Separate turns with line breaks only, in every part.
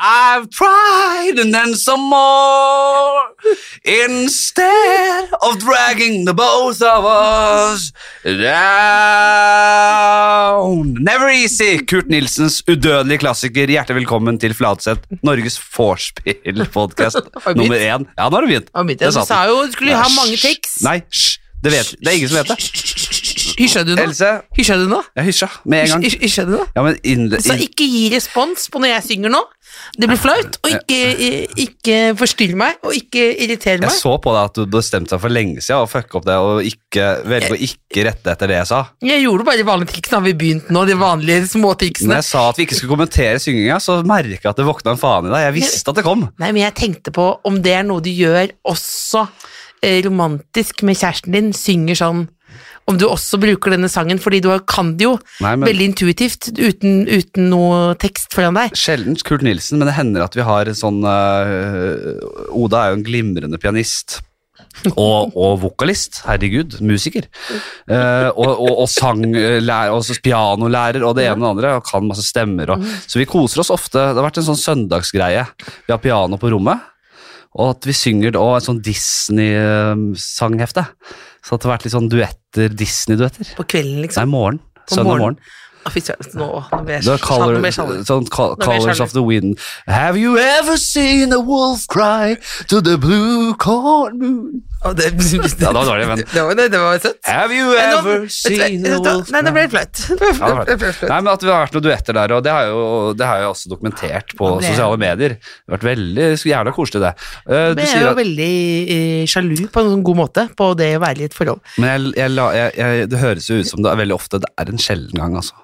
I've tried and then some more. Instead of dragging the both of us down. Never Easy, Kurt Nilsens udødelige klassiker. Hjertelig velkommen til Flatseth, Norges vorspiel-podkast
Har du begynt?
nummer én. Ja, nå har du begynt.
Ja, mitt, Du sa jo du skulle ha mange tics.
Nei, hysj. Det, vet, det er ingen som vet det.
Hysja du nå?
Else,
Hysja du nå?
jeg hysja med en gang.
Hysj- Altså, Hysja du nå?
Ja, men innle-
Så ikke gi respons på når jeg synger nå. Det blir flaut. Og ikke, ikke forstyrr meg, og ikke irriter
Jeg
meg.
så på deg at du bestemte deg for lenge siden å fucke opp det og ikke, velge å ikke rette etter det jeg sa.
Jeg gjorde bare de vanlige triksene. Har vi begynt nå? De vanlige små
Når
triksene.
jeg sa at vi ikke skulle kommentere synginga, så merka jeg at det våkna en faen i deg. Jeg visste at det kom.
Nei, men jeg tenkte på om det er noe du gjør også eh, romantisk med kjæresten din, synger sånn om du også bruker denne sangen, fordi du har- kan det jo
Nei, men-
veldig intuitivt uten, uten noe tekst foran deg.
Sjelden Kurt Nilsen, men det hender at vi har en sånn øh, Oda er jo en glimrende pianist. Og, og vokalist. Herregud, musiker. Eh, og, og, og sanglærer, og så pianolærer og det ene og det andre. Og kan masse stemmer. Og, så vi koser oss ofte. Det har vært en sånn søndagsgreie. Vi har piano på rommet, og at vi synger og et sånn Disney-sanghefte. Så at det har vært litt sånn duetter, Disney-duetter.
På kvelden,
Nei,
liksom.
morgen.
På
Søndag morgen.
Å, fy søren. Nå, nå ble jeg
The
sjalu-
color,
nå ble jeg sjalu.
sånn col-
Nå ble jeg
Colors
sjalu.
of the Wind. Have you ever seen a wolf cry to the blue corn moon?
Å, det,
Ja, det var dårlig, men
det, var, det, det var søtt.
Have you
Nei, Eh, nå-
ever
vet du hva,
seen a
vet du hva,
wolf
Nei, det ble
cry?
flaut. Det
Ja,
ble
det var
flaut. Det ble flaut.
Nei, men at Det har vært noen duetter der, og det har jo, det har jeg også dokumentert på
Ja, det-
sosiale medier. Det har vært veldig jævla koselig, det. Eh, du
Men jeg er
sier
jo
at,
veldig eh, sjalu på en sånn god måte på det å være i et forhold.
men jeg, jeg, la- jeg, jeg, det høres jo ut som det er veldig ofte det er en sjelden gang, altså.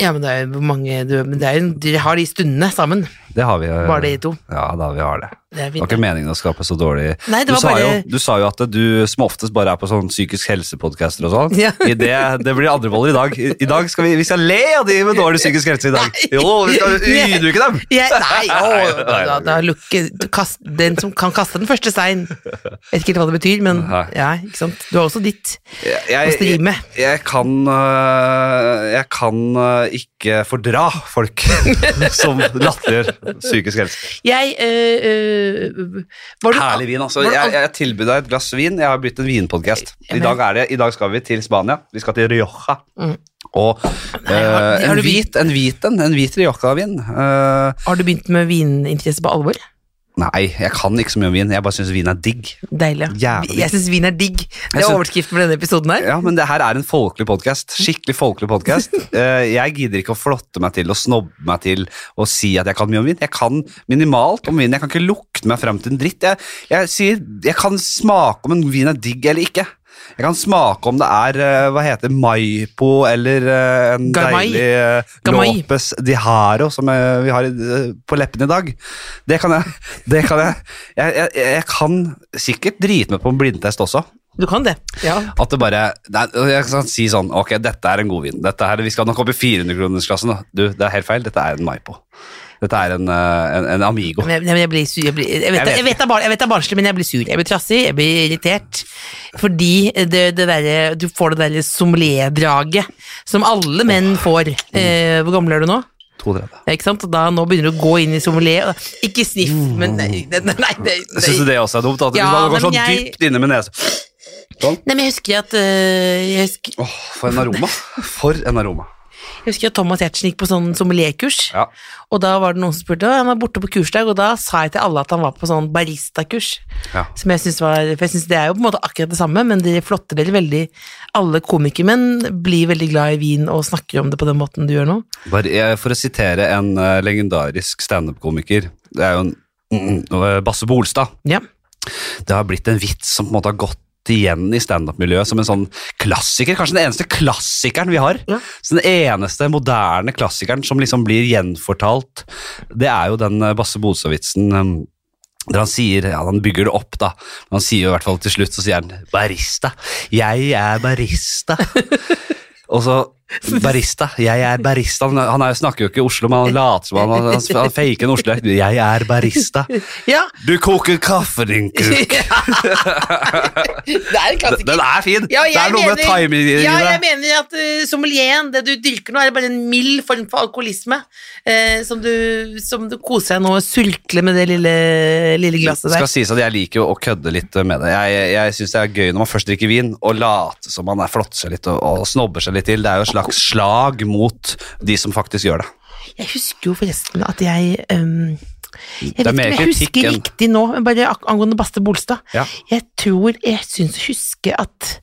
Ja, men det er jo hvor mange du, men det er jo, Dere har de stundene sammen,
Det har vi. eh,
bare de to.
Ja, da vi har det.
Det er
Det var
fint.
ikke meningen å skape så dårlig
Nei, det
du,
var
sa
bare
jo, du sa jo at du som oftest bare er på sånn psykisk helse-podcaster og sånn.
Ja.
I det, det blir andre boller i dag. I, i dag skal vi, vi skal le av de med dårlig psykisk helse i dag.
Nei.
Jo, vi skal ydmyke dem.
jeg, Nei, å,
Nei,
da,
nei,
da, da lukke, du kast, Den som kan kaste den første stein. Vet ikke helt hva det betyr, men
Nei.
ja, ikke sant. Du har også ditt
Jeg,
å
jeg,
stri
jeg,
med.
kan øh, Jeg kan øh, ikke fordra folk som latterliggjør psykisk helse.
Jeg øh, øh, var du-
Herlig vin, altså.
var du-
Jeg, jeg tilbød deg et glass vin. Jeg har blitt en vinpodkast.
Ja,
I
men-
dag, er det, I dag skal vi til Spania. Vi skal til Rioja.
Mm.
Og
har-
eh,
har
en
du vin?
hvit en hvit en, en hvit Rioja-vin. Eh,
Har du begynt med vininteresse på alvor?
nei, jeg kan ikke så mye om vin. Jeg bare syns vin er digg.
Deilig.
Jævlig.
Jeg syns vin er digg. Det
Jeg
er
syns-
overskriften for denne episoden her.
Ja, Men det her er en folkelig podkast. Skikkelig folkelig podkast. jeg gidder ikke å flotte meg til og snobbe meg til og si at jeg kan mye om vin. Jeg kan minimalt om vin. Jeg kan ikke lukte meg fram til en dritt. Jeg, jeg sier jeg kan smake om en vin er digg eller ikke. Jeg kan smake om det er eh, hva heter det, Maipo eller eh, en
Gamay.
deilig eh,
Gamay.
Lopez de Haro som eh, vi har i- på leppene i dag. Det kan jeg. Det kan jeg. Jeg, jeg, jeg kan sikkert drite meg på en blindtest også.
Du kan det. Ja.
At det bare nei, Jeg kan si sånn Ok, dette er en god vin. Dette her, vi skal nok opp i 400-kronersklassen. da. Du, det er helt feil. Dette er en Maipo. Dette er en, eh, en, en Amigo.
Men jeg, nei, men jeg blir sur. Jeg, blir, jeg, vet,
Jeg vet
det- jeg, vet det er bar- jeg vet det er barnslig, men jeg blir sur. Jeg blir trassig, jeg blir irritert. Fordi det, det derre- du får det derre sommelier-draget som alle menn får. Eh, hvor gammel er du nå?
32.
Ja, Ikke sant? Og Da, nå begynner du å gå inn i sommelier. og- Ikke sniff, men nei, nei, nei, nei,
Syns du Mm.
nei.
det også er dumt? At
Ja,
ja, det går så
men jeg-
dypt inne med nesa.
Nei, men jeg husker at eh, jeg husker,
Åh, for en aroma. For en aroma.
jeg husker at Thomas Giertsen gikk på sånn sommelierkurs.
Ja.
Og da var det noen som spurte «Å, han var borte på kursdag, og da sa jeg til alle at han var på sånn baristakurs.
ja.
Som jeg synes var, for jeg synes det er jo på en måte akkurat det samme, men dere flotter dere veldig. Alle komikermenn blir veldig glad i vin og snakker om det på den måten du gjør nå.
Bare, eh, for å sitere en eh, legendarisk standup-komiker Det er jo en mm, eh, Basse Bolstad.
Ja.
det har blitt en vits som på en måte har gått igjen i standup-miljøet som en sånn klassiker. Kanskje den eneste klassikeren vi har.
Ja.
Så den eneste moderne klassikeren som liksom blir gjenfortalt, det er jo den eh, Basse Bolstad-vitsen. em, Der han sier, ja han bygger det opp da, men han sier jo i hvert fall til slutt, så sier han barista. Jeg er barista. Og så Barista. Jeg er barista. Han, han er, snakker jo ikke Oslo, men han later som han, han, han faker en Oslo. Jeg er barista.
Ja.
Du koker kaffen din, kuk.
det er en
Den
klassiker.
den er fin.
Ja,
det er
jeg
noe med
mener-
timing i
Ja, jeg
det.
mener at uh, sommelieren, det du dyrker nå, er bare en mild form for alkoholisme. eh, som, du, som du koser deg nå og sulkler med det lille, lille glasset
Skal
der.
sies at jeg liker jo å kødde litt med det. Jeg, jeg syns det er gøy når man først drikker vin, å late som man er flotter seg litt og, og snobber seg litt til. Det er jo et slags slag mot de som faktisk gjør det.
Jeg husker jo forresten at jeg um, jeg
Det er
vet ikke
mer
om jeg
kritikk
husker
enn-
riktig nå, men bare ak- angående Baste Bolstad.
Ja.
Jeg tror jeg syns å huske at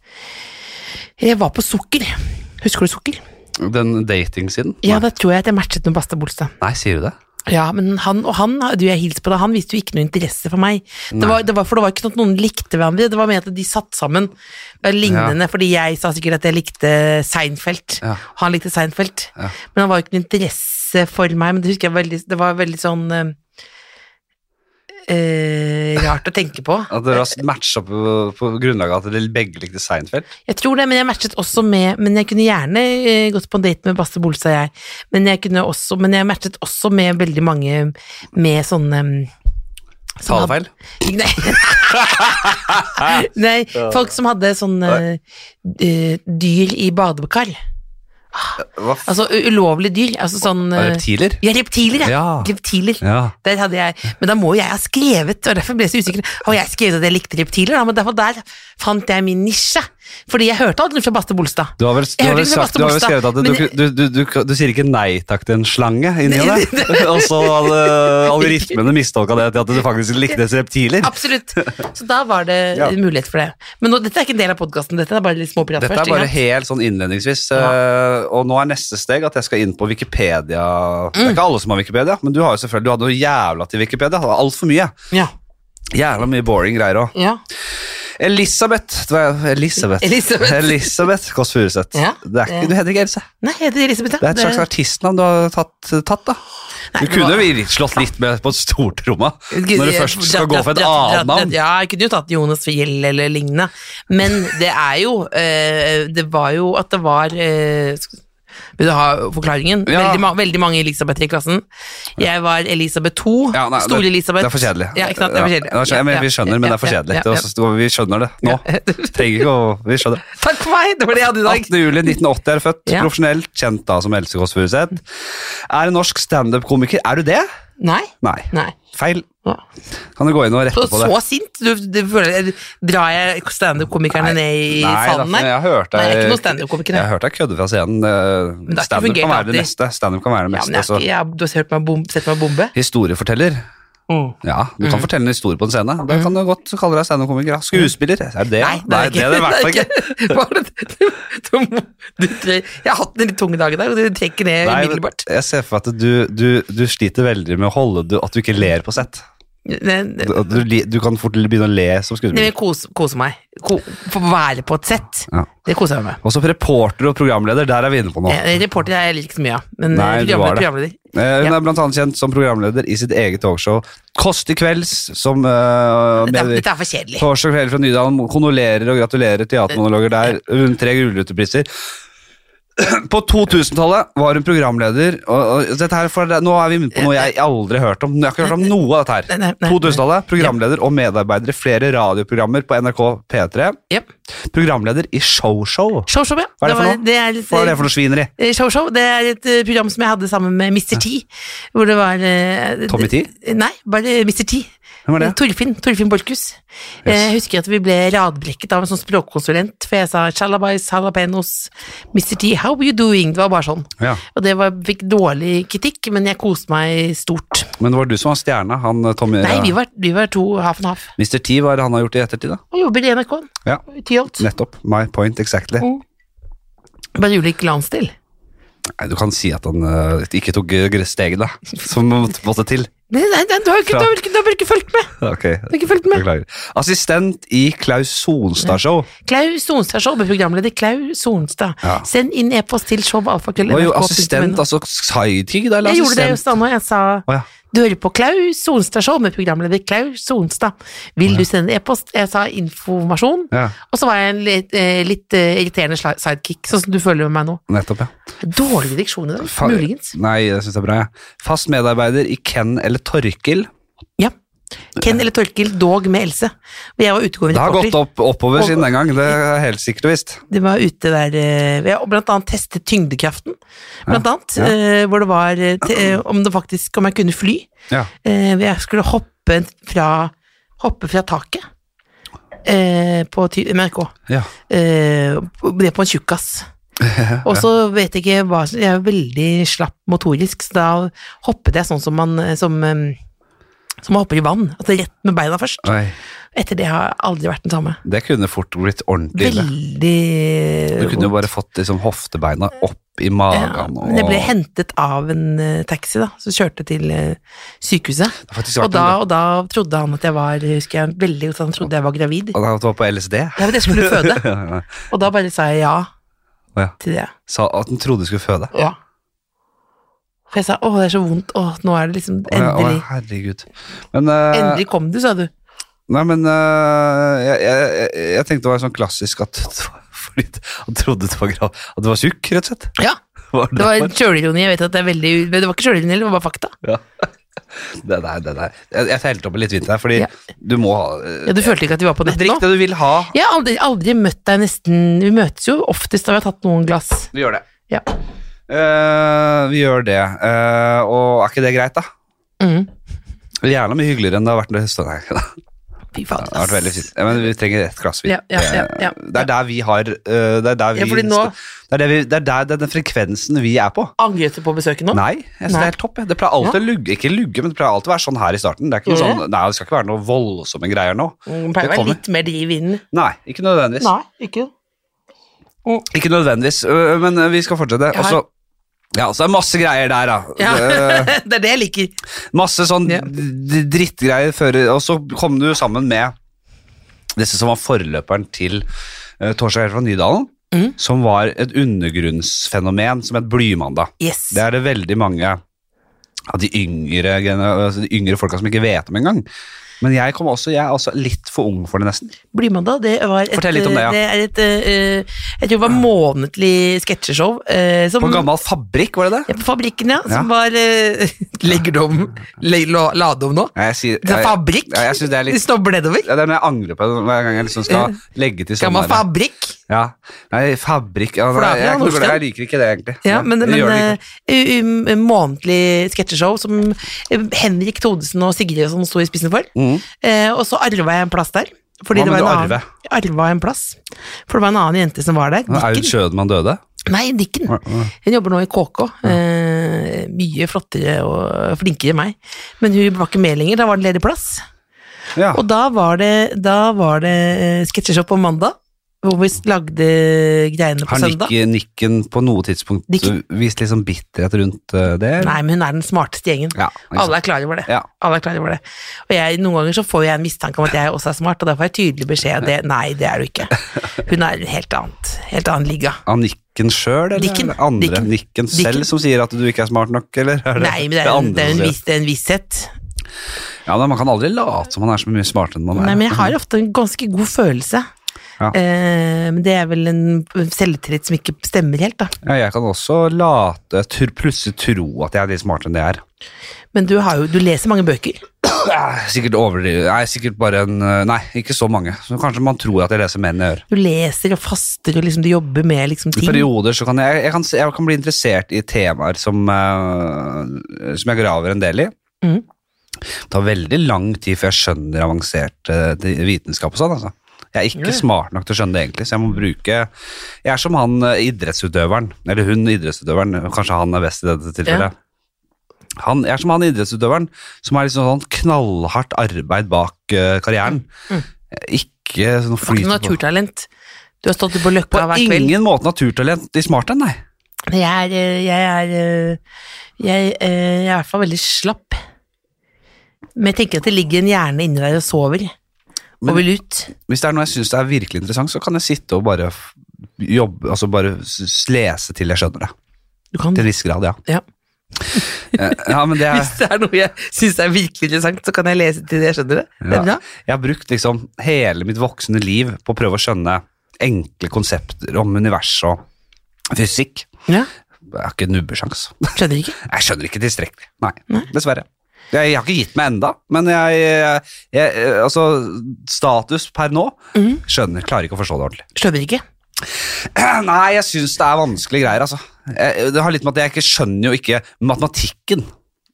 jeg var på sukker. Husker du sukker?
Den datingsiden?
Ja,
Nei.
da tror jeg at jeg matchet med Baste Bolstad.
Nei, sier du det?
Ja, men han og han, du jeg hilste på deg, han viste jo ikke noe interesse for meg. Det var, det var, for det var ikke sånn at noen likte hverandre, det var mer at de satt sammen. Det var Lignende, fordi jeg sa sikkert at jeg likte Seinfeld,
Ja.
og han likte Seinfeld.
Ja.
Men han var jo ikke noe interesse for meg, men det husker jeg veldig, det var veldig sånn eh, eh, rart å tenke på.
At dere har matcha på, på grunnlag av at dere begge likte Seinfeld?
Jeg tror det, men jeg matchet også med Men jeg kunne gjerne eh, gått på en date med Basse Bolstad, jeg. Men jeg, kunne også, men jeg matchet også med veldig mange med sånne eh, som hadde-
Talefeil?
Nei. Nei, folk som hadde sånne eh, dyr i badekar.
Eh, Hva f...
Altså u- ulovlige dyr. Altså sånn eh,
Reptiler?
Ja, reptiler, ja.
Ja.
Reptiler.
Ja.
Der hadde jeg, men da må jo jeg ha skrevet, og derfor ble jeg så usikker. Har jeg skrevet at jeg likte reptiler? Da? Men derfor der fant jeg min nisje. Fordi jeg hørte aldri fra Baste Bolstad.
Du har vel, du
Jeg
har
hørte
vel,
ikke
sagt,
Sebastian
du har vel
Bolstad,
skrevet at du,
men-
du, du, du, du sier ikke nei takk til en slange inni deg, og så hadde algoritmene mistolka det til at du faktisk likte reptiler.
Absolutt. Så da var det
Ja.
mulighet for det. Men nå, dette er ikke en del av podkasten, dette er bare litt småprat
Dette
først.
er
ikke
bare
sant?
helt sånn innledningsvis, eh, og nå er neste steg at jeg skal inn på Wikipedia. Det
Mm.
er ikke alle som har Wikipedia, men du har jo selvfølgelig, du hadde jo jævla til Wikipedia. Altfor mye.
Ja.
Jævla mye boring greier òg.
ja.
Elisabeth det var Elisabeth.
Elisabeth.
Elisabeth Kåss Furuseth.
Ja.
Det er ikke- Du heter ikke Else.
Nei, jeg heter Elisabeth. ja.
Det er et slags artistnavn du har tatt, tatt da.
Nei,
Du
det
kunne
var-
jo virkelig slått litt med på stortromma når du først skal gå for et
Ja, ja, ja,
annet navn.
Ja, jeg kunne jo tatt Jonas Fjell eller lignende, men det er jo eh, Det var jo at det var eh, sk- Vil du ha forklaringen?
Ja.
Veldig, ma veldig mange Elisabether i klassen. Jeg var Elisabeth 2.
Ja, nei,
Store Elisabeth.
Det er for kjedelig.
Ja, ikke sant? Det er for kjedelig.
Ja, jeg mener, vi skjønner, men det er for
Ja, ja,
kjedelig.
ja,
Det er
ja.
også- Vi skjønner det nå. Trenger ikke å Vi skjønner.
Takk for meg! Det var det jeg hadde i dag.
18. juli 1980 er du født,
Ja.
profesjonell, kjent da som Else Kåss Furuseth. Er en norsk standup-komiker. Er du det?
Nei.
Nei.
Nei.
Feil.
Ja.
Kan du gå inn og rette
Så,
på det?
så sint? Du, du føler, drar jeg standup-komikerne ned
Nei,
i
da,
sanden
men
der?
jeg hørte
Nei, jeg er
deg-
ikke noen standup-komiker, jeg.
Jeg hørte deg kødde fra scenen. eh,
det har ikke
Standup kan
fungert
være det
alltid.
meste. Standup kan være det
Ja,
meste.
men jeg, har
så-
ikke- jeg, har- du har hørt meg bom, sett meg bombe?
Historieforteller.
Mm.
Ja, du kan fortelle en historie på en scene. Det kan du godt kalle deg standup-komiker. ja. Skuespiller, er det det?
Nei, det er
det er det i hvert fall ikke.
ikke. Bare det- du- du må- du tre- Jeg har hatt en litt tung dag i dag, og du trekker ned
Nei,
umiddelbart.
jeg ser for meg at du, du, du sliter veldig med å holde du, at du ikke ler på sett.
Ne- ne-
Du, at du, li- du kan fort begynne å le som
Nei, men
skuespiller.
kose, kose meg. Ko, få være på et sett.
Ja.
Det koser jeg meg med.
Og som reporter og programleder, der er vi inne på nå.
Eh, Reporter er jeg liker ikke så mye av, men
Nei,
eh,
du var
programleder,
det.
programleder.
Eh, Hun
Ja.
er blant annet kjent som programleder i sitt eget talkshow Kåss til kvelds, som eh,
Dette, er-
med-
dette er for kjedelig.
Torsdag kveld fra Nydalen kondolerer og gratulerer teatermonologer der. Vunnet tre Gullrutepriser. På 2000-tallet var hun programleder. Og, og dette her for, nå er vi inne på noe jeg aldri har hørt om. Jeg har ikke hørt om noe av dette
Nei, nei,
her.
nei,
2000-tallet, programleder og medarbeider i flere radioprogrammer på NRK P3.
Yep.
Programleder i Showshow.
Show, show, ja.
Hva er det for
var-
noe?
Det er litt,
Hva er det for noe svineri?
Eh, Show Show, det er et eh, program som jeg hadde sammen med Mr. T. Hvor det var eh,
Tommy T?
d- Nei, bare Mr. T. Eh,
Hvem var det?
Torfinn. Torfinn Borchhus. Eh, Jeg husker at vi ble radbrekket av en sånn språkkonsulent, for jeg sa 'shalabais, jalapenos', Mr. T, how are you doing? Det var bare sånn.
Ja.
Og det var, fikk dårlig kritikk, men jeg koste meg stort.
Men det var du som var stjerna, han eh, Tommy
Nei, vi var, vi var to half and half.
Mr. T var det han har gjort i ettertid, da.
Og jobber i NRK. -en,
Ja,
i Tyholt.
nettopp. My point exactly.
Mm. Bare ulik landsdel.
Nei, du kan si at han eh, ikke tok eh, steget, da. Som måtte til.
Nei, nei, nei, du har jo ikke,
Fra-
du har ikke, du har bare ikke fulgt med!
Ok,
Du har ikke fulgt med.
Beklager. Assistent i Klaus Sonstad-show.
Klaus Sonstad Show, programleder Klaus Sonstad.
Ja.
Send inn e-post til showalfakrøll.nrk.no.
Var jo assistent, altså sidekick, da? Eller
Jeg gjorde det
assistent?
just da nå. Jeg sa
Å ja.
Du hører på Klaus Sonstad Show med programleder Klaus Sonstad. Vil du sende en e-post? Jeg sa informasjon.
Ja,
Og så var jeg en litt, eh, litt eh, irriterende sli- sidekick, sånn som du føler med meg nå.
nettopp, ja.
Dårlig diksjon i dag,
Fa-
muligens.
Nei, det syns jeg er bra. Ja. Fast medarbeider i Ken eller Torkil.
Ja. Ken eller Torkil, dog med Else. Og jeg var
Det
utegående
har gått
reporter.
opp, oppover siden den gang, det er helt sikkert og visst.
Det var ute der eh, vi har blant annet testet tyngdekraften. Blant annet.
ja.
eh, Hvor det var eh, te- eh, om det faktisk Om jeg kunne fly.
Ja.
Eh, hvor Jeg skulle hoppe fra, hoppe fra taket eh, på ty- NRK.
Ja.
Eh, Det på en tjukkas. Og så vet jeg ikke hva Jeg er jo veldig slapp motorisk, så da hoppet jeg sånn som man som, eh, som man hopper i vann. Altså rett med beina først.
Oi.
Etter det har jeg aldri vært den samme.
Det kunne fort blitt ordentlig ille.
Veldig
Du kunne jo bare fått liksom, hoftebeina opp i
Ja,
magen. Og...
men jeg ble hentet av en eh, taxi da, som kjørte til eh, sykehuset.
Det har faktisk
Og
vært
da,
en-
og da trodde han at jeg var husker jeg, veldig godt, han trodde jeg var gravid.
Og da var på LSD.
Ja, men jeg skulle føde, og da bare sa jeg ja
Å ja.
til det.
Sa at den trodde du skulle føde.
Ja. For jeg sa å, det er så vondt, å, nå er det liksom
Å ja, å ja,
endelig.
herregud. Men, eh,
Endelig kom du, sa du.
nei, men eh, jeg, jeg, jeg tenkte det var sånn klassisk at fordi han trodde det var grav, at du var tjukk, rett og slett.
Ja,
Var
det var sjølironi. Jeg vet at det er veldig Men det var ikke sjølironi, det var bare fakta.
det der, det der. Jeg, jeg telte opp litt vint her, fordi
Ja.
du må ha eh,
Ja, Du følte ikke at vi var på nett
Drikk
nå?
det du vil ha.
Jeg har aldri, aldri møtt deg nesten Vi møtes jo oftest da vi har tatt noen glass.
Vi gjør det.
Ja.
Eh, vi gjør det. Eh, og er ikke det greit, da?
Mm.
Det er Gjerne mye hyggeligere enn det har vært. Det Nei, det
Fy fader.
har vært veldig fint. Ja, Men vi trenger ett glass vin.
Ja, ja, ja, ja.
Eh, Det er der vi har eh, Det er der vi,
Ja, fordi nå-
det, er der vi det er der det er den frekvensen vi er på.
Angret du på besøket nå?
Nei, jeg synes
Nei.
det er helt topp. jeg. Det pleier alltid å lugge, ikke lugge, men det pleier alltid å være sånn her i starten. Det er ikke noe
Gjør
sånn, nei, det skal ikke være noe voldsomme greier nå.
Mm, pleier å være
kommer.
litt mer driv i den.
Nei, ikke nødvendigvis.
Nei, ikke.
Ikke nødvendigvis, øh, men øh, vi skal fortsette.
Jeg
Og
har-
så ja, så er det masse greier der, da.
Ja.
Øh,
det er det jeg liker.
masse sånn
Ja.
d- drittgreier før Og så kom du sammen med disse som var forløperen til uh, Torsdag helt fra Nydalen.
Mhm.
Som var et undergrunnsfenomen som het Blymandag.
Yes.
Det er det veldig mange av de yngre, gener- altså de yngre folka som ikke vet om engang. Men jeg kom også, jeg er også litt for ung for det, nesten.
Blymandag, det var et
Fortell litt om det, ja.
Det er et eh, Jeg tror det var månedlig sketsjeshow. eh, som-
På gammel fabrikk, var det det?
Ja, på Fabrikken, ja.
Ja.
Som var eh, Legger du om le, la, Lade om nå?
Ja, jeg sier,
Det er
jeg,
fabrikk?
ja, jeg synes det er litt
Du snobber nedover?
Ja, det er noe jeg angrer på hver gang jeg liksom skal legge til sånn.
Gammal
der.
fabrikk?
Ja. Nei, fabrikk ja,
For
nei,
det er
jeg, er ikke noe
noe
glad- jeg liker ikke det, egentlig.
Ja, men,
Jeg
men
gjør det ikke.
eh, um, um, månedlig sketsjeshow som eh, Henrik Thodesen og Sigrid og sånn sto i spissen for.
Mhm.
Eh, og så arva jeg en plass der. Fordi
Hva
det
med
var en
du
annen, arva en plass. For det var en annen jente som var der.
Aud
Dikken.
Schødemann døde?
Nei, Dikken.
Ja, ja.
Hun jobber nå i KK. Eh, mye flottere og flinkere enn meg. Men hun var ikke med lenger. Da var det ledig plass.
Ja.
Og da var det, da var det eh, sketsjeshow på mandag, hvor vi lagde greiene på
Har
søndag.
Nikken, Nikken på noe tidspunkt
Nikken.
vist liksom bitterhet rundt eh, det? eller?
Nei, men hun er den smarteste gjengen.
Ja, ikke sant.
Alle er klar over det.
Ja.
Alle er klar over det. Og jeg, noen ganger så får jeg en mistanke om at jeg også er smart, og da får jeg tydelig beskjed om det. Nei, det er du ikke. Hun er en helt annet, helt annen liga.
Av Nikken sjøl, eller
Dikken.
er det andre?
Dikken.
Nikken, selv
Dikken.
som sier at du ikke er smart nok, eller? Er
Nei, men det er, en-
andre
det er,
som
en,
sier
viss, det er en visshet.
Ja, men Man kan aldri late som man er så mye smartere enn man er.
Nei, men jeg har ofte en ganske god følelse.
Ja.
Eh, Men det er vel en selvtillit som ikke stemmer helt, da.
ja, jeg kan også late, tr- plutselig tro at jeg er litt smartere enn det jeg er.
Men du, har jo, du leser mange bøker.
Ja, Sikkert overdrivet. Nei, sikkert bare en eh, Nei, ikke så mange. Så kanskje man tror at jeg leser mer enn jeg gjør.
Du leser og faster, og liksom, du jobber med liksom,
I
ting.
perioder så kan jeg, jeg, kan, se- jeg kan bli interessert i temaer som, eh, som jeg graver en del i.
Mhm.
Det tar veldig lang tid før jeg skjønner avansert eh, det- vitenskap og sånn. Altså. Jeg er ikke
Ja.
smart nok til å skjønne det, egentlig, så jeg må bruke Jeg er som han eh, idrettsutøveren, eller hun idrettsutøveren, kanskje han er best i dette
Ja.
tilfellet. Han, jeg er som han idrettsutøveren som har liksom sånn knallhardt arbeid bak eh, karrieren.
Mm.
Ikke sånn
Du har ikke noe
flyt på
naturtalent. Du har stått på løkka
På
hver kveld.
ingen måte naturtalent i smarten, nei.
Jeg er, eh, jeg er, eh, jeg, eh, jeg er i hvert fall veldig slapp. Men jeg tenker at det ligger en hjerne inni der og sover.
Men-
og vil ut.
Hvis det er noe jeg syns er virkelig interessant, så kan jeg sitte og bare f- jobbe, altså bare s- s- lese til jeg skjønner det.
Du kan.
Til en viss grad, ja.
Ja.
Eh, Ja, men det er
Hvis det er noe jeg syns er virkelig interessant, så kan jeg lese til det, skjønner du? Det
Ja.
er bra.
Jeg har brukt liksom hele mitt voksne liv på å prøve å skjønne enkle konsepter om univers og fysikk.
Ja,
Jeg har ikke nubbesjans.
Skjønner ikke.
Jeg skjønner ikke tilstrekkelig. Nei, dessverre. Jeg, jeg har ikke gitt meg enda, men jeg, jeg Altså, status per nå
Mhm.
Skjønner. Klarer ikke å forstå det ordentlig.
Skjønner ikke.
Nei, jeg syns det er vanskelige greier, altså. Jeg, det har litt med at jeg ikke skjønner jo ikke matematikken.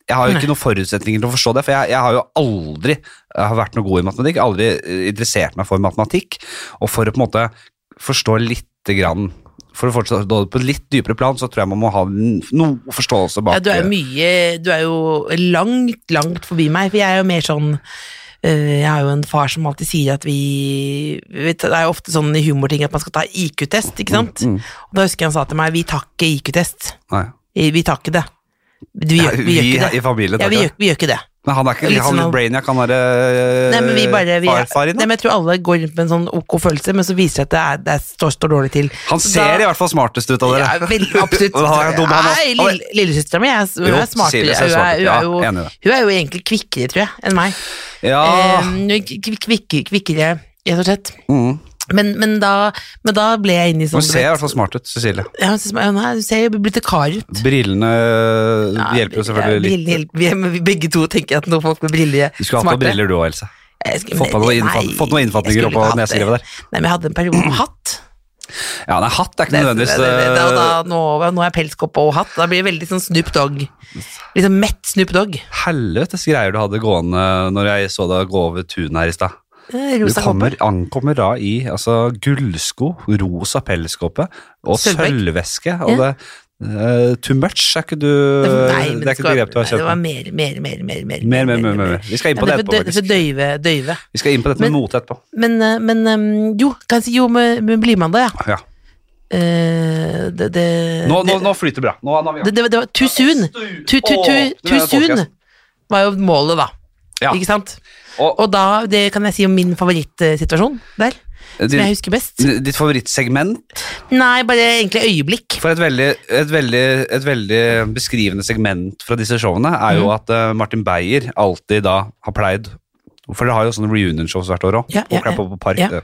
Jeg har jo ikke noen forutsetninger til å forstå det, for jeg, jeg har jo aldri jeg har vært noe god i matematikk. Aldri eh, interessert meg for matematikk. Og for å på en måte forstå lite grann For å forstå det på et litt dypere plan, så tror jeg man må ha n- noe forståelse bak
Ja, du er jo mye Du er jo langt, langt forbi meg, for jeg er jo mer sånn øh, jeg har jo en far som alltid sier at vi vet, du, Det er jo ofte sånn i humorting at man skal ta IQ-test, ikke sant?
Mm,
Og da husker jeg han sa til meg vi tar ikke IQ-test.
Nei.
Vi tar ikke det. Vi gjør, vi gjør ikke
i
det.
familien
Ja,
tar
vi
ikke
gjør,
det.
vi gjør ikke det.
Men han er ikke
Litt
han
sånn-
brainiac, han er eh,
Nei, men vi bare vi,
farfar i
nei,
nå.
men Jeg tror alle går rundt med en sånn ok følelse, men så viser det at det, er, det er, står, står dårlig til.
Han
Så
ser
da-
i hvert fall smartest ut av dere.
Ja, veldig, absolutt.
Og han er dum, han også.
Nei, lille- Lillesøstera mi er, hun
Jo,
er smartere.
Cecilie
Hun
ser
er,
smartere.
hun,
Ja,
er jo,
enig i det.
hun er jo egentlig kvikkere, tror jeg, enn meg.
Ja,
Eh, hun er kv- kv- kvikke- kvikkere, rett og slett.
mm.
Men, men, da, men da ble jeg inne i sånn
Hun ser i hvert fall smart ut, Cecilie.
ja, hun ser- hun er- hun ser jo bibliotekar ut.
Brillene eh,
Ja,
hjelper jo selvfølgelig
ja,
litt.
brillene hjelper. Vi, men vi begge to tenker at når folk med briller
Du skulle hatt på
smartere-
briller du òg, Else.
Jeg skulle-
Fått på noen
nei,
innfatninger- fått noen
jeg
innfatninger
skulle
oppå
ikke hatt det.
neserivet der.
Nei, men jeg hadde en periode med hatt.
Ja, nei, hatt er ikke
Det, det,
nødvendigvis
det, det, og da,
eh,
nå, nå er pelskopp og hatt. Da blir det veldig sånn Snoop Dogg. Liksom mett Snoop Dogg.
Helvetes greier du hadde gående når jeg så deg gå over tunet her i stad.
Eh,
Du
Rosa
kommer,
kommer.
ankommer da i altså, gullsko, rosa pelskåpe og
Sølvbekk.
sølvveske. Og det, eh, too much er ikke du Det er ikke et begrep du har
Det var
kjent med.
mer, mer, mer. mer, mer,
Mer, mer, mer, mer, mer. Vi skal inn
Ja,
på
det
det
er
etterpå,
for dø- for
faktisk.
døyve, døyve.
Vi skal inn på dette med
Men-
mote etterpå.
Men, eh, men eh, jo, kan jeg si, jo, men, men blir man da, ja.
Ja.
Eh, det, det,
Nå, nå, nå flyter det bra. Nå, nå er vi i gang.
det, det, det var too soon. Too, too,
Åh,
too,
det er
too
en
soon
podcast.
var jo målet, da.
Ja.
Ikke sant?
Og-
Og da, det kan jeg si om min favorittsituasjon der, som jeg
Din-
husker best.
Ditt favorittsegment
Nei, bare egentlig øyeblikk.
For et veldig, et, veldig, et veldig beskrivende segment fra disse showene er
Mhm.
jo at eh, Martin Beyer alltid da har pleid For det har jo sånne reunion-shows hvert år òg,
Ja,
på
ja,
Crap
ja.
Up Park.
Ja.
det.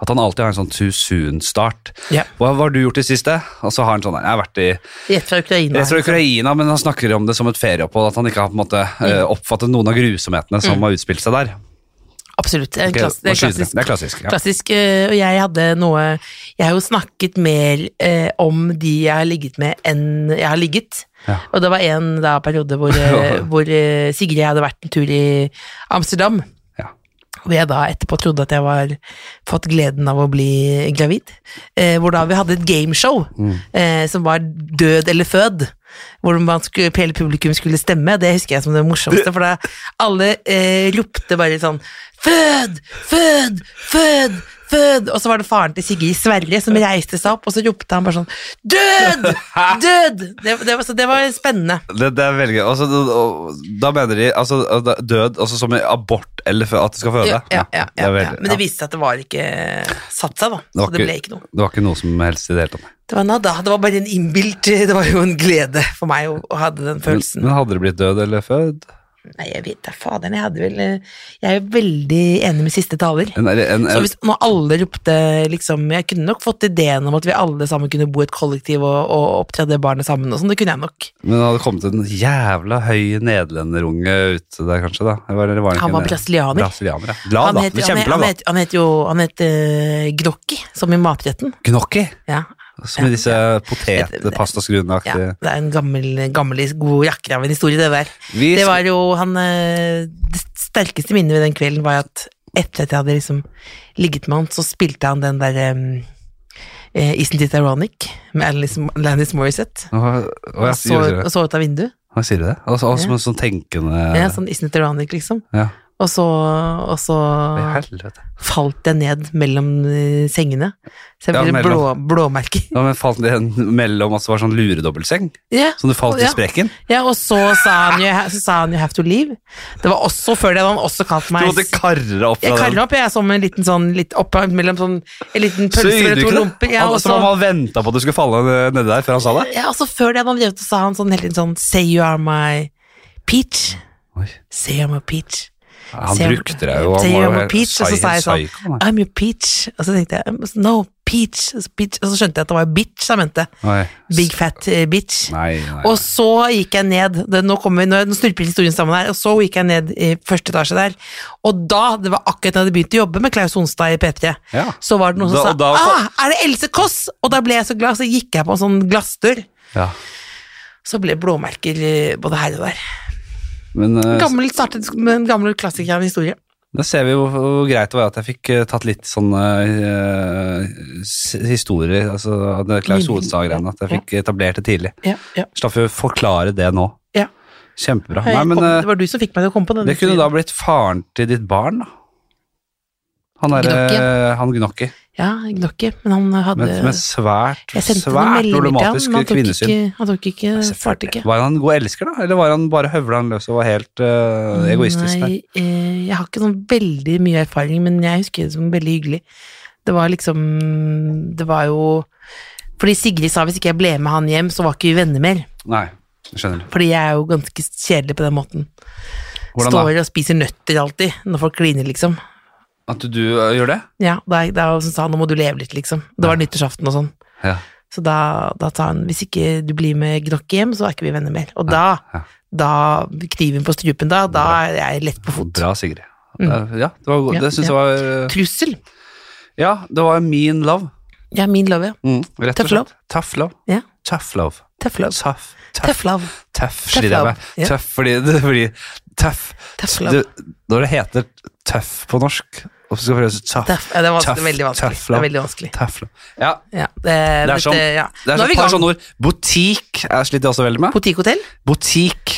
At han alltid har en sånn too soon-start.
Ja.
Hva, hva har du gjort i siste? Og så har han sånn Jeg har vært i
Rett fra Ukraina.
rett fra Ukraina, men han snakker om det som et ferieopphold. At han ikke har på en måte eh, oppfattet noen av grusomhetene som har utspilt seg der.
Absolutt. Mm. Det er, en
Ok,
klass, det er
nå skyter jeg.
klassisk.
Det er klassisk, ja.
klassisk, øh, og jeg hadde noe Jeg har jo snakket mer eh, om de jeg har ligget med, enn jeg har ligget.
Ja.
Og det var en da, periode hvor, eh, hvor eh, Sigrid og jeg hadde vært en tur i Amsterdam.
Ja.
Hvor jeg da etterpå trodde at jeg var fått gleden av å bli gravid. Eh, hvor da vi hadde et gameshow
Mm.
eh, som var Død eller fød. Hvor man skulle, hele publikum skulle stemme. Det husker jeg som det morsomste, for da alle eh, ropte bare sånn Fød! Fød! Fød! Fød! Og så var det faren til Sigrid Sverre som reiste seg opp, og så ropte han bare sånn Død! Død! Det, det, var, så det var spennende.
Det, det er veldig gøy. Altså, det- og da mener de altså, da- død altså, som i abort eller fø- at du skal føde.
Ja, ja, ja,
det, er
ja, ja.
veldig-
Men det
ja.
viste seg at det var ikke satt seg, da.
Det var
Så det ble ikke noe.
det var ikke noe som helst i det hele tatt.
Det var, nada. det var bare en innbilt Det var jo en glede for meg å, å ha den
Men,
følelsen.
men hadde det blitt død eller født?
Nei, jeg vet da faderen. Jeg hadde vel eh, Jeg er jo veldig enig med siste taler.
En, en, en,
Så hvis når alle ropte liksom Jeg kunne nok fått ideen om at vi alle sammen kunne bo i et kollektiv og, og opptre det barnet sammen og sånn. Det kunne jeg nok.
men det hadde kommet en jævla høy nederlenderunge ut der, kanskje? da Eller var det- var det
Han
ikke
var
en-
brasilianer.
brasilianer ja. Glad, da.
han, heter, han,
Kjempeglad,
han,
da.
het, han heter jo Han het eh, Gnocchi, som i matretten.
Gnocchi,
Ja.
som i disse
ja.
potetpastaskruene-aktige
Det er en gammel, gammel god jakker av en historie, det der.
Vi
Det
skal-
var jo han eh, Det sterkeste minnet ved den kvelden var jo at etter at jeg hadde liksom ligget med han, så spilte han den der em, eh, Isn't It Ironic med Alanis, Alanis Morissette.
Hva- hva-
Og
sier
så,
du det?
og så ut av vinduet.
Hva sier du det? Altså, altså,
Ja.
Som en sånn tenkende
Ja, sånn Isn't It Ironic, liksom.
ja.
Og så, og så
I helvete.
falt jeg ned mellom eh, sengene. Så jeg
Ja,
ble blå,
mellom.
blåmerker.
Ja, men falt det en- mellom at det var sånn luredobbeltseng?
Ja.
Som du falt i
Ja.
sprekken?
ja, og så sa, han, jo- så sa han 'you have to leave'. Det var også før det hadde han også kalt
Du
meg
måtte karre opp
Jeg
fra
kaller
den.
opp jeg som en liten sånn litt opp mellom sånn en liten
Så
pølse eller
ydmykende.
to lomper. Ja,
Han-
og
Som om
så,
han venta på at du skulle falle ned- nedi der før han sa det?
ja, og så før det hadde han drevet og sa han sånn hele tiden sånn 'say you are my peach'.
Oi.
Say I'm a peach.
Ja, Han
Say I'm-
brukte deg jo. Han
Say
var jo
I'm a
helt
peach, og så
psy-
sa jeg sånn
psyko, han.
I'm your peach. Og så tenkte jeg "Um, no, peach, peach. Og så skjønte jeg at det var bitch han mente.
Nei.
Big fat eh, bitch.
Nei, nei.
Og så gikk jeg ned, det, nå, kommer, vi- nå nå snurper historien sammen her, og så gikk jeg ned i første etasje der. Og da, det var akkurat da jeg hadde begynt å jobbe med Klaus Honstad i P3,
Ja.
så var det noen som
Da-
sa
og da-
ah, er det Else Kåss? Og da ble jeg så glad, så gikk jeg på en sånn glassdør.
Ja.
Så ble det blåmerker eh, både her og der.
Men eh,
Gammel, startet med en gammel klassiker av en historie.
da ser vi hvor, hvor greit det var at jeg fikk eh, tatt litt sånne eh, s- historier, altså av det Klaus
Minner.
Hovedstad-greiene, at jeg fikk etablert det tidlig.
Ja, ja,
Slapp jo å forklare det nå.
ja.
Kjempebra.
Jeg
Nei, men
kom,
eh,
det var du som fikk meg til å komme på den.
det kunne da blitt faren til ditt barn, da. Han er eh, han Gnocchi,
Ja, Gnocchi, men han hadde
med, med svært,
Jeg sendte noen
svært
meldinger til ham,
problematisk
men han tok
kvinnesyn.
ikke, han tok ikke, svarte ikke.
Var han en god elsker, da? Eller var han bare høvla han løs og var helt eh, egoistisk? der?
Nei, eh, jeg har ikke sånn veldig mye erfaring, men jeg husker det som veldig hyggelig. Det var liksom Det var jo Fordi Sigrid sa hvis ikke jeg ble med han hjem, så var ikke vi venner mer.
Nei, jeg skjønner.
Fordi jeg er jo ganske kjedelig på den måten.
Hvordan da?
Står og spiser nøtter alltid, når folk kliner, liksom.
At du eh, gjør det?
Ja, da, da sa han nå må du leve litt, liksom. Det var nyttårsaften og sånn.
Ja.
Så da, da sa han hvis ikke du blir med Gnokki hjem, så er ikke vi venner mer. Og da,
ja.
da kniven på strupen, da, da er jeg lett på fot.
Bra, Sigrid. Eh, Ja, det, var, god-
Mm. Ja,
det syns
ja.
jeg var eh,
Trussel.
Ja, det var mean love.
Ja, min love, ja.
Mm, rett og
Tough love.
slett. Tough love.
Ja.
Tough love.
Tøff love.
Tough. Tough.
Tøff love.
Tøff sliter jeg med.
love, ja.
Tøff fordi det blir tøff.
Tøff
Det,
love.
når det heter tøff på norsk, og så skal vi prøve å si tøff.
Tøff. Ja, det er vanskelig,
Tøff-
veldig vanskelig.
tøff
Det
love.
er veldig vanskelig.
Tøff love. Ja,
Ja, det, er
som-
dette- ja.
det er
Nå er
så,
vi
et
i
par
gang.
sånne ord. Butikk er sliter jeg også veldig med.
Boutikhotell?
Butikk.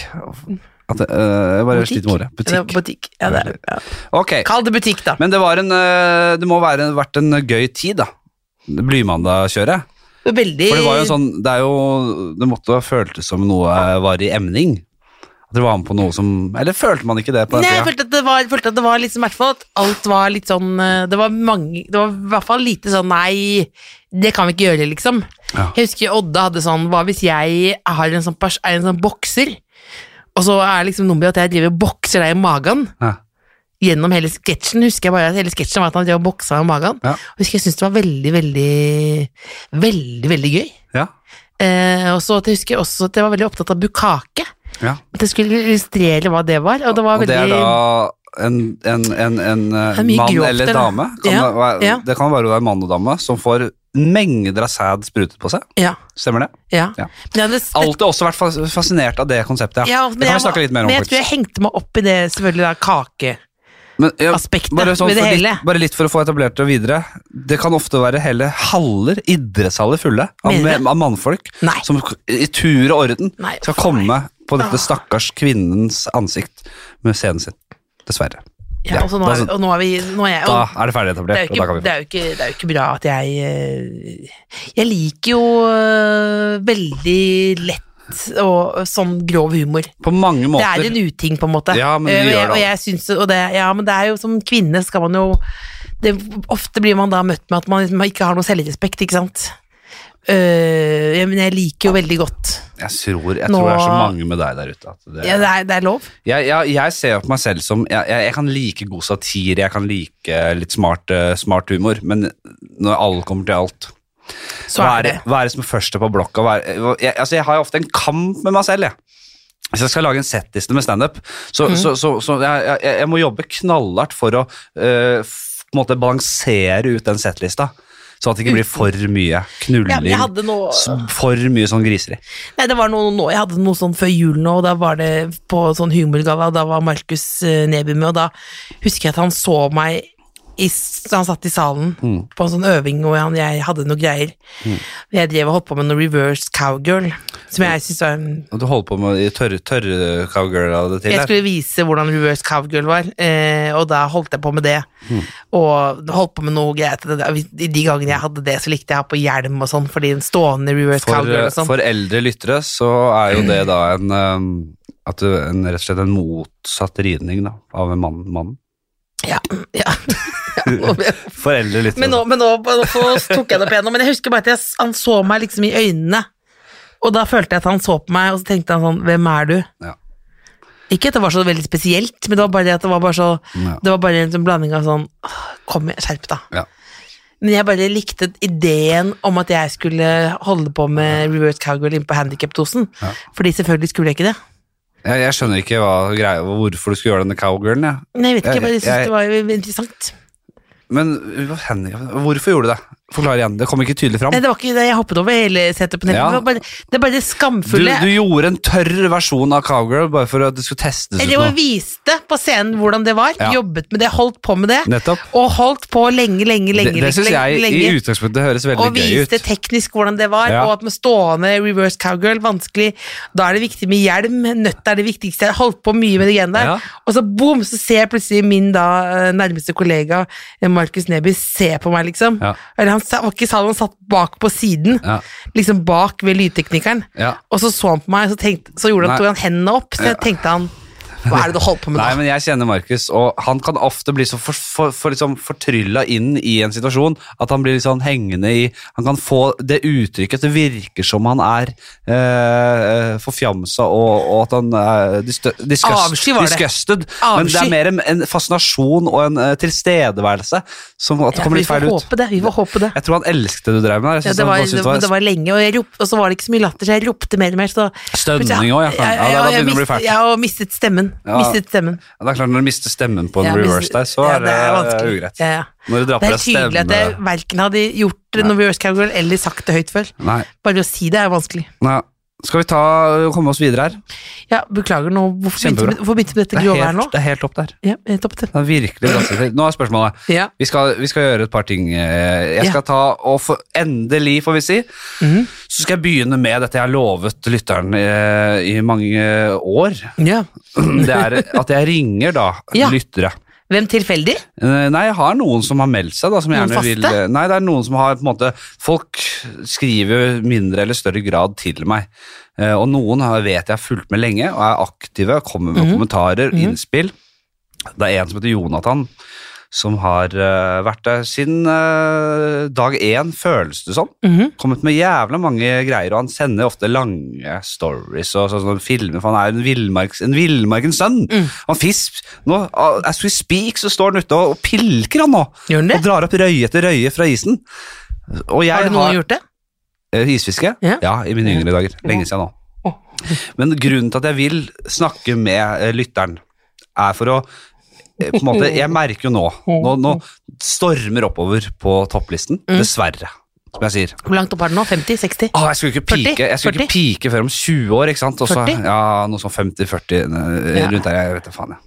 At, det, eh, jeg bare
Butikk.
sliter med ordet.
Ja,
Butikk.
butikk. Ja, det er, ja.
Ok,
Kall det butikk, da.
men det, var en, eh, det må være, vært en gøy tid da. Blymandag-kjøret.
Veldig
For det
Eh.
var jo sånn, det er jo Det måtte ha føltes som noe eh, var i emning. At dere var med på noe som Eller følte man ikke det på den
Nei, jeg
tida?
følte at det var, følte at det var liksom, i hvert fall at alt var litt sånn eh, Det var mange, det var i hvert fall lite sånn nei, det kan vi ikke gjøre, liksom.
Ja.
Jeg husker Odda hadde sånn Hva hvis jeg har en sånn, pers- er en sånn bokser, og så er liksom nummeret at jeg driver og bokser deg i magen?
Ja.
Gjennom hele sketsjen husker jeg bare at hele sketsjen var at han drev og boksa meg i magen.
Ja.
Og husker jeg syntes det var veldig, veldig, veldig, veldig gøy.
Ja.
Eh, og så at jeg husker også at jeg var veldig opptatt av bukake.
ja.
At jeg skulle illustrere hva det var. Og det var
Og det er
veldig
da en, en, en, en, eh,
er mye
mann
grovt,
eller
eller?
dame kan
Ja,
det, være,
ja.
det kan være en mann og dame som får mengder av sæd sprutet på seg.
Ja,
Stemmer det?
ja.
Ja.
Men jeg hadde sett-
Alltid også vært fas- fascinert av det konseptet. Ja.
ja,
det
men
kan
jeg
vi snakke
var-
litt mer om,
Men jeg tror
faktisk.
jeg hengte meg opp i det selvfølgelig da, kakeaspektet
Men, ja, bare, sånn
ved
for
det hele.
litt, bare litt for å få etablert det videre. Det kan ofte være hele haller, idrettshaller fulle av,
Mener du det?
av mannfolk
Nei.
som k- i tur og orden
Nei,
skal
for meg.
komme på dette
Ah.
stakkars kvinnens ansikt med scenen sin. Dessverre.
Ja,
Ja,
og så nå,
da-
er vi- og nå er vi nå er jeg,
Da
og,
er det ferdig
det, er
etablert,
jo
og da
ikke,
kan vi
det, er jo ikke, det er jo ikke bra at jeg eh, Jeg liker jo eh, veldig lett og sånn grov humor.
På mange
Det
måter.
er en uting, på en måte.
Ja, men vi
Eh, og
gjør
jeg,
det
og jeg syns, og det, ja, men det er jo som kvinne skal man jo det, Ofte blir man da møtt med at man liksom ikke har noe selvrespekt, ikke sant. Eh, jeg, men jeg liker jo veldig godt
Jeg, tror, jeg
Nå-
tror det er så mange med deg der ute. At det,
ja, det, er, det er lov.
jeg, jeg, jeg ser jo på meg selv som jeg, jeg, jeg kan like god satire, jeg kan like litt smart, eh, smart humor, men når alle kommer til alt
Så er det.
Være, være som første på blokka. Være, jeg, altså jeg har jo ofte en kamp med meg selv, jeg. Hvis jeg skal lage en settliste med standup,
Mm.
så, så, så, så jeg, jeg, jeg må jobbe knallhardt for å eh, f- på en måte balansere ut den settlista. Sånn at det ikke blir for mye
Mm. Ja, men
knulling,
jeg hadde noe
s- for mye sånn griseri.
Nei, det var noe nå, jeg hadde noe sånn før jul nå, og da var det på sånn humorgalla, og da var Markus eh, Neby med, og da husker jeg at han så meg i, s- han satt i salen
Mm.
på en sånn øving hvor han, jeg hadde noen greier. Jeg drev og holdt på med noe reverse cowgirl, som
Mm.
jeg syntes var en-
Og du holder på med de tørre, tørre cowgirla det til
Jeg
her.
skulle vise hvordan reverse cowgirl var, eh, og da holdt jeg på med det.
Mm.
Og holdt på med noe greit. I de gangene jeg hadde det, så likte jeg å ha på hjelm og sånn, fordi en stående reverse
For,
cowgirl
eh,
og sånn.
for eldre lyttere så er jo det da en, eh, at du, en rett og slett en motsatt ridning da, av en mann. mann.
Ja, ja. Ja,
For eldre lyttere.
Men nå, men nå, nå så tok jeg det opp igjen, men jeg husker bare at jeg, han så meg liksom i øynene. Og da følte jeg at han så på meg, og så tenkte han sånn, hvem er du?
Ja.
Ikke at det var så veldig spesielt, men det var bare det at det var bare så,
Ja.
det var bare en sånn blanding av sånn, «Åh, kom igjen, skjerp da.
Ja.
Men jeg bare likte ideen om at jeg skulle holde på med reverse cowgirl inn på handicap-dosen,
Ja.
fordi selvfølgelig skulle jeg ikke det.
Jeg, jeg skjønner ikke hva, greia, hvorfor du skulle gjøre denne cowgirlen. Ja.
Nei, jeg vet ikke, jeg bare
Jeg-
synes
jeg-
det var jo interessant.
Men hva hender- hvorfor gjorde du det? Forklar igjen, det kom ikke tydelig fram.
Nei, det var ikke det, jeg hoppet over hele setupet,
Ja.
det var bare det, bare
Du,
det skamfulle.
du gjorde en tørr versjon av cowgirl bare for at det skulle testes ut
Eller
nå.
jeg viste på scenen hvordan det var,
Ja.
jobbet med det, holdt på med det.
Nettopp.
Og holdt på lenge, lenge, lenge.
Det, det syns
lenge,
jeg
lenge,
i utgangspunktet høres veldig
og
gøy ut.
viste teknisk hvordan det var,
Ja.
og at med stående reverse cowgirl, vanskelig. Da er det viktig med hjelm, nøtt er det viktigste. Jeg holdt på mye med det greiene der.
Ja.
Og så boom, så ser jeg plutselig min da eh, nærmeste kollega, eh, Markus Neby, se på meg, liksom.
Ja.
Eller han sa- var ikke i salen, han satt bak på siden.
Ja.
Liksom bak ved lydteknikeren.
Ja.
Og så så han på meg, så, tenkte, så gjorde
Nei.
han, tok han hendene opp, så jeg tenkte han Hva er det du holder på med
Nei,
nå?
men jeg kjenner Markus, og han kan ofte bli så for, for, for liksom fortrylla inn i en situasjon at han blir litt sånn hengende i Han kan få det uttrykket at det virker som han er eh, forfjamsa, og, og at han er disgust,
Avsky var det.
disgusted. Men det
Avsky.
er mer en, en fascinasjon og en eh, tilstedeværelse som at det
Ja,
kommer
vi
litt
får
feil ut.
håpe det. Vi får håpe det.
Jeg tror han elsket det du drev med. der. Jeg
Ja,
synes
det,
han
var,
bare syntes
det, var, det var lenge, og, jeg rop, og så var det ikke så mye latter, så jeg ropte mer og mer. Så
Stønning også, ja, kan- ja, da- da
jeg
begynner det å bli
mist-
fælt.
Ja, og mistet stemmen.
Ja.
Mistet stemmen.
Ja, Det er klart Når du mister stemmen på en
Ja,
reverse
mistet-
der, så
ja,
er det, eh,
vanskelig.
ugreit. eh.
Ja, ja.
Når du drar på
Det er
deg
tydelig at
stemme
jeg verken hadde gjort noe reverse cowgirl eller sagt det høyt før.
Nei,
Bare å si det er vanskelig.
nei. Skal vi ta, komme oss videre her?
Ja, beklager nå. Hvorfor begynte
Kjempebra.
vi- hvorfor begynte vi med dette
Det er
grove her
helt-
nå?
Det er helt opp der.
Ja, eh, topp det.
Det er virkelig brassete. Nå er spørsmålet.
Ja.
Vi skal, vi skal gjøre et par ting. eh, Jeg skal ta og få, endelig, får vi si,
Mhm.
så skal jeg begynne med dette jeg har lovet lytteren eh, i mange år.
Ja.
Det er at jeg ringer da
Ja.
lyttere.
Hvem tilfeldig?
Eh, Nei, jeg har noen som har meldt seg da, som
Noen
gjerne vil
faste?
Nei, det er noen som har på en måte Folk skriver mindre eller større grad til meg. Eh, Og noen har, vet jeg har fulgt med lenge og er aktive, kommer
Mhm.
med kommentarer, innspill. Det er en som heter Jonathan, som har eh, vært der siden eh, dag én, føles det som.
Mhm.
Kommet med jævla mange greier, og han sender ofte lange stories og sånn, sånn filmer, for han er en villmarks- en villmarkens sønn.
Mm.
Han fisp, nå, ah, as we speak, så står han ute og, og pilker han nå,
Gjør den det?
og drar opp røye etter røye fra isen. Og jeg
Har
har,
du noen gjort det?
eh, isfiske, ja.
Ja.
i mine yngre dager, lenge siden nå.
Åh.
Men grunnen til at jeg vil snakke med eh, lytteren, er for å eh, på en måte, Jeg merker jo nå
Mm.
Nå, nå stormer oppover på topplisten, dessverre, som jeg sier.
Hvor langt opp er den nå? 50? 60?
Åh, jeg skulle ikke
40?
pike, jeg skulle ikke pike før om 20 år, ikke sant? Og så-
40?
Ja, noe sånn 50-40 ne,
Ja.
rundt der, jeg vet det faen, jeg.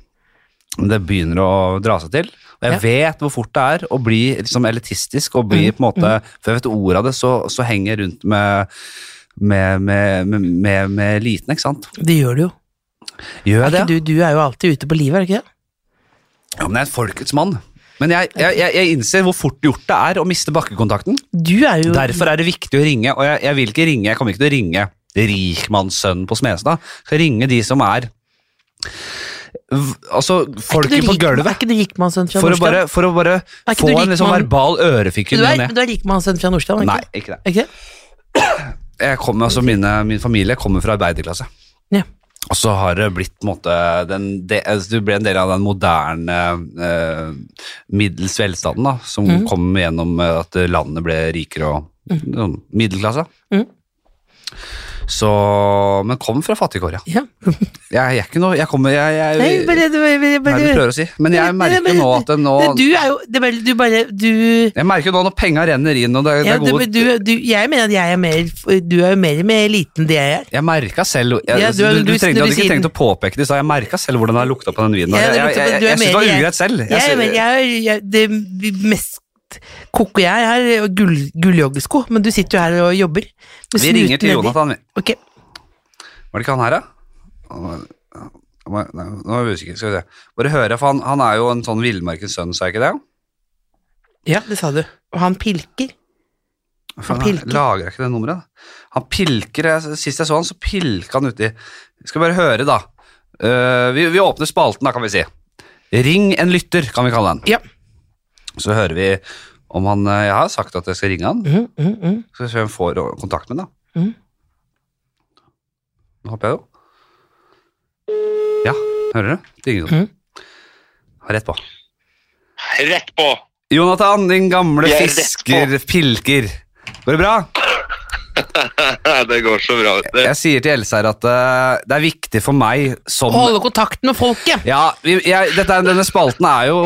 Men det begynner å dra seg til, og jeg
Ja.
vet hvor fort det er å bli liksom elitistisk, og bli på en måte, for jeg vet ordet av det, så, så henger jeg rundt med, med, med, med, med, med eliten, ikke sant?
Det gjør du jo.
Gjør
Er
jeg det?
ikke du, du er jo alltid ute på livet, er du ikke det?
Ja, men jeg er en folkets mann. Men jeg, jeg, jeg, jeg innser hvor fort gjort det er å miste bakkekontakten.
Du er jo
Derfor er det viktig å ringe, og jeg, jeg vil ikke ringe, jeg kommer ikke til å ringe rikmannssønnen på Smestad. Jeg Skal ringe de som er v- Altså,
Er ikke
folket
du
på
rik- Er
gulvet.
ikke du rikmannssønn fra
For å
Nordstrand?
bare, for å bare
Er ikke
få
du
en liksom
rikmann?
verbal ørefik i ny
Men du
og
er,
ne.
men du er rikmannssønn fra Nordstrand,
Nei, ikke
ikke?
det.
Er Ikke? det?
Jeg kommer, altså, mine, min familie kommer fra arbeiderklasse.
Ja.
Og så har det blitt på en måte den, det, altså, Du ble en del av den moderne eh, middels velstanden, da, som
Mm.
kom
Mm.
gjennom eh, at landet ble rikere og sånn, middelklasse.
Mhm.
Så, men kom fra fattigkår, ja.
Ja.
Jeg, jeg er ikke noe Jeg kommer jeg, jeg,
Nei, bare, du- bare,
Hva er det du
bare,
prøver å si? Men jeg
Men-
merker
men-
nå at det nå
Det- Du er jo det er bare, Du bare Du
Jeg merker jo nå når penga renner inn, og det, det
ja,
er gode
du, du, du, jeg mener at jeg er mer Du er jo mer med eliten enn det jeg er.
Jeg merka selv jeg,
Ja,
du,
du er-
du,
du-
trengte, du
du
hadde ikke
sier den.
trengt å påpeke det, så jeg merka selv hvordan det har lukta på den vinen.
Ja,
Jeg,
det
jeg,
lukter på-
jeg,
du er
jeg syns det var
mer- jeg-
ugreit selv. Jeg,
Jeg, er mer-
sy-
jeg, er- jeg, det mest koko jeg er, er gull, gulljoggesko, men du sitter jo her og jobber. Du
vi
snuten
ringer til
nedi.
Jonathan, vi.
Ok,
Var det ikke han her, da? Han var- Nei, nå er vi usikre. Skal vi se. Bare høre, for han, han er jo en sånn villmarkens sønn, sa jeg ikke det?
Ja, det sa du. Og han pilker.
For
Han
han
pilker.
lager ikke det nummeret. da. Han pilker, jeg- Sist jeg så han, så pilka han uti Vi skal bare høre, da. Eh, vi, vi åpner spalten, da, kan vi si. Ring en lytter, kan vi kalle den.
Ja.
Så hører vi om han eh, Jeg har sagt at jeg skal ringe han.
Mhm, mhm, mhm.
Skal vi se om jeg får eh, kontakt med han, da.
Mhm.
Nå håper jeg jo. Ja, hører du? Det ringer
Mhm.
noen. Ha Rett på.
Rett på!
Jonathan, din gamle
Vi er rett
fisker, pilker. Går det bra?
det går så bra. vet du.
Jeg sier til Else her at eh, det er viktig for meg som
Å holde kontakten med folket!
Ja, vi, jeg, dette, er- denne spalten er jo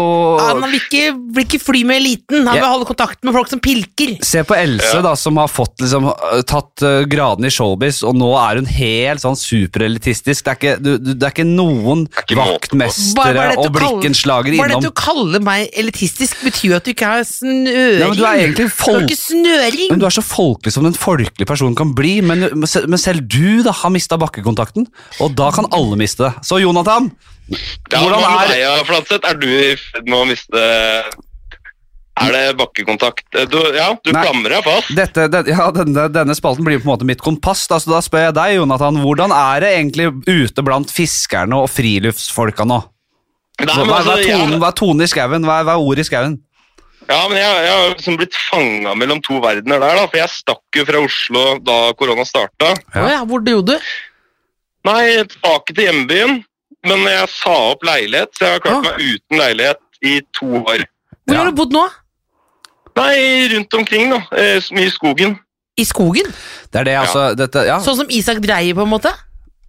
Han vil ikke, vil ikke fly med eliten, han
Ja.
vil holde kontakten med folk som pilker.
Se på Else,
Ja.
da, som har fått liksom, eh, tatt eh, graden i showbiz, og nå er hun helt sånn superelitistisk. Det er ikke, du, du, det er ikke noen
er ikke måte på.
vaktmestere
Bare- bare dette
og
å kalle-
blikkenslagere
Bare det
innom.
å kalle meg elitistisk betyr jo at du ikke har snøring.
Ja, men du er egentlig
Du har ikke snøring!
Men Du er så folkelig som den folkelige personen kan bli, men, men se- men selv du da har mista bakkekontakten. Og da kan alle miste det. Så Jonathan,
Ja,
hvordan
men
er
Leia Flatseth, er du i ferd med å miste Er det bakkekontakt? Du, ja, du
Nei.
klamrer deg fast.
Dette, den, ja, denne, denne spalten blir på en måte mitt kompass. Altså, Da, så da spør jeg deg, Jonathan, hvordan er det egentlig ute blant fiskerne og friluftsfolka nå?
Nei,
Hva,
men
hva,
altså,
er tonen,
jeg,
hva er tonen i skauen? Hva, er- hva er ordet i skauen?
ja, men jeg, jeg har liksom blitt fanga mellom to verdener der, da. For jeg stakk jo fra Oslo da korona starta.
Ja.
Å ja, hvor dro du?
Nei, tilbake til hjembyen. Men jeg sa opp leilighet, så jeg har klart
Ah.
meg uten leilighet i to år.
Hvor
Ja.
har du bodd nå?
Nei, rundt omkring, da. Eh, så mye i skogen.
I skogen?
Det er det, altså. Dette, ja.
Sånn som Isak Dreyer, på en måte?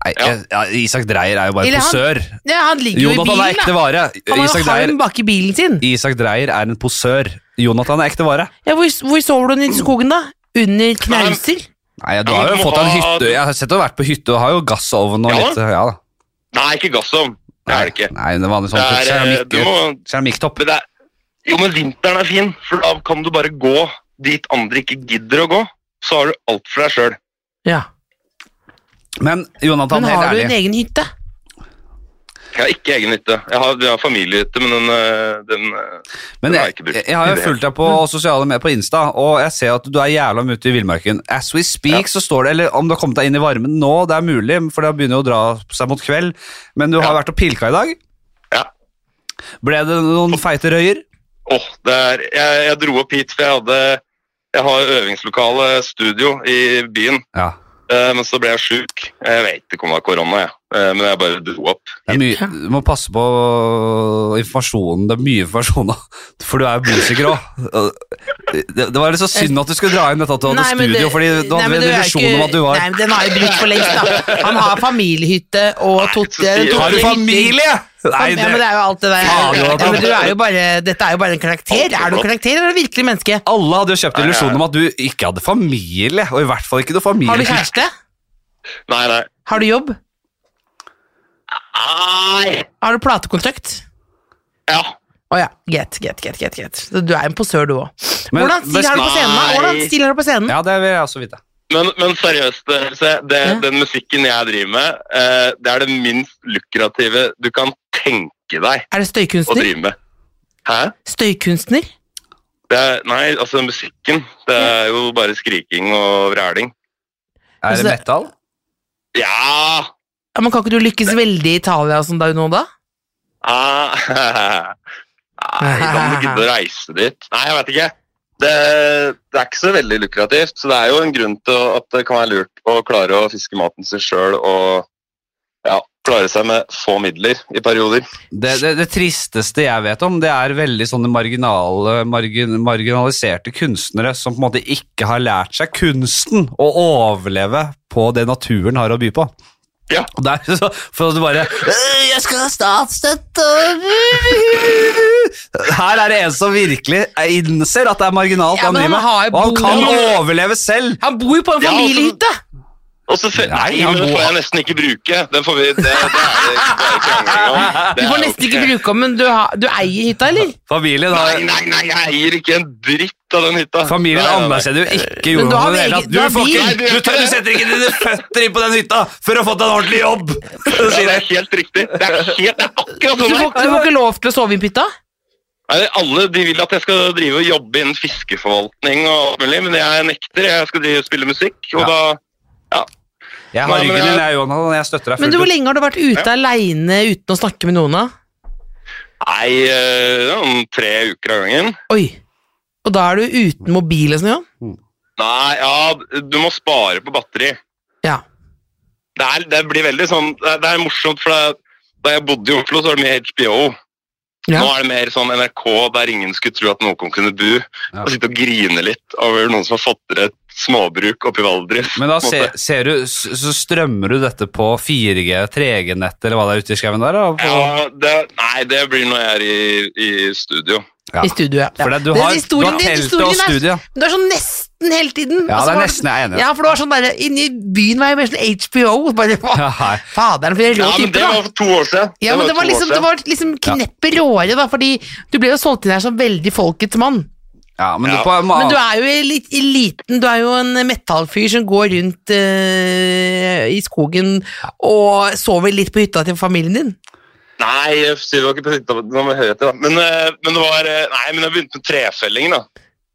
Nei, jeg- ja, Isak Dreyer er jo bare
Eller han-
posør.
Ja, han ligger jo i
Jonathan er
bilen,
ekte
da.
vare.
Han har jo
Isak Dreyer,
halm bak i bilen sin.
Isak Dreyer er en posør. Jonathan er ekte vare.
Ja, hvor, hvor sover du i skogen, da? Under knauser?
Nei, du
Ja,
har
men
jo
du må
fått en
ha-
hytte. Jeg har sett og vært på hytte og har jo gassovn og
Ja da.
litt Ja da.
Nei, ikke gassovn. Det er det ikke.
Nei, det er vanlig
Det
sånn
er, eh, du
keramikk-
må,
keramikktopper.
men det er, jo, men vinteren er fin, for da kan du bare gå dit andre ikke gidder å gå. Så har du alt for deg sjøl.
Ja.
Men Jonathan,
Men
helt
har du
ærlig.
en egen hytte?
Jeg har ikke egen hytte. Jeg har, jeg har familiehytte, men den, øh, den øh,
Men
Den har
jeg,
jeg ikke
jeg,
brukt.
har jo
Det-
fulgt deg på
Mm.
sosiale medier på Insta, og jeg ser at du er jævla mye ute i villmarken. As we speak, så står det Eller om du har kommet deg inn i varmen nå, det er mulig, for det begynner jo å dra seg mot kveld, men du har
Ja.
vært og pilka i dag.
Ja.
Ble det noen feite røyer?
Åh, det er, jeg, jeg dro opp hit, for jeg hadde jeg har øvingslokale, studio, i byen.
Ja.
Eh, men så ble jeg sjuk. Jeg vet ikke om det var korona, jeg. Eh, men jeg bare dro opp.
Det er mye, du må passe på informasjonen. Det er mye informasjon, da. for du er jo musiker òg. Det, det var litt så synd at du skulle dra inn dette at du hadde
men
studio,
det-
fordi du
nei,
hadde
men
en
det er
illusjon
ikke-
om at du var
Nei, men den har jo brukt for lengst, da. Han har familiehytte og
Nei,
tot-
så sier-
tot-
Har du familie?! Nei,
ja, men det
det,
er jo alt det der.
Faen,
Ja,
Jonathan.
men du er jo bare, dette er jo bare en karakter. Er du en karakter, eller er du virkelig menneske?
alle hadde jo kjøpt
Nei, ja.
illusjonen om at du ikke hadde familie, og i hvert fall ikke noe familie.
Har du kjæreste?
Nei, nei.
Har du jobb?
Nei!
Har du platekontrakt?
Ja.
Å ja. Greit, greit, greit. greit, greit. Så du er en posør, du òg.
Men-
Hvordan stil har du på scenen? da?
Nei.
Hvordan stil har du på scenen?
Ja, det vil jeg også vite.
Men, men seriøst, Else. Det,
Ja.
Den musikken jeg driver med, eh, det er det minst lukrative du kan tenke deg
Er det
å
støykunstner?
drive med. Hæ?
Støykunstner?
Det er, nei, altså musikken. Det er jo bare skriking og vræling.
Er
Altså,
det metal?
Ja!
Ja, men kan ikke du lykkes veldig i Italia og sånn da, nå da?
Ah. Nei, kan du gidde å reise dit? Nei, jeg vet ikke. Det, det er ikke så veldig lukrativt, så det er jo en grunn til at det kan være lurt å klare å fiske maten sin sjøl og ja, klare seg med få midler i perioder.
Det, det, det tristeste jeg vet om, det er veldig sånne marginale, margin, marginaliserte kunstnere som på en måte ikke har lært seg kunsten å overleve på det naturen har å by på.
Ja.
Og der, så, for du bare «Øh, Jeg skal ha statsstøtte! Her er det en som virkelig innser at det er marginalt
Ja,
han
men
driver
han har jo
med, og han
bolig.
kan overleve selv.
Han bor jo på en
Ja, altså-
familiehytte!
Og så fe-
Nei, han
timene
må-
får jeg nesten ikke bruke. Den får vi, det, det er det bare krangling om.
Du får nesten ikke bruke den, men du, har, du eier hytta, eller?
Familien,
Nei,
har,
nei, nei, jeg eier ikke en dritt av den hytta.
familien
Nei, nei, nei.
anerkjenner jo ikke
Men da
jordmoren.
har vi
i det hele
eget-
tatt.
da har
Du, får
vi-
ikke-
Nei, du gjør
du, tør-
ikke
du
det.
setter ikke dine føtter inn på den hytta før du har fått deg en ordentlig jobb! Så
Ja,
sier
det
jeg,
er helt riktig. Det er helt, det er akkurat
Du
sånn.
får,
det er.
du får ikke lov til å sove i hytta?
Nei, Alle de vil at jeg skal drive og jobbe innen fiskeforvaltning og alt mulig, men jeg nekter. Jeg skal drive og spille musikk,
Ja.
og da
Jeg har
Nei, men
ryggen din,
jeg-
jeg, Johan, og jeg støtter deg
Men du, hvor
fullt ut.
lenge har du vært ute aleine uten å snakke med noen? da?
Nei, eh, om tre uker av gangen.
Oi. Og da er du uten mobil og sånn, Johan?
Nei, ja, du må spare på batteri.
Ja.
Det, er, det blir veldig sånn Det er, det er morsomt, for det, da jeg bodde i Oslo, så var det mye HBO.
Ja.
Nå er det mer sånn NRK der ingen skulle tro at noen kunne bo.
Ja.
Og sitte og grine litt over noen som har fått til et småbruk oppi Valdres.
Men da
på en
ser,
måte.
ser du, s- så strømmer du dette på 4G, 3G-nett eller hva det er ute i skauen der? da, på-
Ja, det, nei, det blir når jeg er i, i studio.
Ja.
I studio, ja.
For det, du,
Den
har, du
historien
har
din,
teltet og
historien er-
studio.
Men Du er sånn nesten hele tiden.
Ja,
Og så
det er
var-
nesten jeg er enig i.
Ja, for du var sånn der, Inni byen var jeg mer sånn HBO. Bare,
Ja,
hva,
hei.
Faderen, for en rå
Ja, men
type,
det var
da.
for to år siden.
Ja, men det var
to
liksom,
år
det
siden.
var liksom kneppet råere, da, fordi du ble jo solgt inn her som veldig folkets mann.
ja, men du
Ja.
på
Men du er jo i lit- i liten, du er jo en metallfyr som går rundt eh, i skogen og sover litt på hytta til familien din.
Nei, jeg sier det var ikke på hytta, men det var høyhet, da. Men, eh, men det var eh, Nei, men jeg begynte med trefelling, da.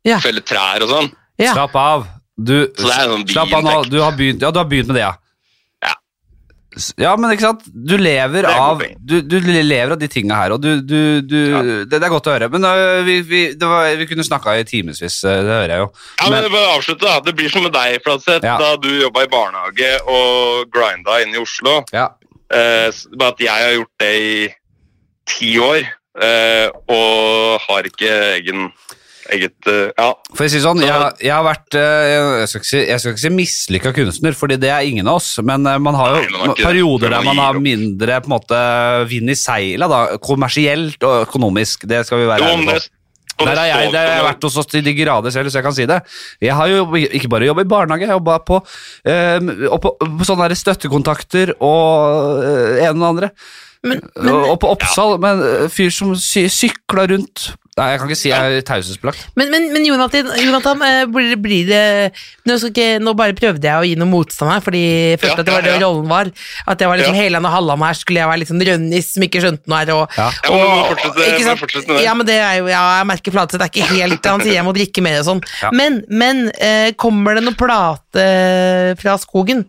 Ja.
Felle trær og sånn.
Ja.
Slapp av. Du,
Så det er sånn
slapp av nå.
biinntekt.
Du har begynt, ja, du har begynt med det, ja.
Ja.
S- Ja, men ikke sant. Du lever
er et godt
av
poeng.
du, du lever av de tinga her, og du, du, du
Ja.
det, det er godt å høre. Men øh, vi, vi, det var, vi kunne snakka i timevis, øh, det hører jeg jo.
Ja, men
Men-
bare avslutte, da. Det blir som med deg, Fladseth.
Ja.
Da du jobba i barnehage og grinda inne i Oslo.
Ja.
Eh, s- bare at jeg har gjort det i ti år, eh, og har ikke egen Eget eh, Ja.
For å si det sånn, jeg, jeg har vært øh, Jeg skal ikke si, jeg skal ikke si mislykka kunstner, fordi det er ingen av oss, men øh, man har jo
Nei, man har ikke det.
perioder der
Man
man
gir
har
opp.
mindre på en måte vind i seila, da. Kommersielt og økonomisk, det skal vi være
Jo,
ærlige
sånn.
på.
om det- om
Der
det
har jeg,
står
der har jeg
på-
vært hos oss til de grader selv, så jeg kan si det. Jeg har jo jobb- ikke bare jobbet i barnehage, jeg har jobbet på, eh, og på, på sånne der støttekontakter og eh, en og andre. og, og på Oppsal med en eh, fyr som sy sykla rundt. Nei, jeg kan ikke si jeg er taushetsbelagt.
Men, men, men Jonathan, Jonathan eh, blir, blir det nå, skal ikke, nå bare prøvde jeg å gi noe motstand her, fordi jeg følte
Ja,
at det var
ja,
det
ja.
rollen var. At jeg var liksom
Ja.
Helland og Halland her, skulle jeg være liksom Rønnis som ikke skjønte noe her. Og,
Ja.
Ja, men du må
og-
fortsette-
ikke
må
sant?
fortsette med det.
Ja, men det er jo, ja, jeg merker Flatseth er ikke helt Han sier jeg må drikke mer og sånn.
Ja.
Men, men eh, kommer det noe plate eh, fra skogen,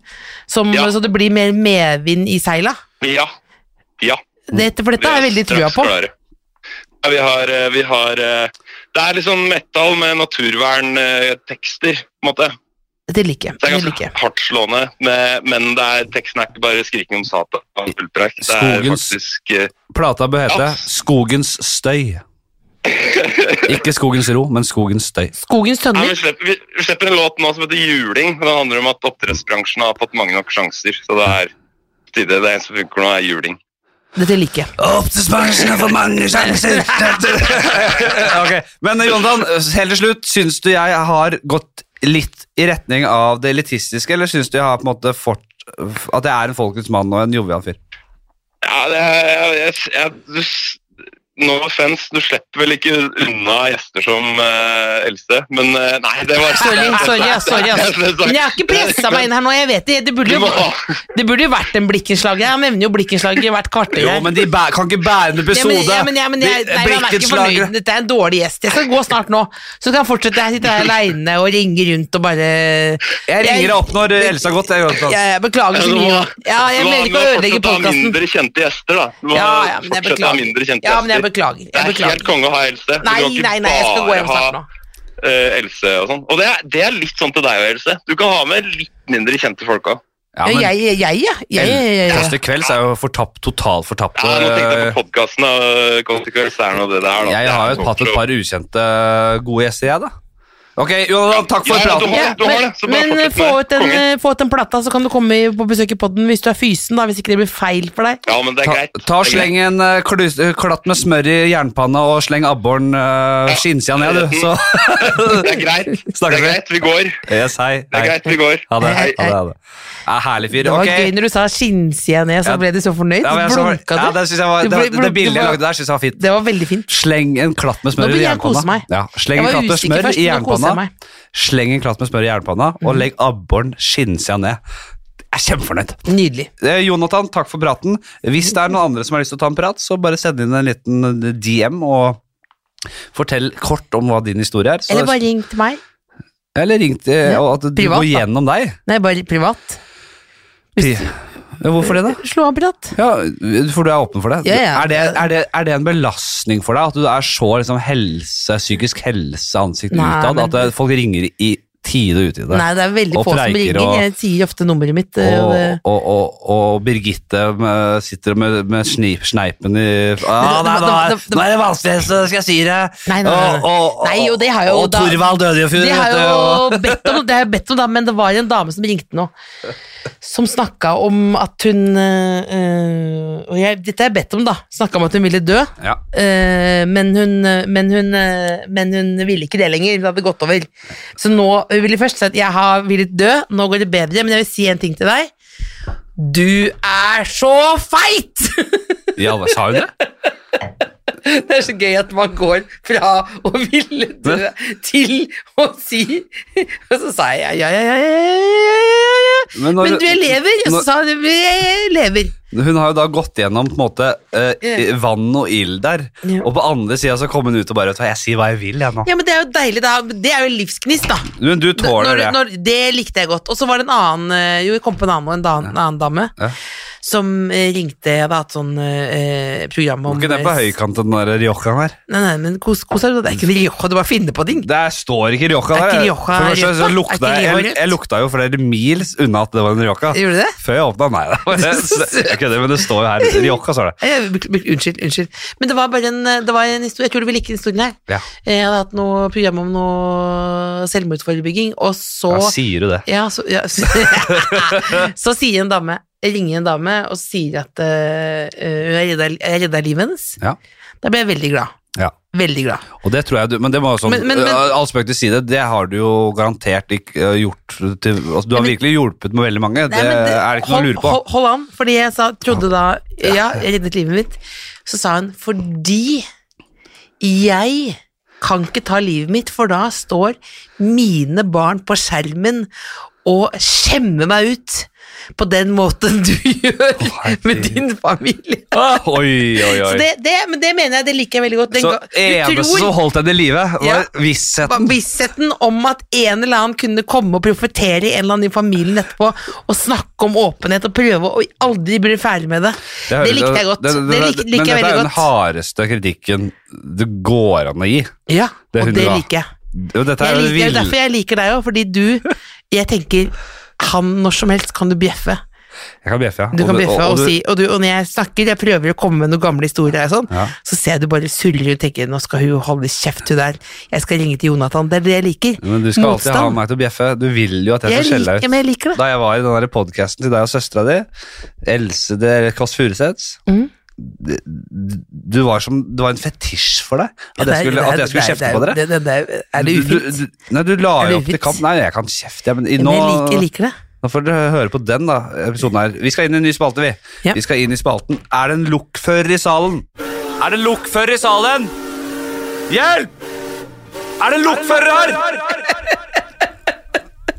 som,
Ja.
så det blir mer medvind i seila?
Ja. ja.
Dette, for dette har jeg veldig trua
straks
på.
klare. Ja, vi har, eh, vi har eh, Det er litt sånn metal med naturverntekster, på en måte.
Det liker jeg.
Det er
Det liker
ganske
jeg.
hardtslående, med, men det er, teksten er ikke bare 'skriking om Satan' og pulpreik. Det er
Skogens-
faktisk eh,
Plata bør hete
Ja.
Skogens støy. Ikke Skogens ro, men Skogens støy.
Skogens
nei,
tønner.
vi, slipper, vi vi slipper en låt nå som heter 'Juling'. og Den handler om at oppdrettsbransjen har fått mange nok sjanser. Så det er på tide. Det eneste som funker nå, er juling.
Dette liker jeg.
Opp til spansen for mange sjanser Ok, men Jondan, helt til slutt Synes du jeg har gått litt i retning av det elitistiske Eller synes du jeg har på en måte fort, At jeg er en folkets mann og en jovial fyr
Ja, det er, jeg, jeg, jeg, du, s- No offense, du slipper vel ikke unna gjester som eh, Else, men eh, Nei, det var
Sorry, sorry, ass, sorry. ass. Men jeg har ikke pressa meg inn her nå, jeg vet det. Det burde
Du
jo,
må ha-
det burde jo vært en blikkenslager. Jeg nevner jo blikkenslager i hvert kvarter.
Jo,
her.
men de bæ, kan ikke bære en
Ja,
episode
men, ja, men, ja, men jeg,
De-
nei, jeg er ikke
blikkenslagere.
fornøyd. Dette er en dårlig gjest. Jeg skal gå snart nå. Så kan jeg fortsette. Jeg sitter her aleine og ringer rundt og bare
Jeg ringer deg opp når eh, Elsa har gått jeg, Jonathan.
Ja, jeg beklager så
Du må-
mye. Ja, jeg
du må-
mener ikke å
du må
ødelegge
fortsatt ha
podkasten.
Mindre kjente gjester, da. Du må
Ja, ja, men jeg
fortsatt ha mindre
beklager.
kjente
Ja, men jeg beklager.
gjester. Det
Jeg
er helt
beklager.
konge å ha Else.
Nei,
du kan ikke
nei, nei, jeg skal gå hjem
bare
snart
ha
nå.
eh, Else og sånn. Og det er, det er litt sånn til deg òg, Else. Du kan ha med litt mindre kjente folk òg.
Ja,
Ja,
men
jeg, jeg, jeg, ja. Jeg, jeg, jeg, jeg.
Kåss til kvelds er jo fortapt, totalt fortapt.
Ja, nå tenkte jeg på podkasten av Konsekvens er nå det der, da.
eh, Jeg har jo tatt et par ukjente eh, gode gjester, jeg, da. Ok, Jonathan, takk for
Ja, du
praten.
har-
Ja,
du har det, så bare
men men
fortsett
få,
med det.
ut den,
Konge.
eh, få ut den plata, så kan du komme på besøk i podden hvis du er fysen, da, hvis ikke det blir feil for deg.
Ja, men det er
Ta,
greit.
ta og
Det er greit.
Sleng en eh, klus, eh, klatt med smør i jernpanna og sleng abboren uh, skinnsida ned, du. Så
Det er greit. Det
snakkes
er
vi.
greit, vi går.
Yes, hei.
Det er
hei.
greit, vi går.
Ha det. Ha
Hei,
det, ha det. Ja, Ah, herlig fyr.
Det var
Ok.
gøy når du sa skinnsida ned, så
Ja.
ble du så fornøyd.
Ja, men jeg
så
så-
blunka
ja,
du.
det, synes jeg var,
Du
det,
ble-
var- det bildet jeg
var-
lagde der, syns jeg var fint.
Det var veldig fint.
Sleng en klatt med
Nå
smør i
begynner jeg å kose
jernpanna.
meg.
Ja, sleng
Jeg
en
var
klatt med
usikker
smør i
først, men nå koser jeg
jernpanna.
meg. Mhm.
Sleng en klatt med smør i jernpanna, og legg abboren skinnsida ned. Jeg er kjempefornøyd.
Nydelig.
Eh, Jonathan, takk for praten. Hvis det er noen andre som har lyst til å ta en prat, så bare send inn en liten DM og fortell kort om hva din historie er. Så,
Eller bare ring til meg.
eller ring til eh, og at du
Privat,
går
da.
gjennom deg.
Nei, bare privat. Hvis-
Pri- Ja, Hvorfor det, da?
Slå av prat.
Ja, For du er åpen for det?
Ja, ja.
Er, det, er, det er det en belastning for deg at du er så liksom, helse, psykisk helse ansiktet
Nei,
utad?
men-
At det, folk ringer i tide og utide?
Nei, det er veldig
Og
få som
preiker
ringer.
og-
Jeg sier ofte nummeret mitt. eh,
Og,
Og det,
og, og, og Birgitte eh, sitter med, med snip, sneipen i ah,
det-
nei,
det-
nå, er,
det- det-
nå er det vanskelig, så skal jeg si det!
Nei, nei, nei.
Og, og,
Nei, jo, det har jo
og
da-
Torvald døde jo i fjor.
det har
vet du, og-
jeg jo bedt om, det har jeg bedt om da, men det var en dame som ringte nå, som snakka om at hun eh, og jeg, Dette har jeg bedt om, da. Snakka om at hun ville dø,
Ja.
eh, men, hun, men, hun, eh, men hun ville ikke det lenger. Det hadde gått over. Så nå hun ville først si at jeg har villet dø, nå går det bedre, men jeg vil si en ting til deg. Du er så feit!
ja, hva sa hun det?
Det er så gøy at man går fra å ville dø til å si Og så sa jeg ja, ja, ja, ja, ja, ja, ja, ja.
Men når-
Men du, jeg lever. Og så
når-
sa hun jeg lever.
Hun har jo da gått gjennom på en måte eh,
Ja.
vann og ild der,
Ja.
og på andre sida så kom hun ut og bare vet du hva, Jeg sier hva jeg vil, jeg nå.
Ja, men det er jo deilig, da. Det er jo livsgnist, da.
Men du tåler
når,
det.
Når, det likte jeg godt. Og så var det en annen eh, Jo, jeg kom på en annen, og en da- en annen dame
Ja.
som eh, ringte Jeg hadde hatt sånn eh, program
Må
om
ikke den på
eh,
høykant, den der riojaen her?
Nei, nei, men kos, kos deg. Det er ikke en rioja, du bare finner på ting.
Der står ikke rioja
Er
der. jeg-
ikke Rioja
For det første
rødt,
så
da?
lukta
Er ikke
jeg,
Rioja
jeg,
rødt?
lukta jo flere mils unna at det var en rioja.
Gjorde du det?
Før jeg åpna, nei da. Jeg kødder, men det står jo her. Rioja, står det.
Eh, bek- bek- Unnskyld, unnskyld. Men det var bare en, eh, det var en historie. Jeg tror du vil like den historien her.
Ja.
Eh, Jeg hadde hatt noe program om noe selvmordsforebygging, og så
Ja, sier du det?
ja, så, ja, så, så sier en dame jeg ringer en dame og sier at eh, hun har redda- jeg redda livet hennes.
Ja.
Da ble jeg veldig glad.
Ja.
Veldig glad.
Og det tror jeg du Men det må jo sånn
Men- men- men-
øh, All spøk til side, det har du jo garantert ikke øh, gjort til altså, Du har
men-
virkelig hjulpet med veldig mange.
Nei,
det,
men
er det ikke noe å
hold-
lure på.
Hold, hold an, fordi jeg sa, trodde da Ja, jeg reddet livet mitt. Så sa hun fordi jeg kan ikke ta livet mitt, for da står mine barn på skjermen og skjemmer meg ut på den måten du gjør
herregud.
med din familie.
Ah, Oi, oi,
Så
oi.
det, det, men det mener jeg, det liker jeg veldig godt. Den
Så
ga- du
eneste
tror-
som holdt henne i live,
Ja.
var vissheten.
ba- Vissheten om at en eller annen kunne komme og profetere i en eller annen i familien etterpå, og snakke om åpenhet og prøve å aldri bli ferdig med det. Det,
høres-
likte jeg godt. Det, lik,
men
liker jeg
dette er
veldig
jo den
godt.
hardeste kritikken det går an å gi.
Ja,
Det er
og
hun
det
bra.
liker jeg.
Og dette er
jeg
jo
liker, det er
vill-
derfor jeg liker deg òg, fordi du Jeg tenker han, når som helst kan du bjeffe.
Jeg kan bjeffe, ja.
Du
Og
kan bjeffe og,
du-
si Og, du, og når jeg snakker, jeg prøver å komme med noen gamle historier, og sånn,
Ja.
så ser jeg du bare surrer og tenker 'nå skal hun holde kjeft, hun der', jeg skal ringe til Jonathan. Det er det jeg liker.
Men du skal alltid ha meg til å bjeffe. Du vil jo at jeg
Jeg
skal skjelle
liker,
deg ut.
men jeg liker det.
Da jeg var i den der podcasten til deg og søstera di, Else det Kåss Furuseths
Mhm.
det- du var som, det var en fetisj for deg at jeg skulle, at jeg skulle kjefte på dere.
Det, det, det, det, er det
Du-
ufint?
du- du- Nei, du la
Er
jo
det
opp til
ufint?
kamp. Nei, jeg kan kjefte, ja, men i,
Men jeg liker, jeg
nå,
liker det.
nå får dere høre på den da, episoden her. Vi skal inn i en ny spalte, vi.
Ja.
Vi skal inn i spalten Er det en lokfører i salen? Er det en lokfører i salen? Hjelp! Er det en lokfører her?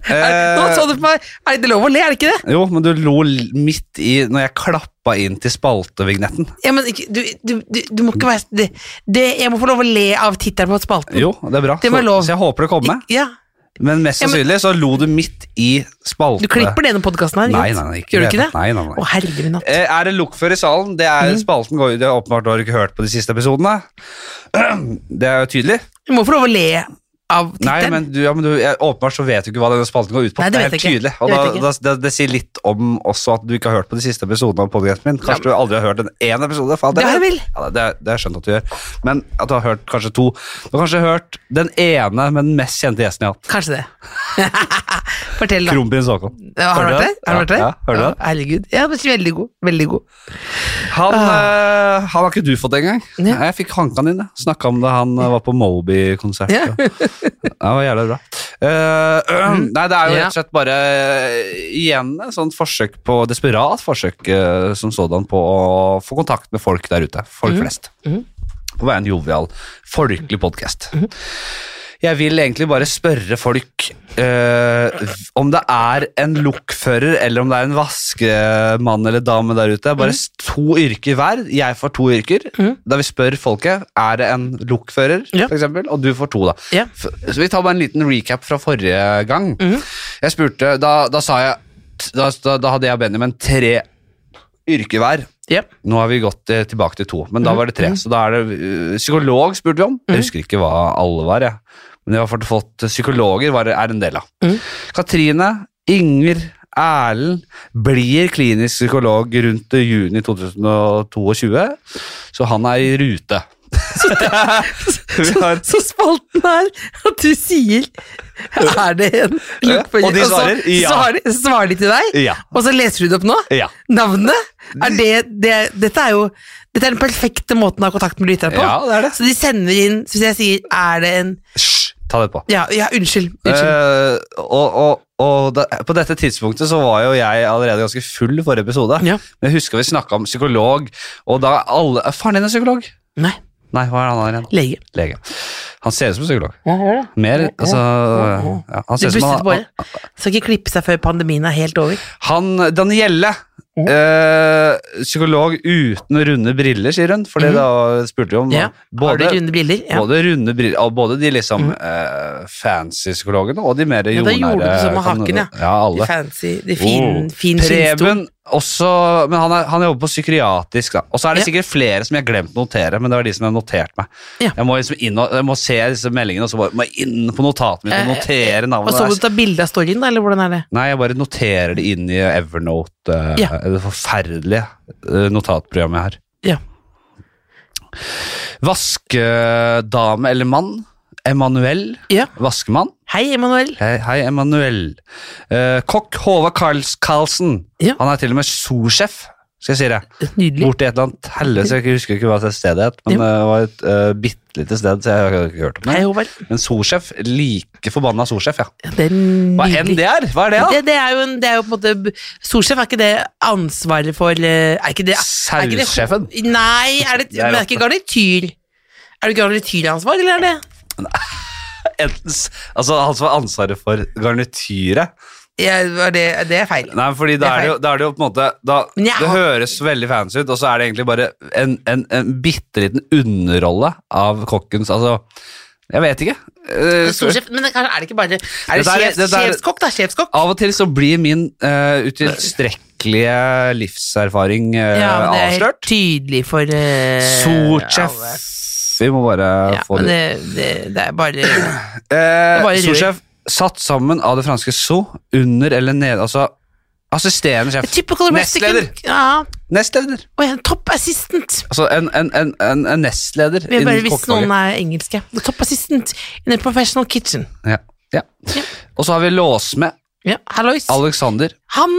Eh,
Er- Nå så du på meg, er det lov å le, er det ikke det?
Jo, men du lo l- midt i når jeg klappa inn til spaltevignetten.
Ja, men ikke- du, du, du, du må ikke være det, det, Jeg må få lov å le av tittelen på spalten.
Jo, det er bra.
Det må jeg
så,
lov.
så jeg håper det kommer.
Ja,
Men mest
Ja, men-
sannsynlig så lo du midt i spalte...
Du klipper denne podkasten her?
Nei,
sant?
nei, nei, ikke
Gjør du
det.
ikke det?
Nei, nei, nei.
Å, herre min hatt.
Eh, Er det lokfører i salen? Det
Mm.
er spalten går jo det er åpenbart du har ikke hørt på de siste episodene. Det er jo tydelig.
Du må få lov å le av
Nei,
tittelen.
men, du, ja, men du, jeg, åpenbart så vet du ikke hva denne spalten går ut på.
Nei, det
er
vet
helt
jeg ikke.
tydelig. Og
Det
da,
vet jeg
da, det, det sier litt om også at du ikke har hørt på de siste episodene av podkasten min. Kanskje du aldri har hørt en én episode? Faen,
Det har jeg vel.
Ja, det, det har jeg skjønt at du gjør. Men at du har hørt kanskje to. Du har kanskje hørt den ene med den mest kjente gjesten jeg har hatt.
Kanskje det. Fortell, da.
Kronprins Haakon.
Har du
Hører
vært
du
der?
det?
Har du vært der?
Ja, ja, hører du det?
Herregud. Ja, men veldig god. Veldig god.
Han, eh, han har ikke du fått engang.
Ah. Ja.
Jeg fikk hanka han inn. Snakka om det, han eh, var på Moby-konsert.
Ja.
og- Ja, det var jævlig bra. Eh, nei, det er jo
Mm. Ja.
rett og slett bare eh, igjen et sånt forsøk på desperat forsøk eh, som sådan på å få kontakt med folk der ute. Folk flest.
Mhm.
På veien jovial, folkelig podkast.
Mm.
Jeg vil egentlig bare spørre folk eh, om det er en lokfører eller om det er en vaskemann eller dame der ute. Bare
Mm.
s- to yrker hver. Jeg får to yrker.
Mhm.
Da vi spør folket er det en lokfører,
Ja.
for eksempel, og du får to, da.
Ja.
F- Så vi tar bare en liten recap fra forrige gang.
Mhm.
Jeg spurte, da, da sa jeg da, da, da hadde jeg og Benjamin tre yrker hver.
Ja.
Nå har vi gått eh, tilbake til to, men
Mhm.
da var det tre. Så da er det eh, Psykolog spurte vi om. Jeg husker ikke hva alle var, jeg. Men jeg har fått- fått eh, psykologer var, er en del av.
Mhm.
Katrine, Inger, Erlend blir klinisk psykolog rundt juni 2022, så han er i rute. Vi har
Så spalten er at du sier Er det en lokfører?
Ja, og de svarer,
så,
ja.
så har de, så svarer de til deg,
Ja.
og så leser du det opp nå?
Ja.
Navnet? Er det, det, dette er jo dette er den perfekte måten å ha kontakt med lyttere på.
Ja, det er det.
Så de sender inn så Hvis jeg sier er det en
Hysj, ta det på.
Ja, ja unnskyld. unnskyld.
Eh, og og, og da, på dette tidspunktet så var jo jeg allerede ganske full i forrige episode.
Ja.
Men jeg husker vi snakka om psykolog, og da alle eh, Faren din er psykolog?
Nei,
Nei, hva er han der igjen?
lege.
Lege. Han ser ut som psykolog.
Ja, gjør det.
Mer, altså
ja.
ja, Han
Du
ser ut som
bustet på
han,
det. Skal ikke klippe seg før pandemien er helt over.
han Danielle, eh, psykolog uten runde briller, sier hun. For det da spurte vi om.
Mhm. Ja. Har du
Både,
runde briller? Ja. Mhm.
både runde briller og Både de liksom eh, fancy psykologene og de mer
Ja, da
jordnære.
gjorde du som med
kan-
haken, ja.
ja alle.
De fancy, de fin,
Oh.
fin skinnstol.
Preben også, men han, er, han jobber på psykiatrisk. da Og så er det
Ja.
sikkert flere som jeg har glemt å notere, men det var de som jeg har notert meg.
Ja.
Jeg, må liksom inn og, jeg må se disse meldingene, og så bare må jeg inn på notatet mitt og
Eh,
notere
Og
navnet.
så må du
deres.
ta bilde av storyen, da, eller hvordan er det?
Nei, jeg bare noterer det inn i Evernote, eh,
Ja.
det forferdelige eh, notatprogrammet jeg har.
Ja.
Vaskedame eller mann? Emanuel?
Ja.
Vaskemann?
Hei, Emanuel.
Hei, Eh, hei Emanuel. Eh, kokk Håvard Karls Karlsen.
Ja.
Han er til og med sorsjef, skal jeg si det.
Nydelig.
Borti et eller annet helvete, jeg husker ikke hva det stedet het, men
Ja.
det var et uh, bitte lite sted, så jeg har ikke hørt om
Hei,
det.
Håvard.
Men sorsjef, like forbanna sorsjef, ja.
Ja, Det er nydelig.
Hva enn det er, hva er det da?
Det, det er jo en, det er jo på en måte b- Storsjef, er ikke det ansvaret for eh, Er ikke det er ikke det-
Saussjefen.
Nei, er det,
Det er
men er ikke garnityr? Er det garnityransvar, eller er det
Enten s- altså han som har ansvaret for garnityret.
ja, var det, det er feil.
Nei, fordi da
Det er
er det jo, da er det jo på en måte, da,
Men jeg
det
har-
høres veldig fancy ut, og så er det egentlig bare en, en, en bitteliten underrolle av kokkens, altså, jeg vet ikke. Eh,
Storsjef, men det, kanskje er det ikke bare Er det
Dette er-
sjef,
dette er-
sjefskokk, da? Sjefskokk?
Av og til så blir min eh, utilstrekkelige livserfaring eh,
Ja, men det er helt
avslørt.
tydelig for uh,
Sorsjef. Vi må bare
Ja,
få
men
det
det, det, det er bare
Eh,
bare rør.
Sorsjef satt sammen av det franske so, under eller nede Altså assisterende sjef.
Typical Mexican-
Nestleder.
Ja,
Nestleder.
og en top assistant.
Altså en, en, en, en, en nestleder
Vi bare
innen
hvis noen
kokkefaget.
er engelske. The top assistant in a professional kitchen.
Ja. Ja.
Ja.
Og så har vi låsmed.
Ja, Hallois.
Alexander,
Han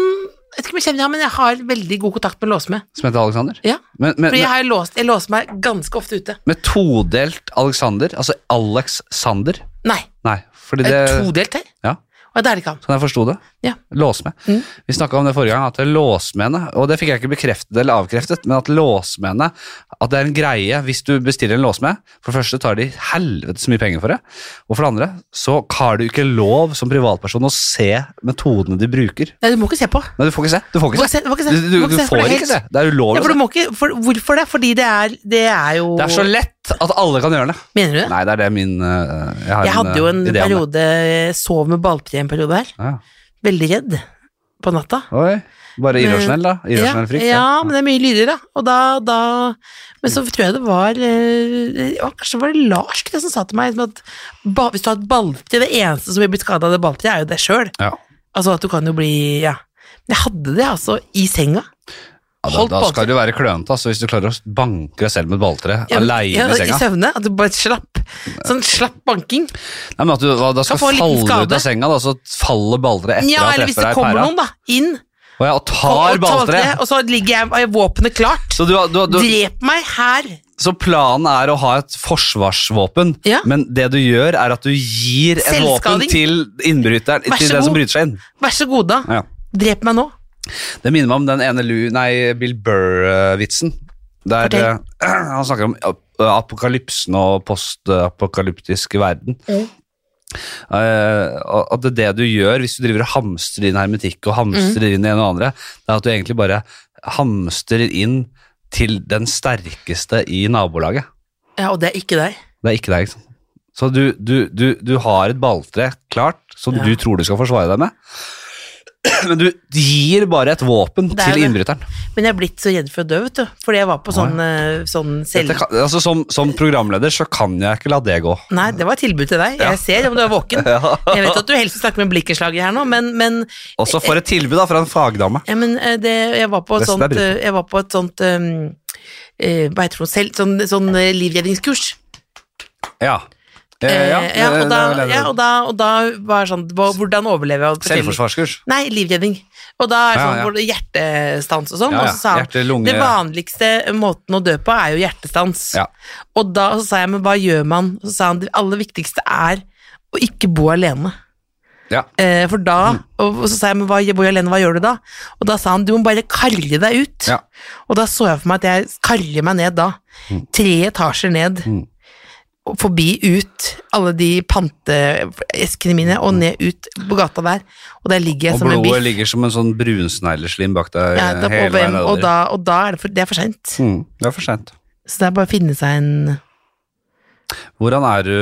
jeg vet ikke om jeg kjenner ham, men jeg har veldig god kontakt med låsmed.
som heter Alexander.
Ja.
Men, men,
For jeg, har låst, jeg låser meg ganske ofte ute.
med todelt Alexander, altså Alex Sander
Nei,
Nei, fordi
det
det
er todelt her.
Ja.
Og det er det ikke han.
Sånn jeg forsto det.
Ja.
Låsmed.
Mm.
Vi snakka om det forrige gang, at det er låsmedene Og det fikk jeg ikke bekreftet eller avkreftet, men at låsmedene At det er en greie hvis du bestiller en låsmed. For det første tar de helvetes mye penger for det. Og for det andre så har du ikke lov som privatperson å se metodene de bruker.
Nei, du må ikke se på.
Nei, du får ikke se. Du får
Du må
ikke
ikke
se.
se, du må
Du, du, du,
ikke se. må se, for
får
det er
ikke se.
helt-
Det er
Ja,
ulovlig. å
for du
se.
må ikke, for, hvorfor det? Fordi det er, det er jo
Det er så lett at alle kan gjøre det.
Mener du det?
Nei, det er det min øh, har
Jeg hadde jo en
øh, idé om det.
periode, sov med balltre en periode her.
Ja.
Veldig redd. på natta.
Oi. Bare
Men-
irrasjonell, da. Irrasjonell frykt.
ja,
ja.
men det er mye lyder, da. Og da, da Men så tror jeg det var eh, ja, Kanskje det var Lars tror jeg, som sa til meg liksom, at ba, hvis du har et balltre Det eneste som vil bli skada av det balltreet, er jo deg sjøl.
Ja.
Altså at du kan jo bli Ja. Men jeg hadde det altså i senga.
Ja, da,
Holdt
da
på.
skal du være klønete altså, hvis du klarer å banke deg selv med et balltre
Ja,
aleine
ja,
i
I
senga.
søvne. At du bare slapp. Sånn slapp banking.
Nei, men at du da, da skal
få en liten
falle ut
skade.
av senga, da, så faller balltreet etter
Ja,
at
eller
jeg
hvis det
treffer deg i
kommer
pæra.
noen, da. Inn.
Og, ja, og tar
og- og
balltreet.
Og så ligger jeg med våpenet klart.
Så, du, har- du, har- du,
Drep meg her.
så planen er å ha et forsvarsvåpen,
Ja.
men det du gjør, er at du gir et våpen
Selvskading.
til innbryteren,
Vær
til
så
den som
god.
bryter seg inn.
Vær så god, da.
Ja.
Drep meg nå.
Det minner meg om den ene Lu, nei, Bill Burr-vitsen. Der
Fortell.
eh, han snakker om ap- apokalypsen og postapokalyptisk verden.
Mm.
Eh, at det, det du gjør hvis du driver og hamstrer inn hermetikk og hamstrer
Mm.
inn det ene og andre, det er at du egentlig bare hamstrer inn til den sterkeste i nabolaget.
Ja, og det er ikke deg.
Det er ikke deg, ikke sant. Så du, du, du, du har et balltre klart som
Ja.
du tror du skal forsvare deg med, men du gir bare et våpen
Det er
til
det.
innbryteren.
Men jeg er blitt så redd for å dø, vet du. Fordi jeg var på sånn, eh, sånn selv...
Dette kan, altså som, som programleder så kan jeg ikke la det gå.
Nei, det var et tilbud til deg. Jeg ser om du er våken. Jeg vet at du helst snakker med blikkenslaget her nå, men, men,
Og så får jeg tilbud da fra en fagdame.
ja, men eh, det, jeg, var på et
Resten er
sånt, eh, jeg var på et sånt um, eh, Hva heter det for noe selv? Sånn, sånn eh, livredningskurs.
Ja. Eh,
Eh,
ja,
ja, og da,
det- det-
ja, og da, og da var det sånn hva- Hvordan overlever jeg? og forskjellig.
Selvforsvarskurs.
Nei, livredning. Og da er
Ja,
det sånn
ja.
hvor det er hjertestans og sånn.
Ja,
Og
ja.
så sa han
Hjerte, lunge-
det vanligste måten å dø på er jo hjertestans.
Ja.
Og da så sa jeg, men hva gjør man? Så sa han, det aller viktigste er å ikke bo alene.
Ja.
Eh, for da, og, og så sa jeg, men hva, jeg bor jo alene, hva gjør du da? Og da sa han, du må bare karre deg ut.
Ja.
Og da så jeg for meg at jeg karrer meg ned da. Tre etasjer ned.
Mm.
og Forbi ut alle de panteeskene mine, og ned ut på gata der. Og der ligger
Mm.
jeg
Og
som en biff.
blodet ligger som en sånn brunsnegleslim bak deg
Ja,
hele
da, og, hvem,
veien
og,
nedover.
da, og da er det for, det er for seint.
Mm, det er for sent.
Så det er bare å finne seg en
Hvordan er du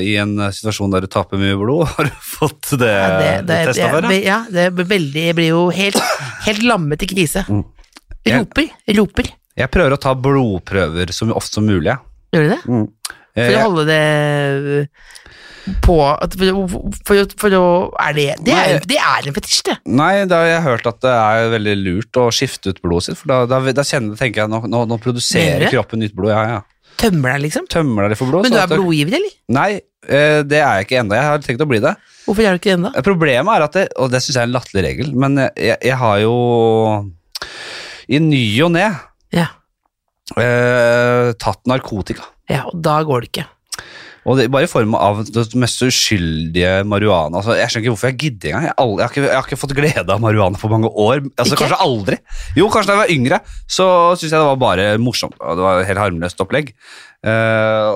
i en situasjon der du taper mye blod? Har du fått det,
ja, det, det, det,
testa for? da?
ja, det blir veldig Jeg blir jo helt, helt lammet i krise.
Mm. Jeg-
Roper. Roper.
Jeg prøver å ta blodprøver så ofte som mulig. jeg.
Gjør du det?
Eh,
For å holde det eh, på at for, å- for, å- for å Er det Det er, jo- det er en fetisj, det.
Nei, da har jeg hørt at det er veldig lurt å skifte ut blodet sitt, for da, da, da kjenner, tenker jeg nå, nå, nå produserer
Mener du?
kroppen nytt blod. Ja, ja.
Tømmer deg, liksom.
Tømmer deg litt for blod.
Men
så
du er
at det-
blodgiver, eller?
Nei, eh, det er jeg ikke ennå. Jeg har tenkt å bli det.
Hvorfor er du ikke det ennå?
Problemet er at det, Og det syns jeg er en latterlig regel, men eh, jeg, jeg har jo i ny og ne
Ja.
eh, tatt narkotika.
ja, og da går det ikke.
Og det, bare i form av det mest uskyldige marihuana. Altså, jeg skjønner ikke hvorfor jeg gidder engang. Jeg, har aldri- jeg, har ikke- jeg har ikke fått glede av marihuana på mange år. Altså,
Ikke?
kanskje aldri. Jo, kanskje da jeg var yngre, så syntes jeg det var bare morsomt. Og det var et helt harmløst opplegg. Eh,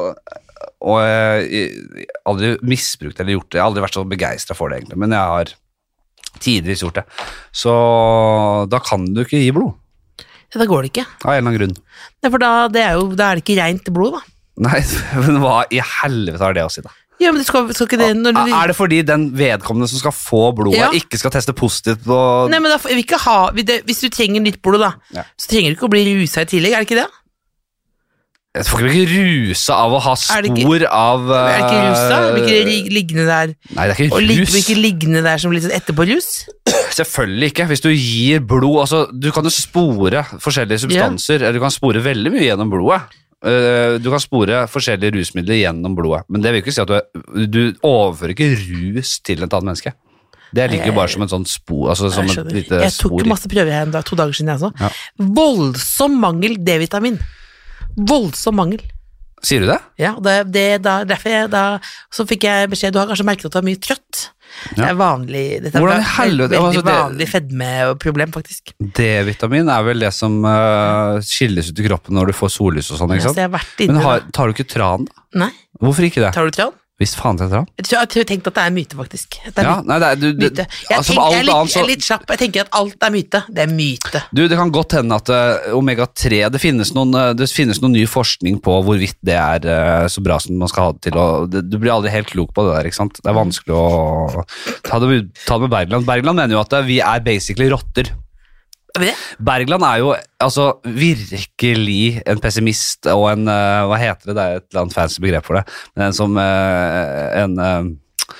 og jeg har aldri misbrukt eller gjort det. Jeg har aldri vært så begeistra for det, egentlig. Men jeg har tidvis gjort det. Så da kan du ikke gi blod.
Ja, da går det ikke.
Av en eller annen grunn.
Ja, for da, det er jo, da er det ikke reint blod, da.
Nei, men hva i helvete har det å si, da?
Ja, men du skal, skal ikke det Eh, når du,
Ah, Er det fordi den vedkommende som skal få blodet,
Ja.
ikke skal teste positivt på
Nei, men da, får vi ikke ha, vi- det, Hvis du trenger nytt blod, da,
Ja.
så trenger du ikke å bli rusa i tillegg, er det ikke det?
Jeg får ikke ruse av å ha
Er
spor
det ikke-
av eh,
Er det ikke rus, da? Blir ikke det lig- liggende der
Nei, det er
Og
ikke
lig,
rus.
blir ikke liggende der som litt sånn etterpå-rus?
Selvfølgelig ikke. Hvis du gir blod altså, Du kan jo spore forskjellige substanser. eller Du kan spore veldig mye gjennom blodet. Eh, Du kan spore forskjellige rusmidler gjennom blodet. Men det vil ikke si at du, er, du overfører ikke rus til et annet menneske. Det ligger jo bare som et sånt spor. Altså, som
Jeg
et
skjønner.
lite
Jeg tok
spor. i-
masse prøver her en dag, to dager siden, jeg også.
Ja.
Voldsom mangel D-vitamin. Voldsom mangel.
Sier du det?
Ja, og det, det, da, derfor jeg, da, så fikk jeg beskjed Du har kanskje merket at du er mye trøtt. Det
Ja.
er vanlig dette er
Hvordan i
et
helvete-
veldig
altså,
vanlig fedmeproblem, faktisk.
D-vitamin er vel det som eh, skilles ut i kroppen når du får sollys og sånn,
Ja,
ikke
så
sant?
Altså, jeg har vært
Men
inne
har,
da.
tar du ikke tran, da?
Nei,
Hvorfor ikke det?
tar du tran?
Hvis faen heter han.
Jeg tror- jeg tror- tenkte at det er myte, faktisk. Det er
Ja, nei, det er, du, du,
myte. Jeg,
altså, for
tenker,
alt
jeg, er litt,
annet så-
jeg er litt slapp. Jeg tenker at alt er myte. Det er myte.
Du, Det kan godt hende at eh, omega-3 det finnes, noen, eh, det finnes noen ny forskning på hvorvidt det er eh, så bra som man skal ha det til. Og det, du blir aldri helt klok på det der. ikke sant? Det er vanskelig å ta det, med- ta det med Bergland. Bergland mener jo at eh, vi er basically rotter.
Er vi det?
Bergland er jo altså, virkelig en pessimist og en eh, Hva heter det? Det er et eller annet fancy begrep for det. Men en som eh, En eh,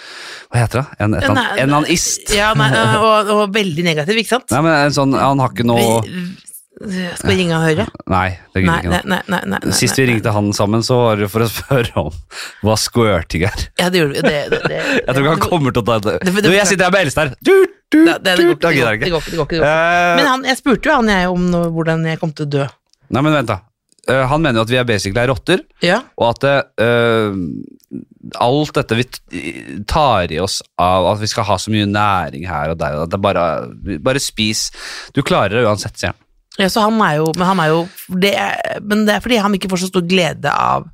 Hva heter det? En, et,
En-
eller annet- en eller annen ist.
Ja, nei, og, og veldig negativ, ikke sant?
Nei, men en sånn, Han har ikke noe
Vi- Skal vi ringe og høre?
Nei, det gidder
Nei,
ikke nå.
nei, nei. nei, nei, nei
Sist vi
nei.
ringte han sammen, så var det for å spørre om hva squirting er.
Ja, det gjorde vi. Det, det, det,
Jeg tror ikke han kommer til å ta det.
Det- det-
Du, jeg sitter her med Elstad her! Du, du,
Det, det, det, går
du.
ikke,
Da gidder
det, går,
jeg
det
ikke.
går ikke. Det går ikke, det går ikke.
Eh,
Men han, jeg spurte jo han jeg om nå, hvordan jeg kom til å dø.
Nei, men vent, da. Eh, Han mener jo at vi er basically er rotter,
Ja,
og at eh, alt dette vi t- tar i oss av at vi skal ha så mye næring her og der, og at det er bare, bare spis Du klarer det uansett, sier han.
ja så han er jo Men, han er jo det er, men det er fordi han ikke får så stor glede av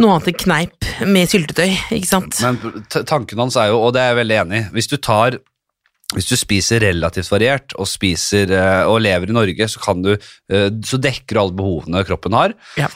noe annet enn kneip med syltetøy, ikke sant?
Men t- tanken hans er jo, og det er jeg veldig enig i, hvis du tar hvis du spiser relativt variert og, spiser, eh, og lever i Norge, så, kan du, eh, så dekker du alle behovene kroppen har.
Ja.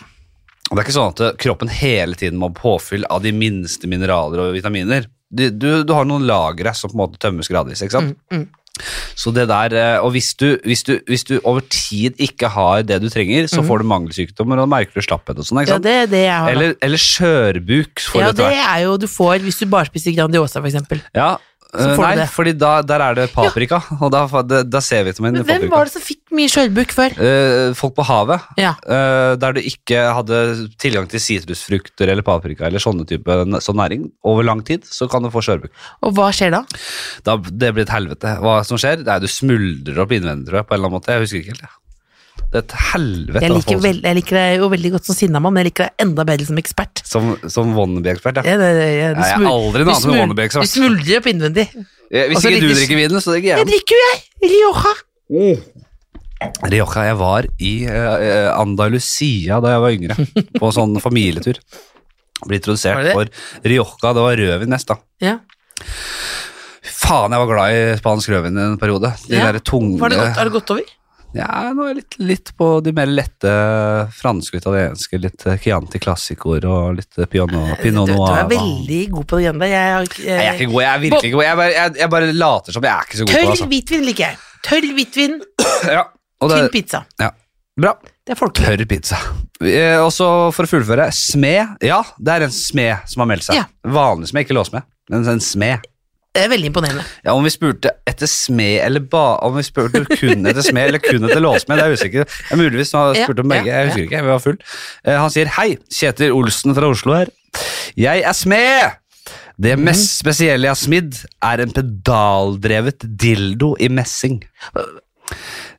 Og det er ikke sånn at eh, kroppen hele tiden må ha påfyll av de minste mineraler og vitaminer. Du, du, du har noen lagre som på en måte tømmes gradvis. ikke sant?
Mm, mm.
Så det der, eh, og hvis du, hvis, du, hvis du over tid ikke har det du trenger, så får du mangelsykdommer og merker du slapphet og sånn. ikke
Mm. ja,
sant?
det er det jeg har. da.
eller, eller skjørbuk får
ja,
du etter
det
hvert.
er jo du får hvis du bare spiser Grandiosa, for eksempel.
Ja,
Så
eh,
får du
nei,
det.
fordi da, der er det paprika, og da, fa- det- da ser vi til min Eh,
Men hvem var det som fikk mye skjølbukk før?
folk på havet,
Ja.
eh, der du ikke hadde tilgang til sitrusfrukter eller paprika eller sånne type n- sånn næring over lang tid, så kan du få skjørbuk.
Og hva skjer da?
Da, det blir et helvete. Hva som skjer? Nei, du smuldrer opp innvendig, tror jeg, på en eller annen måte. Jeg husker ikke helt, jeg. Det er et helvete.
Jeg
da,
liker,
folk
vel, jeg liker deg jo veldig godt som sinnamann, men jeg liker deg enda bedre som ekspert.
Som, som wannabe-ekspert, ja.
Ja, det, det, ja, du
Nei, jeg er
smul-
aldri en
du
annen som
smul-
wannabe-ekspert.
Du smuldrer opp innvendig.
Eh, Hvis ikke
Også litt
du
dis-
drikker vinen, så drikker jeg
Det
den.
drikker jo jeg! Rioja.
Rioja, jeg var i eh, Andalusia da jeg var yngre, på sånn familietur. Ble
Var
introdusert
det det?
for Rioja, det var rødvin mest da.
Ja.
Faen, jeg var glad i spansk rødvin i en periode. De
Ja.
der tunge...
Var det godt, har det gått over?
Ja, nå er jeg litt, litt på de mer lette franske, italienske, litt eh, Chianti Classicoer og litt eh, Piano, Pinot
du, du
Noir.
er veldig god på det greiene der. Jeg, har ikke-
Nei, jeg er ikke god, jeg er virkelig ikke god. Jeg bare, jeg, jeg bare later som jeg er ikke så god
Tørr
på det.
hvitvin liker jeg. Tørr hvitvin,
Altså. Ja, og det
tynn
er
pizza.
bra.
Det er folkelig.
Tørr pizza. Eh, Og så for å fullføre, smed. Ja, det er en smed som har meldt seg.
Ja.
Vanlig smed, ikke låssmed. Men en smed.
Det er veldig imponerende.
Ja, om vi spurte etter smed eller ba... Om vi spurte kun etter smed eller kun etter låssmed, det er jeg usikker. Det er muligvis han har
Ja,
spurt om begge,
ja,
jeg husker ikke, vi var full. Eh, Han sier hei, Kjetil Olsen fra Oslo her. Jeg er smed! Det
Mhm.
mest spesielle jeg har smidd, er en pedaldrevet dildo i messing.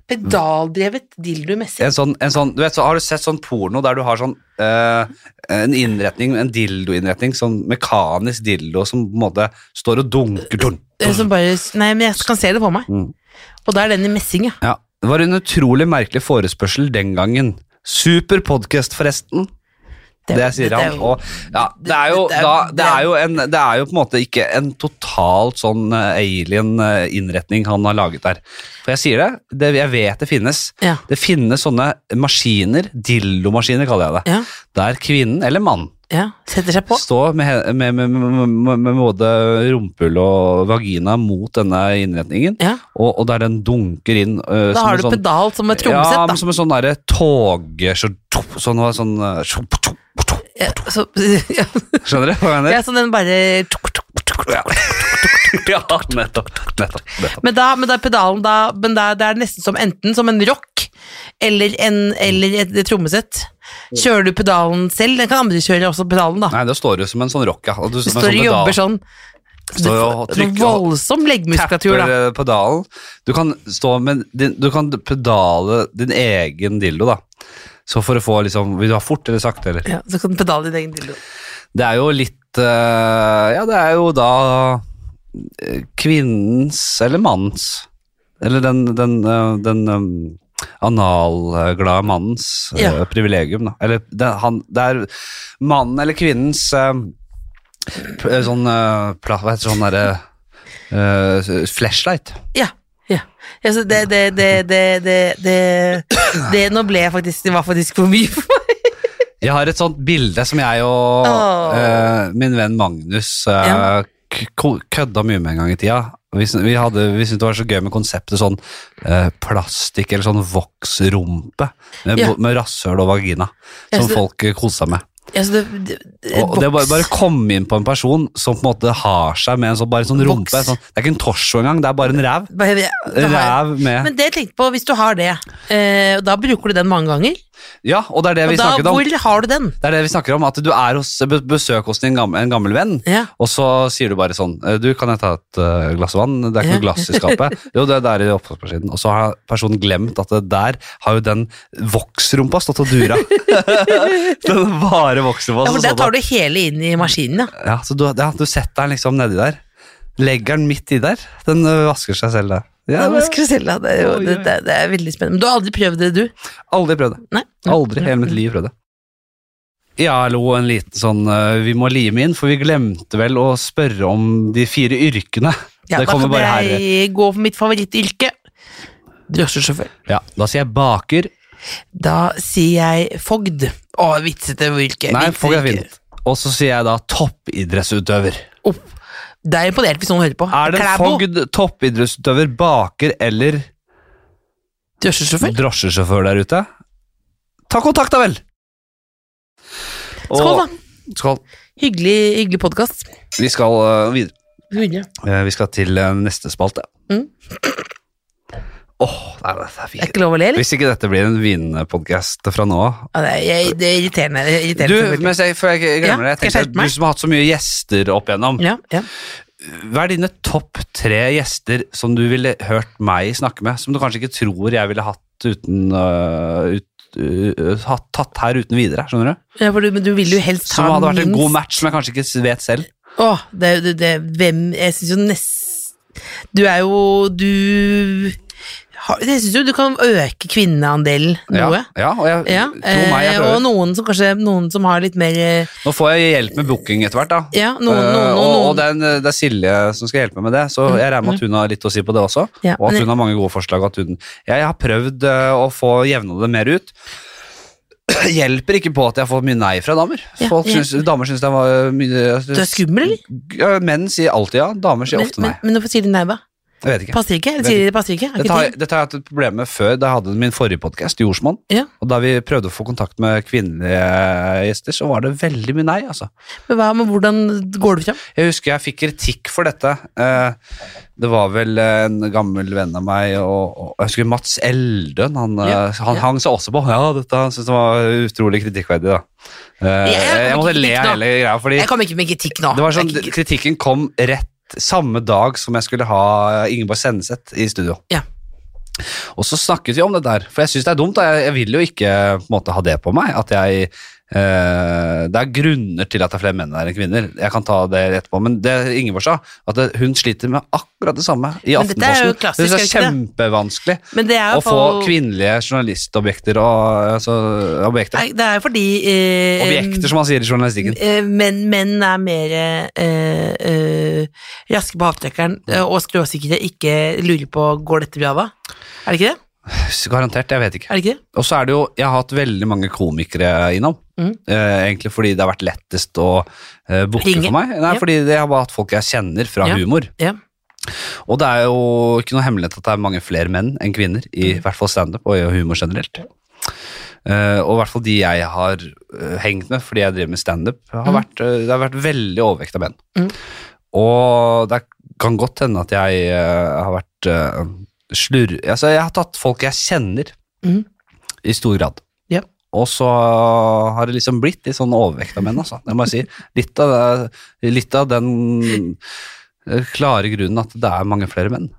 Pedaldrevet dildo-messig.
en sånn, en sånn, du vet, så har du sett sånn porno der du har sånn eh, en innretning, en dildo-innretning, sånn mekanisk dildo som på en måte står og dunker dun.
Eh, Som bare Nei, men jeg kan se det på meg.
Mm.
Og da er den i messing, ja.
Ja, det var en utrolig merkelig forespørsel den gangen. Super podcast forresten, det, sier
dette er
han.
jo-
Og, ja, det er jo,
det- det er-
da, det er jo en, det er jo på en måte ikke en totalt sånn eh, alien eh, innretning han har laget der. For jeg sier det, det jeg vet det finnes.
Ja.
Det finnes sånne maskiner, dildomaskiner kaller jeg det.
Ja,
der kvinnen, eller mannen,
ja. Setter seg på.
står med, he- med, med, med, med, med både rumpehull og vagina mot denne innretningen,
Ja.
og, og der den dunker inn øh,
Da
som
har
en
du pedal som et
ja, men
trommesett, da.
som en sånn derre tog... Så, sånn, sånn, øh,
Ja, så, ja,
Skjønner du hva jeg mener?
ja, så den bare tuk, tuk, tuk, tuk.
Ja, nettopp. nettopp, nettopp.
Men da, men da er pedalen da, men da, Det er nesten som enten som en rock eller, en, eller et, et trommesett. Kjører du pedalen selv? Den kan andre kjøre også pedalen, da.
Nei, da står du som en sånn rock, ja. Og du,
Du
som en
står og
pedal.
jobber sånn. Du
Står og
får-
trykker og-
voldsom leggmuskulatur,
Tapper
da.
eh, pedalen. Du kan stå med din, Du kan pedale din egen dildo, da. Så for å få liksom Vil du ha fort eller sakte, eller?
Ja, så kan du pedale din egen dildo.
Det er jo litt eh, Ja, det er jo da eh, kvinnens eller mannens Eller den, den, eh, den eh, analglade mannens eh,
Ja.
privilegium, da. Eller det, han, det er mannen eller kvinnens eh, P- eh, Sånn eh, pla, Hva heter det, sånn derre eh, Flashlight.
Ja. ja. ja så det, det, det, det, det, det, det Nå ble jeg faktisk Det var faktisk for mye for meg.
Jeg har et sånt bilde som jeg og
Åh.
eh, min venn Magnus eh,
Ja.
k- ko- kødda mye med en gang i tida. Vi, syn- vi, hadde, vi syntes det var så gøy med konseptet sånn eh, plastikk eller sånn voksrumpe med,
Ja.
med rasshøl og vagina,
Ja,
som
så det-
folk eh, kosa seg med.
Ja, så det, det, det,
Og det er bare,
voks.
bare komme inn på en person som på en måte har seg med en sånn, bare en sånn
Voks.
rumpe. en Sånn, det er ikke en torso engang, det er bare en ræv.
Bare- det har jeg.
Ræv med
Men det jeg tenkte på, hvis du har det, eh, og da bruker du den mange ganger.
Ja, og det er det
Og
vi
da,
snakket om.
hvor har du den?
Det er det vi snakker om, at du er hos be- besøk hos din gammel, en gammel venn,
Ja.
og så sier du bare sånn eh, Du, kan jeg ta et eh, glass vann? Det er ikke
Ja.
noe glass i skapet. Jo, det er der i oppvaskmaskinen. Og så har personen glemt at det der har jo den voksrumpa stått og dura. den bare voksrumpa.
Ja, for
som
Der
stod
tar
og-
du hele inn i maskinen, ja.
Ja, så du, ja, du setter den liksom nedi der. Legger den midt i der. Den ø, vasker seg selv der. Ja,
Ja, men
jeg
Skrusella, det, er
Oi,
jo-
oi.
det, det, det er veldig spennende. Men du har aldri prøvd det, du?
har aldri prøvd det.
Nei.
Aldri i hele mitt liv prøvd det. Ja, hallo, en liten sånn ø, Vi må lime inn, for vi glemte vel å spørre om de fire yrkene.
Ja,
det kommer bare
Da
her. eh.
kan jeg gå for mitt favorittyrke. Drosjesjåfør.
Ja, da sier jeg baker.
Da sier jeg fogd. Å, vitsete yrke.
Nei,
vitsete
folk er
yrke.
fint. Og så sier jeg da toppidrettsutøver.
Opp. Det er imponert hvis noen hører på.
Er det
Klæbo,
fogd, toppidrettsutøver, baker eller
Drosjesjåfør.
drosjesjåfør der ute? Ta kontakt, da vel! Og-
Skål, da.
Skål.
Hyggelig, hyggelig podkast.
Vi skal øh, videre.
Det
Eh, Vi skal til eh, neste spalte. Åh,
Mm.
nei, det er
er
fint.
ikke lov å le, eller?
Hvis ikke dette blir en vinpodkast fra nå av
Ja, det, er, jeg, det er irriterende. Det er
Du,
irriterende selvfølgelig.
mens jeg, før jeg
Ja,
glemmer det, jeg
skal jeg
tenkte
skjerpe
at
meg?
du som har hatt så mye gjester opp igjennom,
ja, ja.
hva er dine topp tre gjester som du ville hørt meg snakke med, som du kanskje ikke tror jeg ville hatt uten øh, ut, øh, hatt- tatt her uten videre, skjønner du?
ja for du, men du vil jo helst ha
Som hadde vært en
minst-
god match, som jeg kanskje ikke vet selv.
Åh, det, er jo- det, det, hvem Jeg syns jo nest Du er jo Du har, Jeg syns jo du kan øke kvinneandelen noe.
Ja, ja, og jeg,
Ja,
tro meg, jeg
eh,
prøver.
og noen som kanskje Noen som har litt mer eh,
Nå får jeg hjelp med booking etter hvert, da.
Ja, noen,
Eh, og,
noen,
og
noen, Mm,
det, er en, det er Silje som skal hjelpe meg med det, så jeg regner med at hun har litt å si på det også.
Ja,
og at
men-
hun har mange gode forslag. og At hun, jeg har prøvd eh, å få jevna det mer ut. Hjelper ikke på at jeg får mye nei fra damer.
Ja,
Folk
det
syns, damer syns det var eh, mye
Du er skummel, eller?
Ja, Menn sier alltid ja, damer sier
Men,
ofte
men,
nei.
men hvorfor sier de nei, da?
Jeg vet ikke.
Passer ikke? Eller
Vet
sier de passer ikke? Har
Dette
ikke
har,
tid?
dette har jeg hatt et problem med før, da jeg hadde min forrige podkast, Jordsmonn.
Ja.
Og da vi prøvde å få kontakt med kvinnelige gjester, så var det veldig mye nei, altså.
Men, hva, men hvordan går du fram?
Jeg husker jeg fikk kritikk for dette. Eh, Det var vel eh, en gammel venn av meg, og, og jeg husker Mats Eldøen, han, eh,
Ja,
han
ja.
hang seg også på. Ja, dette han syntes det var utrolig kritikkverdig, da. Eh,
Jeg
Jeg,
kan
måtte
ikke
le av
kritikk nå.
hele greia, fordi
Jeg kommer ikke med kritikk nå.
Eh, det var sånn,
Jeg Ah, er ikke-
kritikken kom rett samme dag som jeg skulle ha Ingeborg Senneset i studio.
Ja.
Og så snakket vi om det der, for jeg syns det er dumt. da. Jeg, jeg vil jo ikke på en måte, ha det på meg. At jeg, eh, det er grunner til at det er flere menn der enn kvinner. Jeg kan ta det etterpå, men det Ingeborg sa, at det, hun sliter med akkurat det samme i
Men dette er jo
Aftenposten.
klassisk,
det er
er det
kjempevanskelig
Men det er jo
å få
for-
kvinnelige journalistobjekter og altså, objekter.
Nei, Det er jo fordi eh,
Objekter, som man sier i journalistikken.
eh, men menn er mer eh, eh, raske på avtrekkeren eh, og skråsikre, ikke lurer på går dette bra, da? Er det ikke det?
Garantert, jeg vet ikke.
Er det ikke det?
Og så er det jo, jeg har hatt veldig mange komikere innom.
Mm.
Eh, egentlig fordi det har vært lettest å eh, booke
Ringe.
for meg. Nei,
Ja.
fordi jeg har bare hatt folk jeg kjenner fra
Ja.
humor.
Ja.
Og det er jo ikke noe hemmelighet at det er mange flere menn enn kvinner, i
Mm.
hvert fall standup og i humor generelt. Eh, og i hvert fall de jeg har eh, hengt med fordi jeg driver med standup, har
Mm.
vært, eh, det har vært veldig overvekt av menn.
Mm.
Og det kan godt hende at jeg eh, har vært eh, slurv... Altså, jeg har tatt folk jeg kjenner,
Mhm.
i stor grad.
Ja.
Og så har det liksom blitt litt sånn overvekt av menn, altså. Det må jeg si. Litt av, det, litt av den eh, klare grunnen at det er mange flere menn.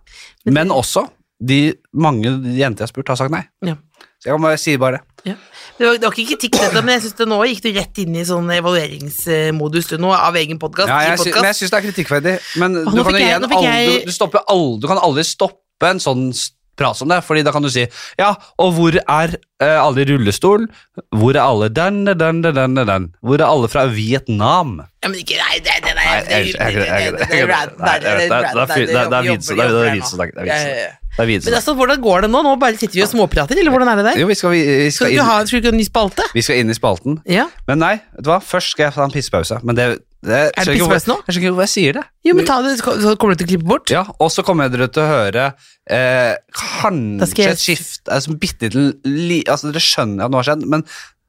Men-
Men også de mange jenter jeg har spurt, har sagt nei.
Ja.
Så jeg kan bare si bare det.
Det var, det var ikke kritikk, dette, men jeg synes det nå gikk du rett inn i sånn evalueringsmodus du nå, av egen podkast.
Ja, jeg, sy- men jeg syns det er kritikkverdig. Men
Å,
du
nå
kan
fikk
jo
jeg-
igjen
nå fikk
aldri,
jeg-
du, stopper aldri, du kan aldri stoppe en sånn s- prate om det, fordi da kan du si Ja, og hvor er eh, alle i rullestol? Hvor er alle den, den, den, den, den? Hvor er alle fra Vietnam?
Ja, men ikke Nei, det er
Nei, jeg er ikke- jeg er ikke- jeg er ikke- Nei, det er- det er- det er fyr- det er- det er vits- det er- det er vits- det er- det er vits- Det er
Men
videre.
altså, hvordan går det nå? Nå bare sitter vi og småprater, eller hvordan er det der?
Jo, vi skal, vi, vi,
Skal
skal
du ikke
inn,
ha skal du ikke ha en ny spalte?
vi skal inn i spalten.
Ja.
Men nei, vet du hva? først skal jeg ta en pissepause. Men det, det, skjønner
Er det
ikke hvor-
pissepause nå?
Jeg skjønner ikke hvorfor jeg sier det.
Jo, men ta det, så kommer du til å klippe bort.
Ja, og så kommer dere til å høre eh, kanskje
skal jeg-
et skift altså, bitte liten li, altså, Dere skjønner at noe har skjedd, men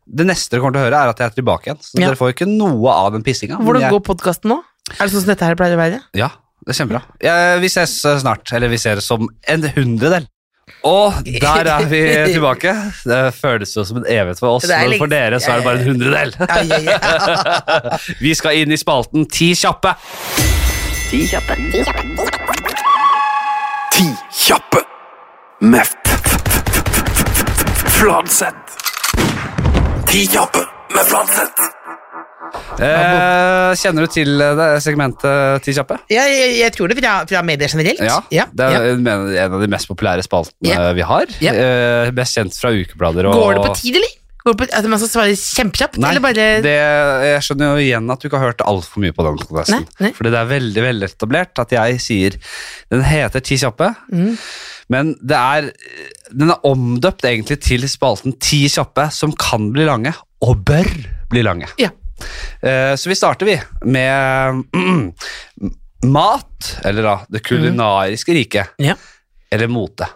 det neste dere kommer til å høre, er at jeg er tilbake igjen. Så
Ja.
dere får ikke noe av den pissinga. men
Hvordan
jeg-
går podkasten nå? Er det sånn som dette her pleier å være?
Ja, det er kjempebra. Eh, vi ses eh, snart. Eller vi ser som en hundredel. Og der er vi tilbake. Det føles jo som en evighet for oss,
Det er
men
liksom-
for dere så er det bare en hundredel.
Ja, ja, ja.
Vi skal inn i spalten Ti kjappe.
Ti kjappe.
Ti kjappe med f- f- f- f- f- f- Fladseth. Ti kjappe med Fladseth.
Eh, kjenner du til eh, det segmentet Ti kjappe?
Ja, jeg, jeg tror det fra, fra medier generelt.
Ja, det er en- en av de mest populære spaltene
Ja.
vi har.
Ja.
Eh, best kjent fra ukeblader og
Går det på tid, eller? Går det på, at man skal svare kjempekjapt?
Nei,
eller bare
det, jeg skjønner jo igjen at du ikke har hørt altfor mye på den podcasten.
Nei, nei.
Fordi det er veldig veldig etablert at jeg sier den heter Ti kjappe,
Mm.
men det er, den er omdøpt egentlig til spalten Ti kjappe, som kan bli lange, og bør bli lange.
Ja.
Eh, Så vi starter vi med mat, eller da
Mm.
det kulinariske riket,
ja.
eller mote.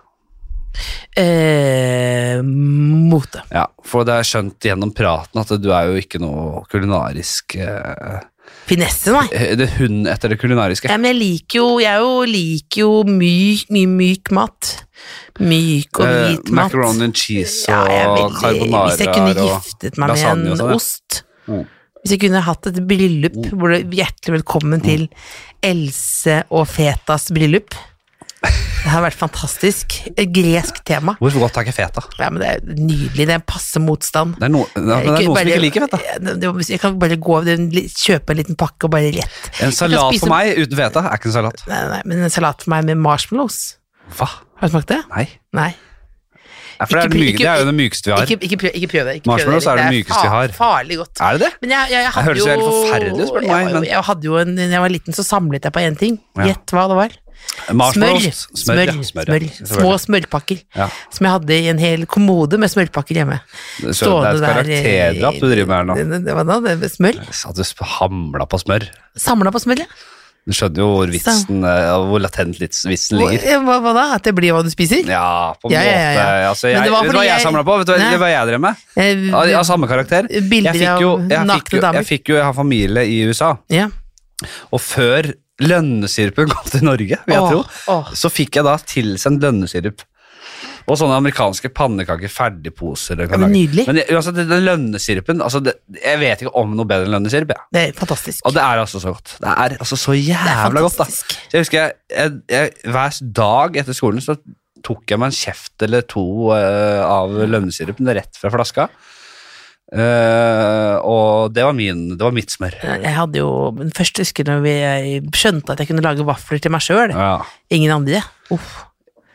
Eh, mote.
Ja, for det er skjønt gjennom praten at du er jo ikke noe kulinarisk eh,
Finesse, nei.
Det er hun etter det kulinariske.
Ja, men jeg liker jo, jeg jo liker jo myk, mye myk mat. Myk og
Eh,
hvit mat.
macaroni and cheese
Ja,
og
jeg er veldig-
carbonara
Hvis jeg kunne
og
giftet meg med
lasagne og
en
sånn, ja.
ost
Mm.
Hvis jeg kunne hatt et bryllup hvor det hjertelig velkommen
Mm.
til Else og Fetas bryllup. Det har vært fantastisk. Et gresk tema.
Hvor godt er ikke feta?
Ja, men det er nydelig. Det er en passe motstand.
Det er, no, det er noen som ikke liker feta.
feta. Jeg kan bare gå, kjøpe en liten pakke og bare rett.
En salat
spise-
for meg uten feta er ikke en salat.
Nei, nei, men en salat for meg med marshmallows.
Hva?
Har du smakt det?
Nei.
Nei.
Ja, for det er,
Ikke
den
pr-
myke,
ikke-
det er jo det mykeste vi har.
Ikke, ikke prøv ikke prøv det. Ikke prøv
Marshmallows er det
Erik.
mykeste vi har.
fa- Farlig godt.
Er det det?
Men jeg, jeg, jeg hadde
høres jo
jo
helt forferdelig ut, spør du meg,
Jeg,
men-
jeg, hadde jo en, da jeg var liten, så samlet jeg på én ting.
Ja.
Gjett hva det var. Smør.
Marshmallows.
Smør.
ja, ja,
smør, Små
selvfølgelig.
smørpakker.
Ja.
Som jeg hadde i en hel kommode med smørpakker hjemme.
Så det er et karakterdrap du driver med her nå.
Det, det, var da, det var smør.
At du sp- hamla på smør.
Samla på smør, ja.
Du skjønner jo hvor vitsen, eh, hvor latent vits- vitsen
Hva,
ligger.
hva, hva da? At det blir hva du spiser?
Ja, på en
Ja, ja, ja, ja.
måte. Altså,
Men
jeg,
det var
vet du hva
fordi
jeg
jeg-
samla på? Vet du hva,
Nei.
hva jeg drev med?
Eh,
Av, av samme karakter.
Bilder
jeg fikk jo,
av
jeg fikk,
nakne
jo,
damer.
jeg fikk jo Jeg har familie i USA,
ja.
og før lønnesirpen kom til Norge, vil jeg
Åh,
tro,
åh.
så fikk jeg da tilsendt lønnesirup. Og sånne amerikanske pannekaker, ferdigposer. dere kan
Ja, men
lage.
nydelig.
Men jeg- uansett, den lønnesirupen altså det, Jeg vet ikke om noe bedre enn lønnesirup. jeg.
Det er fantastisk.
Og det er altså så godt. Det er altså så jævla godt, da.
fantastisk.
Så jeg husker jeg, jeg, jeg, hver dag etter skolen så tok jeg meg en kjeft eller to eh, av lønnesirupen rett fra flaska. Eh, og det var, min, det var mitt smør.
Jeg hadde jo, men Først husker jeg når vi- jeg skjønte at jeg kunne lage vafler til meg sjøl.
Ja.
Ingen andre. Uff.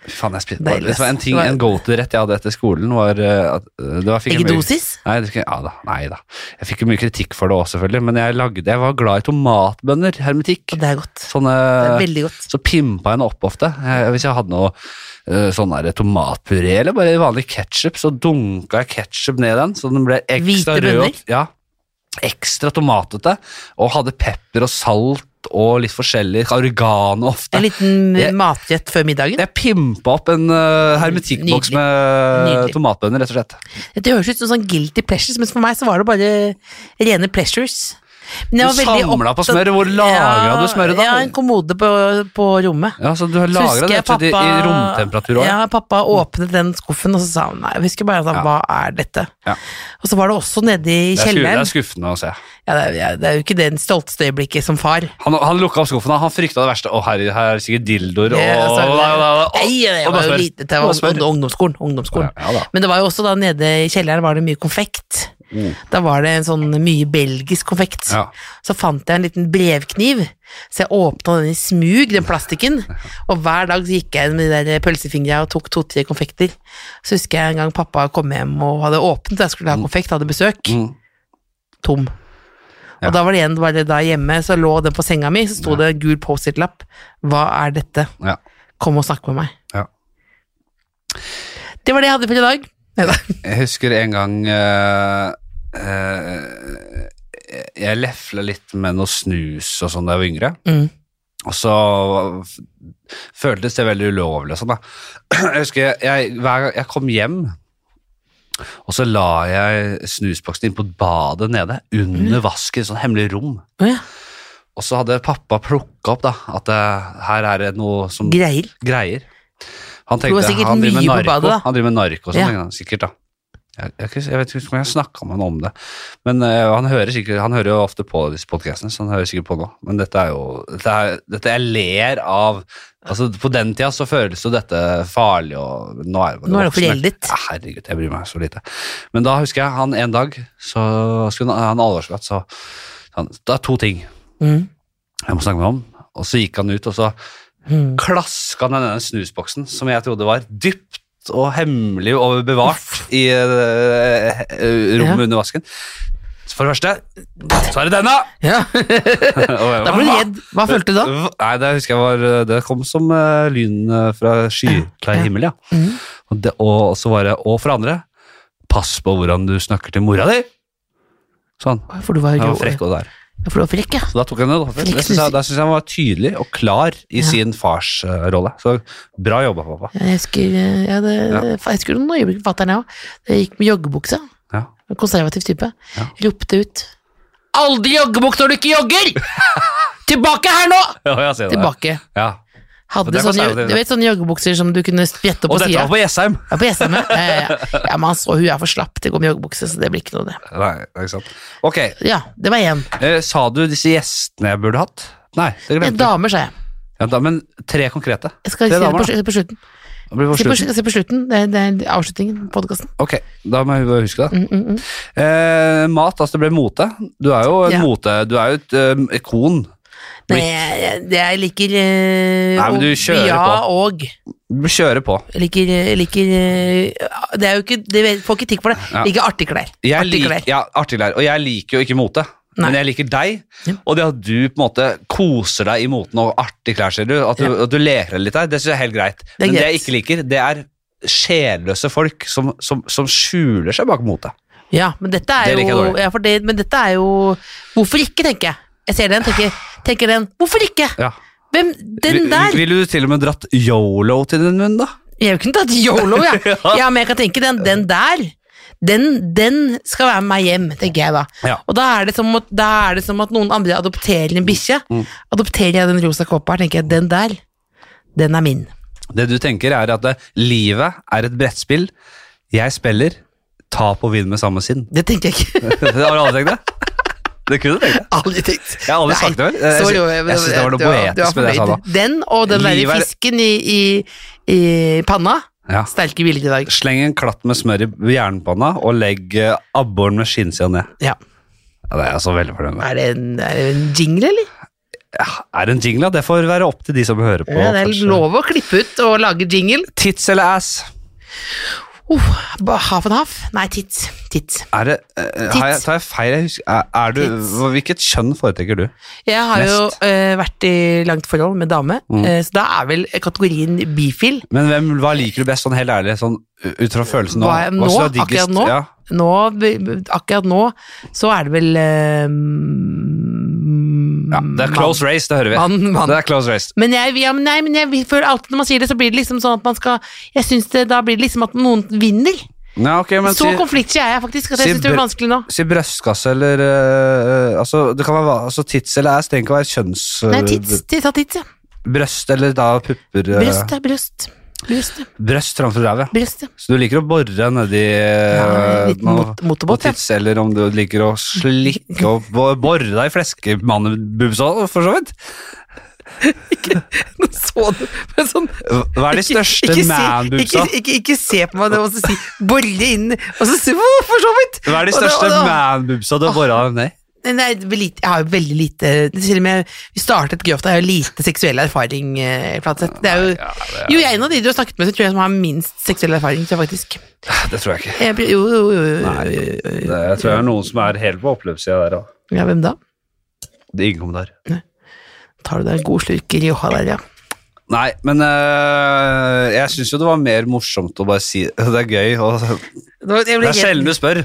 Fy Faen, jeg spiste bare.
Deilig,
Det var en
ass.
ting,
Det var-
en go-to-rett jeg hadde etter skolen, var eh, at eh, det var, fikk jeg mye-
Eggedosis?
Nei, det fikk, jeg- ja da, nei da. Jeg fikk jo mye kritikk for det òg, selvfølgelig, men jeg, lagde, jeg var glad i tomatbønner, hermetikk.
Og det er godt.
Sånne
Det er veldig godt.
Så pimpa jeg den opp ofte. Eh, Hvis jeg hadde noe eh, sånn der tomatpuré eller bare vanlig ketsjup, så dunka jeg ketsjup ned i den, så den ble ekstra rød.
Hvite bønner?
og- Ja, ekstra tomatete, og hadde pepper og salt og litt forskjellig oregano ofte.
En liten
Jeg-
matrett før middagen.
Jeg pimpa opp en eh, hermetikkboks
Nydelig.
med eh,
Nydelig.
tomatbønner, rett og slett.
Dette høres ut som sånn guilty pleasures, men for meg så var det bare rene pleasures. Men
Du samla på smøret, hvor lagra du smøret da?
Ja, en kommode på, på rommet.
Ja, så du har
Så
lagra det
husker jeg
rett og slett i, i romtemperatur òg?
Ja, pappa åpnet den skuffen, og så sa han nei. Jeg husker bare sånn,
Ja.
hva er dette?
Ja.
Og så var det også nede i
Det, er sku- det
kjelleren.
er skuffende å se.
Ja, det, er, ja, det er jo ikke det stolteste øyeblikket som far.
Han, han lukka opp skuffen, og han frykta det verste. Å, her, her er det sikkert dildoer og, og,
Ja, altså,
og,
Nei, jeg
og
var jo
smør.
lite til
Og
jeg var
smør.
ung- ungdomsskolen. ungdomsskolen.
Ja, ja da.
Men det var jo også da nede i kjelleren var det mye konfekt.
Mm.
Da var det en sånn mye belgisk konfekt.
Ja.
Så fant jeg en liten brevkniv, så jeg åpna den i smug, den plastikken. Og hver dag så gikk jeg med de der pølsefingra og tok to-tre konfekter. Så husker jeg en gang pappa kom hjem og hadde åpnet, jeg skulle ha konfekt, hadde besøk.
Mm.
Tom.
Ja.
Og da var det igjen bare da hjemme, så lå den på senga mi, så sto det en gul Post-It-lapp. Hva er dette?
Ja.
Kom og snakk med meg.
Ja.
Det var det jeg hadde for i dag. Neida.
Jeg husker en gang eh, eh, Jeg lefla litt med noe snus og sånn da jeg var yngre.
Mm.
Og så f- føltes det veldig ulovlig og sånn, da. Jeg husker jeg, jeg, hver gang jeg kom hjem, og så la jeg snusboksen inn på badet nede, under vasken, sånn hemmelig rom.
Å ja.
Og så hadde pappa plukka opp da, at eh, her er det noe som
Greier.
greier. Han
Det var
tenkte
sikkert
han driver med
mye på
narko,
badet, da.
han driver med narko og
Ja.
sånn, tenkte han, sikkert da. Jeg, jeg, jeg vet ikke om jeg snakka med han om det, men eh, han, hører sikkert, han hører jo ofte på disse podcastene, så han hører sikkert på nå. Men dette er jo dette, er, dette jeg ler av altså På den tida så føles jo dette farlig, og nå er,
Nå er det
voksne.
foreldet.
Ja, herregud, jeg bryr meg så lite. Men da husker jeg han en dag, så skulle han ha en alvorsskatt, så han, Det er to ting
Mm.
jeg må snakke med ham om. Og så gikk han ut, og så
Mm.
klaska han denne snusboksen, som jeg trodde var dypt og hemmelig og bevart i eh, eh, rommet
Ja.
under vasken. Så For det første, så er det denne!
Ja. Da ble du redd. Hva følte du da?
Nei, Det husker jeg var, eh, det kom som eh, lyn eh, fra skyklar
Ja.
himmel, ja.
Mm.
Og, det, og så var det, og for andre, pass på hvordan du snakker til mora di! Sånn.
For du var
Jeg var
grå.
frekk og der.
Ja, For du var frekk, ja.
Så da tok han det. opp. Det synes jeg- Da syns jeg han var tydelig og klar i
Ja.
sin fars eh, rolle. Så bra jobba, pappa.
Jeg husker, eh, ja, det,
Ja.
jeg husker noen øyeblikk med fatter'n, jeg òg. Jeg gikk med joggebukse.
Ja.
En Konservativ type.
Ja.
Ropte ut Aldri joggebukse når du ikke jogger! Tilbake her nå!
Ja, jeg ser det.
Tilbake.
Ja. Og det
Hadde
er
sånne,
konservativt.
du vet, sånne joggebukser som du kunne sprette på
Og dette
sida.
var på Jessheim!
Ja, på SM, ja, ja, ja. ja, men han så hun er for slapp til å gå med joggebukse, så det blir ikke noe, det.
Nei, det er ikke sant. Ok,
Ja, det var én.
eh, sa du disse gjestene jeg burde hatt? Nei, det
Men
glemte du.
Damer, sa jeg.
Ja, da, men tre konkrete.
Jeg skal
Tre
si det
damer,
på, slu- på slutten.
Det blir for
Se på,
slutten.
slu- se på slutten. Det er, det er avslutningen på podkasten.
Ok, da må jeg bare huske det.
Mm, mm, mm.
Eh, mat, altså det ble mote. Du er jo en
Ja.
mote, du er jo et eh, ikon.
Nei, jeg, det jeg liker eh,
Nei, men du
og-
kjører på.
ja, og jeg
Du kjører på.
liker, jeg liker eh, Det er jo ikke det, vet- Får kritikk for det.
Ja.
Liker artige klær.
Jeg
Artige
lik-
klær.
Ja, artig klær. Og jeg liker jo ikke mote.
Nei.
Men jeg liker deg,
Ja.
og det at du på en måte koser deg i moten og artig klær, ser du. At du, at du leker deg litt der, det syns jeg er helt greit.
er
Men det
greit.
jeg ikke liker, det er sjelløse folk som, som, som skjuler seg bak mote.
Ja, men dette er
Det liker jeg
jo
dårlig.
ja, for det, Men dette er jo Hvorfor ikke, tenker jeg. Jeg ser den, tenker, tenker den. Hvorfor ikke?
Ja.
Hvem, den
Vil-
der!
Ville du til og med dratt yolo til din munn, da?
Jeg har jo ikke tatt yolo, jeg.
Ja.
ja. men jeg kan tenke den, den der. Den, den skal være med meg hjem, tenker jeg da.
Ja.
Og da er, det som at, da er det som at noen andre adopterer en bikkje.
Mm,
Adopterer jeg den rosa kåpa her, tenker jeg den der, den er min.
Det du tenker, er at det, livet er et brettspill. Jeg spiller, tap og vinn med samme sinn.
Det tenker jeg ikke.
Har du aldri tenkt det? Det kunne du tenkt. det.
Aldri tenkt.
Jeg har aldri sagt det, vel? Jeg- jeg-
sorry,
jeg synes det var noe
du du
poetisk med det jeg sa
fornøyd.
da.
Den og den
Livet
derre
er-
fisken i, i, i panna.
Ja.
Sterke bilder i dag.
Sleng en klatt med smør i jernpanna og legg eh, abboren med skinnsida ned.
Ja.
Ja, det er jeg så veldig fornøyd med.
Er det, en, er det en jingle, eller?
Er det en jingle? da? Det får være opp til de som hører på.
Ja, det er
kanskje.
lov å klippe ut og lage jingle.
Tits eller ass?
Uff, ba- half and half? Nei, tits. Tits.
Er det, eh, har jeg,
Tits.
tar jeg feil? Jeg husker, er, er du,
Tits.
hva- hvilket kjønn foretrekker du?
Jeg har jo
Mest. Mm.
eh, vært i langt forhold med dame, eh, så da er vel kategorien bifil.
Men hvem, hva liker du best, sånn helt ærlig, sånn u- ut fra følelsen nå?
Hva er-
Hva
nå,
synes du er
akkurat nå?
Ja.
Nå, b- b- akkurat nå, så er det vel eh,
ja, det er close race, det hører vi.
Mm, Mann, mann.
Det er close race.
Men jeg, ja, men nei, men jeg føler alltid når man sier det, så blir det liksom sånn at man skal Jeg synes det, da blir det liksom at noen vinner.
Ja, ok, men
Så
si-
konfliktsky er jeg faktisk, at jeg
si
synes det blir
br-
vanskelig nå.
Si brystkasse eller eh, altså, det kan være, hva- altså Tits eller ass trenger ikke å være kjønns... eh,
Nei, tits. Tits ja, tits, ja.
Brøst eller da pupper eh,
Bryst, ja. Bryst. Bryst, ja.
Brøst framfor ræv, ja.
Bryst, ja.
Så du liker å bore nedi
Ja,
eh,
en liten
noe-
mot- motorbåt,
noe tids, eller om du liker å slikke og bo- bore deg i fleskemannebubsa, for så vidt.
Så så det. Men sånn,
Hva er de største
Ikke- ikke se-
man-boobsa?
Ikke, ikke, ikke se på meg nå og så si 'borre inn', og så si «Å, 'for så vidt'.
Hva er de
Og da-
største
og da-
man-boobsa du har bora deg ned i?
Nei, det blir lite, jeg har jo veldig lite Selv om jeg vi startet Grøfta, jeg har jo lite seksuell erfaring. eh, Flatseth. Det er jo, jo, jeg er en av de du har snakket med, så tror jeg som har minst seksuell erfaring. Tror jeg faktisk.
Det tror jeg ikke.
Jeg, blir- jo, jo, jo, jo.
Nei, det, jeg tror jeg er noen som er helt på oppløpssida der òg.
Ja, hvem da?
Det er ingen kommentar.
Tar du deg en god slurk Rioja der, ja.
Nei, men øh, jeg syns jo det var mer morsomt å bare si Det er gøy å Det
Det var- jeg
er
ble helt-
sjelden du spør.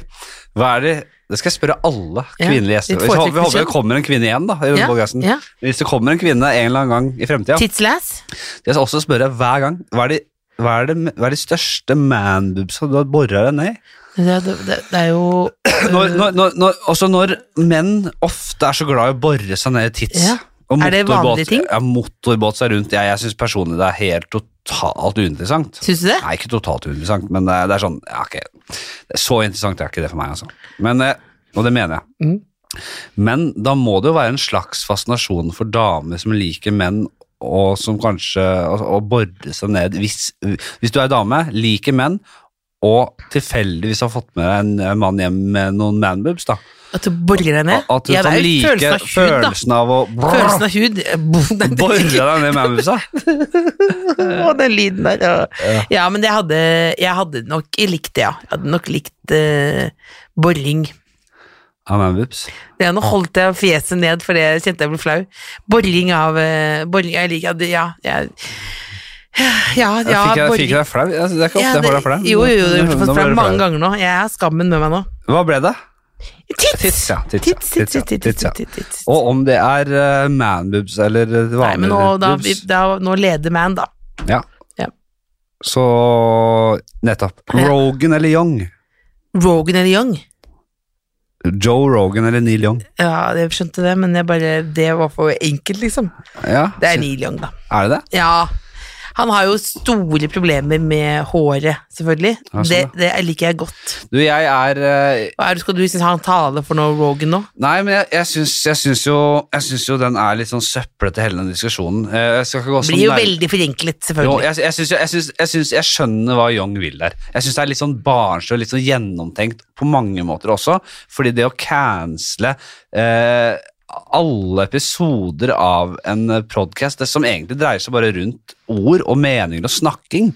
Hva er det Det skal jeg spørre alle
Ja,
kvinnelige gjester.
ditt
Vi håper, vi
foretrukne
håper det kommer en kvinne igjen, da. i
Ja,
podcasten.
ja.
Hvis det kommer en kvinne en eller annen gang i fremtida,
Titslass?
skal jeg også spørre hver gang Hva er de, hva er de, hva er de største manboobsa du har bora deg ned i?
Det, det, det, det er jo Øh.
Når, når, når, når, også når menn ofte er så glad i å bore seg ned i tits.
Ja.
Og
Er det
motorbåt-
vanlige ting?
Ja, motorbåt seg rundt. Jeg, jeg syns personlig det er helt totalt uinteressant.
Syns du det?
Nei, ikke totalt uinteressant, men det er, det er sånn ja, ok, det er Så interessant er ikke det for meg, altså. Men, eh, og det mener jeg.
Mm.
Men da må det jo være en slags fascinasjon for damer som liker menn, og som kanskje Å å bore seg ned hvis, hvis du er dame, liker menn, og tilfeldigvis har fått med deg en eh, mann hjem med noen manboobs, da.
At du borer deg ned?
At du
Ja,
kan
det er jo
like
følelsen av hud,
følelsen av å
da. Følelsen av hud eh, bo- Nei, det-
bore deg ned i manboobsa.
Å, den lyden der. Ja, ja men jeg hadde, jeg hadde nok likt det, ja. Jeg hadde nok likt eh, boring.
Av manboobs.
Ja, nå holdt jeg fjeset ned, for det kjente jeg ble flau. Boring av eh, boring, Jeg liker det, ja. Jeg, ja, ja,
fikk jeg, fikk
boring.
jeg deg flau? Altså, Det er ikke ofte
Ja,
jeg får deg flau.
det- Jo, jo, jo, du har
Nå
gjort det
ble
for
du
flau
flau.
mange ganger nå. Jeg har skammen med meg nå.
Hva ble det?
Tits!
Tits, ja, tits, ja,
tits, tits,
tits, ja,
tits, tits,
tits, ja.
tits, tits.
Og om det er eh, manboobs eller eh,
Nei,
vanlige
men nå, da, vi,
boobs.
da, nå leder man, da.
Ja.
Ja.
Så nettopp.
Ja.
Rogan eller Young?
Rogan eller Young?
Joe Rogan eller Neil Young?
Ja, jeg skjønte det, men jeg bare, det var for enkelt, liksom.
Ja,
Det er Neil Young, da.
er det det?
Ja. Han har jo store problemer med håret, selvfølgelig.
Ja, sånn,
det, det liker jeg godt.
Du, jeg er eh,
Hva er det, skal du synes han taler for noe Rogan nå?
Nei, men jeg, jeg, syns, jeg, syns jo, jeg syns jo den er litt sånn søplete, hele den diskusjonen. Eh, Jeg skal ikke gå så
Blir jo
nær-
veldig forenklet,
Jo,
selvfølgelig.
jeg, jeg, syns, jeg, syns, jeg syns jeg skjønner hva Young vil der. Jeg syns det er litt sånn barnslig og litt sånn gjennomtenkt på mange måter også. Fordi det å cancele eh, alle episoder av en eh, podcast, det som egentlig dreier seg bare rundt ord og meninger og snakking,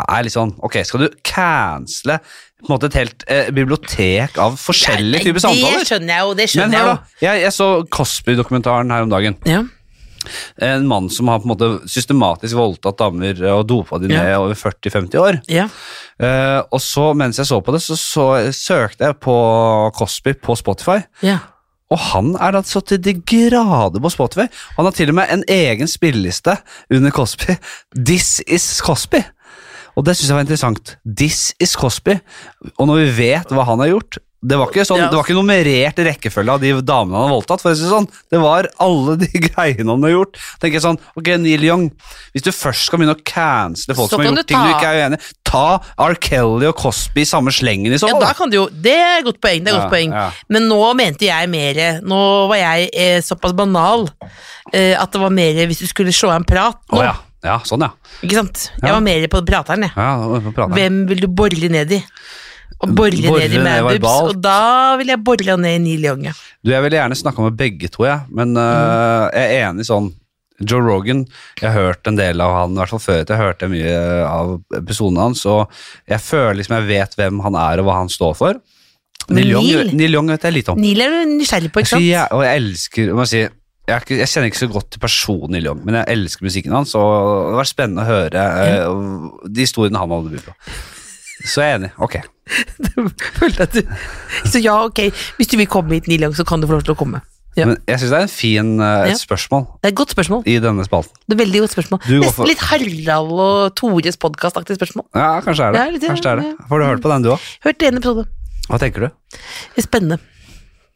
er litt sånn Ok, skal du cancele på en måte et helt eh, bibliotek av forskjellige typer
det
samtaler?
skjønner jeg jo, det
Men
skjønner
hør,
jeg
da.
jo.
Jeg, jeg så Cosby-dokumentaren her om dagen
Ja.
en mann som har på en måte systematisk voldtatt damer og dopa de ned
Ja.
over 40-50 år.
ja.
Eh, og så, mens jeg så på det, så, så søkte jeg på Cosby på Spotify.
ja.
Og han er da så til de grader på Spotify. Han har til og med en egen spilleliste under Cosby. This is Cosby. Og det syns jeg var interessant. This is Cosby. Og når vi vet hva han har gjort Det var ikke, sånn,
Ja.
det var ikke nummerert rekkefølge av de damene han har voldtatt. for å si Det sånn. Det var alle de greiene han har gjort. Tenker jeg sånn, ok, Neil Young, Hvis du først skal begynne å cancele folk
Så
som har
kan du
gjort ting du
ta-
ikke er uenig i, ta R. Kelly og Cosby i samme slengen i så
ja,
fall.
da kan du jo Det er et godt poeng. det er et
Ja,
godt poeng.
ja.
Men nå mente jeg mer Nå var jeg eh, såpass banal eh, at det var mer hvis du skulle slå av en prat nå.
Å ja. ja, sånn, ja.
Ikke sant?
Ja.
Jeg var mer på prateren, jeg.
ja nå prater jeg.
Hvem vil du bore ned i? Og bore
Borre
ned i
ned verbalt.
Manboobs, og da vil jeg bore ned i Neil Young. ja.
Du, jeg ville gjerne snakka med begge to, jeg, men
Mm.
øh, jeg er enig sånn Joe Rogan, jeg har hørt en del av han, i hvert fall før jeg hørte mye av episodene hans, og jeg føler liksom jeg vet hvem han er og hva han står for.
Men
Neil Young,
Neil?
Neil Young vet jeg litt om.
Neil er du nysgjerrig på, ikke
Så
sant?
Altså, jeg, og jeg elsker jeg, må si, jeg, er ikke, jeg kjenner ikke så godt til personen Neil Young, men jeg elsker musikken hans, og det var spennende å høre øh, de historiene han hadde bydd på. Så jeg er enig. Ok.
Følte at du... Så ja, ok, hvis du vil komme hit, Neil Young, så kan du få lov til å komme. Ja.
Men jeg syns det er en fin øh,
Ja.
et spørsmål
Det er et godt spørsmål.
i denne spalten.
Det er et veldig godt spørsmål.
Du går
Nesten
for-
litt Harald og Tores podkast-aktig spørsmål.
Ja, kanskje er det.
Ja, litt,
kanskje det er det.
ja.
Får du hørt på den, du òg?
Hørt en episode.
Hva tenker du?
Det er Spennende.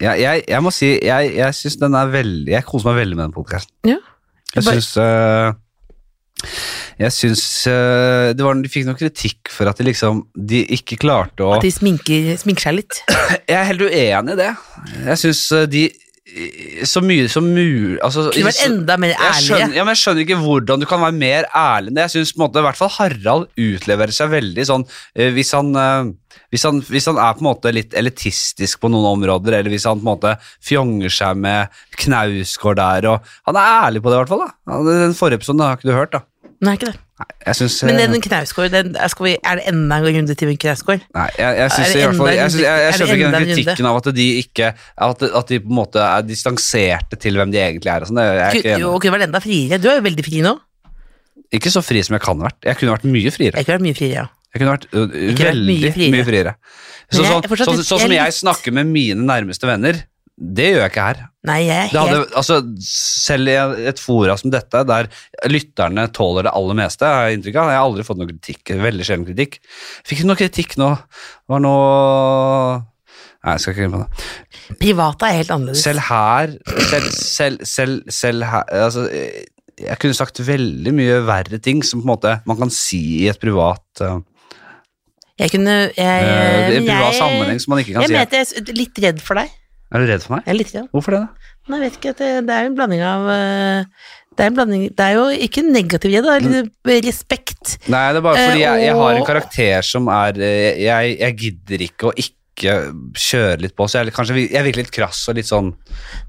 Jeg, jeg, jeg må si, jeg, jeg synes den er veldig Jeg koser meg veldig med den podkasten.
Ja.
Jeg
Bare-
syns øh, Jeg syns øh, det var, De fikk noe kritikk for at de liksom De ikke klarte å
At de sminker, sminker seg litt.
Jeg er helt uenig i det. Jeg syns de eh, så mye som mulig altså,
Kunne vært
så-
enda mer
jeg skjønner,
ærligere.
ja, men jeg skjønner ikke hvordan du kan være mer ærlig enn det. Jeg synes på en måte, i hvert fall Harald utleverer seg veldig sånn eh, hvis, han, eh, hvis, han, hvis han er på en måte litt elitistisk på noen områder, eller hvis han på en måte fjonger seg med Knausgård der og Han er ærlig på det, i hvert fall. da. Ja, det- Den forrige episoden har ikke du hørt, da.
Nei, ikke det.
Nei, jeg synes, eh,
Men den Knausgård, den, skal vi, er det enda en runde til med Knausgård?
Nei, jeg, jeg synes
Er det
i hvert fall
enda en
Jeg, synes, jeg, jeg
runde?
skjønner
Er det
ikke den
enda en runde?
kritikken av at de ikke At, at de på en måte er distanserte til hvem de egentlig er og sånn. det er Jeg er ikke
Kunne-
enig.
Og kunne vært enda friere. Du er jo veldig fri nå.
i. Ikke så fri som jeg kan ha vært. Jeg kunne vært mye friere.
Jeg kunne vært mye friere, ja.
Jeg kunne vært ø, ø,
Ikke vært
veldig
mye
mye friere.
friere.
Så,
Men jeg
sånn,
er fortsatt
sånn,
litt-
sånn som
jeg er
jeg snakker med mine nærmeste venner, det gjør jeg ikke her.
Nei, jeg er
Det hadde,
helt
altså, selv i et fora som dette, der lytterne tåler det aller meste, har jeg inntrykk av. Jeg har aldri fått noe kritikk. Veldig sjelden kritikk. Fikk ikke noe kritikk nå. Det var noe Nei, jeg skal ikke glemme det.
Private er helt annerledes.
Selv her Selv, selv, selv, selv her altså, jeg- Jeg kunne sagt veldig mye verre ting som på en måte man kan si i et privat uh,
Jeg kunne jeg,
Eh, I en
men
privat
jeg-
sammenheng som man ikke kan
Jeg
si
mente jeg er litt redd for deg.
Er du redd for meg?
Jeg er litt redd.
Hvorfor det? da?
Nei, jeg vet ikke, at det, det er jo en blanding av eh, det er, en blanding, det er jo ikke negativ redd, det er litt eh, respekt.
Nei, det er bare fordi
Eh, og-
jeg, jeg har en karakter som er eh, Jeg, jeg gidder ikke å ikke kjøre litt på, så jeg, er litt- kanskje, vi- jeg virker litt krass og litt sånn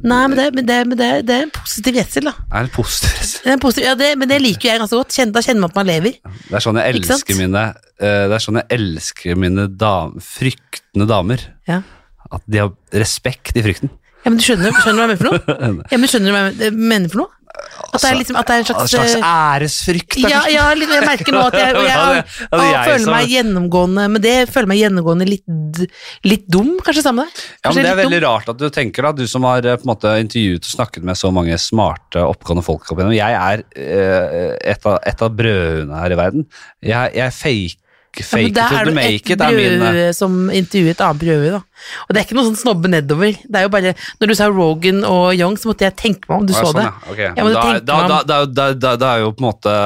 Nei, men det, men det, men det, det er en positiv redsel, da.
Jeg er litt positiv.
Det er en positiv, ja, det, men det liker jo jeg ganske godt. Kjenn- da kjenner man at man lever.
Det er sånn jeg
Ikke sant?
elsker mine eh, Det er sånn jeg elsker mine dam, fryktende damer.
Ja.
At de har respekt i frykten.
Ja, men du skjønner, skjønner du hva jeg mener for noe? Ja, men skjønner du hva jeg mener for noe? At det er, liksom, at det er en slags,
Altså, slags
eh,
æresfrykt.
Ja,
kanskje?
ja litt, jeg merker nå at jeg, jeg,
Ja, det- ja, det er jeg
føler
som-
meg gjennomgående Men det føler meg gjennomgående litt, d- litt dum, kanskje sammen med deg?
Ja, men
Kanskje
Det er
litt
veldig
dum.
rart at du tenker da, du som har eh, på en måte intervjuet og snakket med så mange smarte, oppegående folk. opp igjennom. Jeg er eh, et av, et av brødene her i verden. Jeg, jeg fake,
Ja,
fake
men der
it
er
till
du
you make
et
it. er min, eh,
brødre som intervjuer et annet brødre, da. Og det er ikke noe sånn snobbe nedover. Det er jo bare, når du sa Rogan og Young, så måtte jeg tenke meg om du
ah,
så
sånn,
det.
ja. Ok.
Ja,
da,
men du tenkte
da,
meg
da,
om-
da, da, da, da er jo på en måte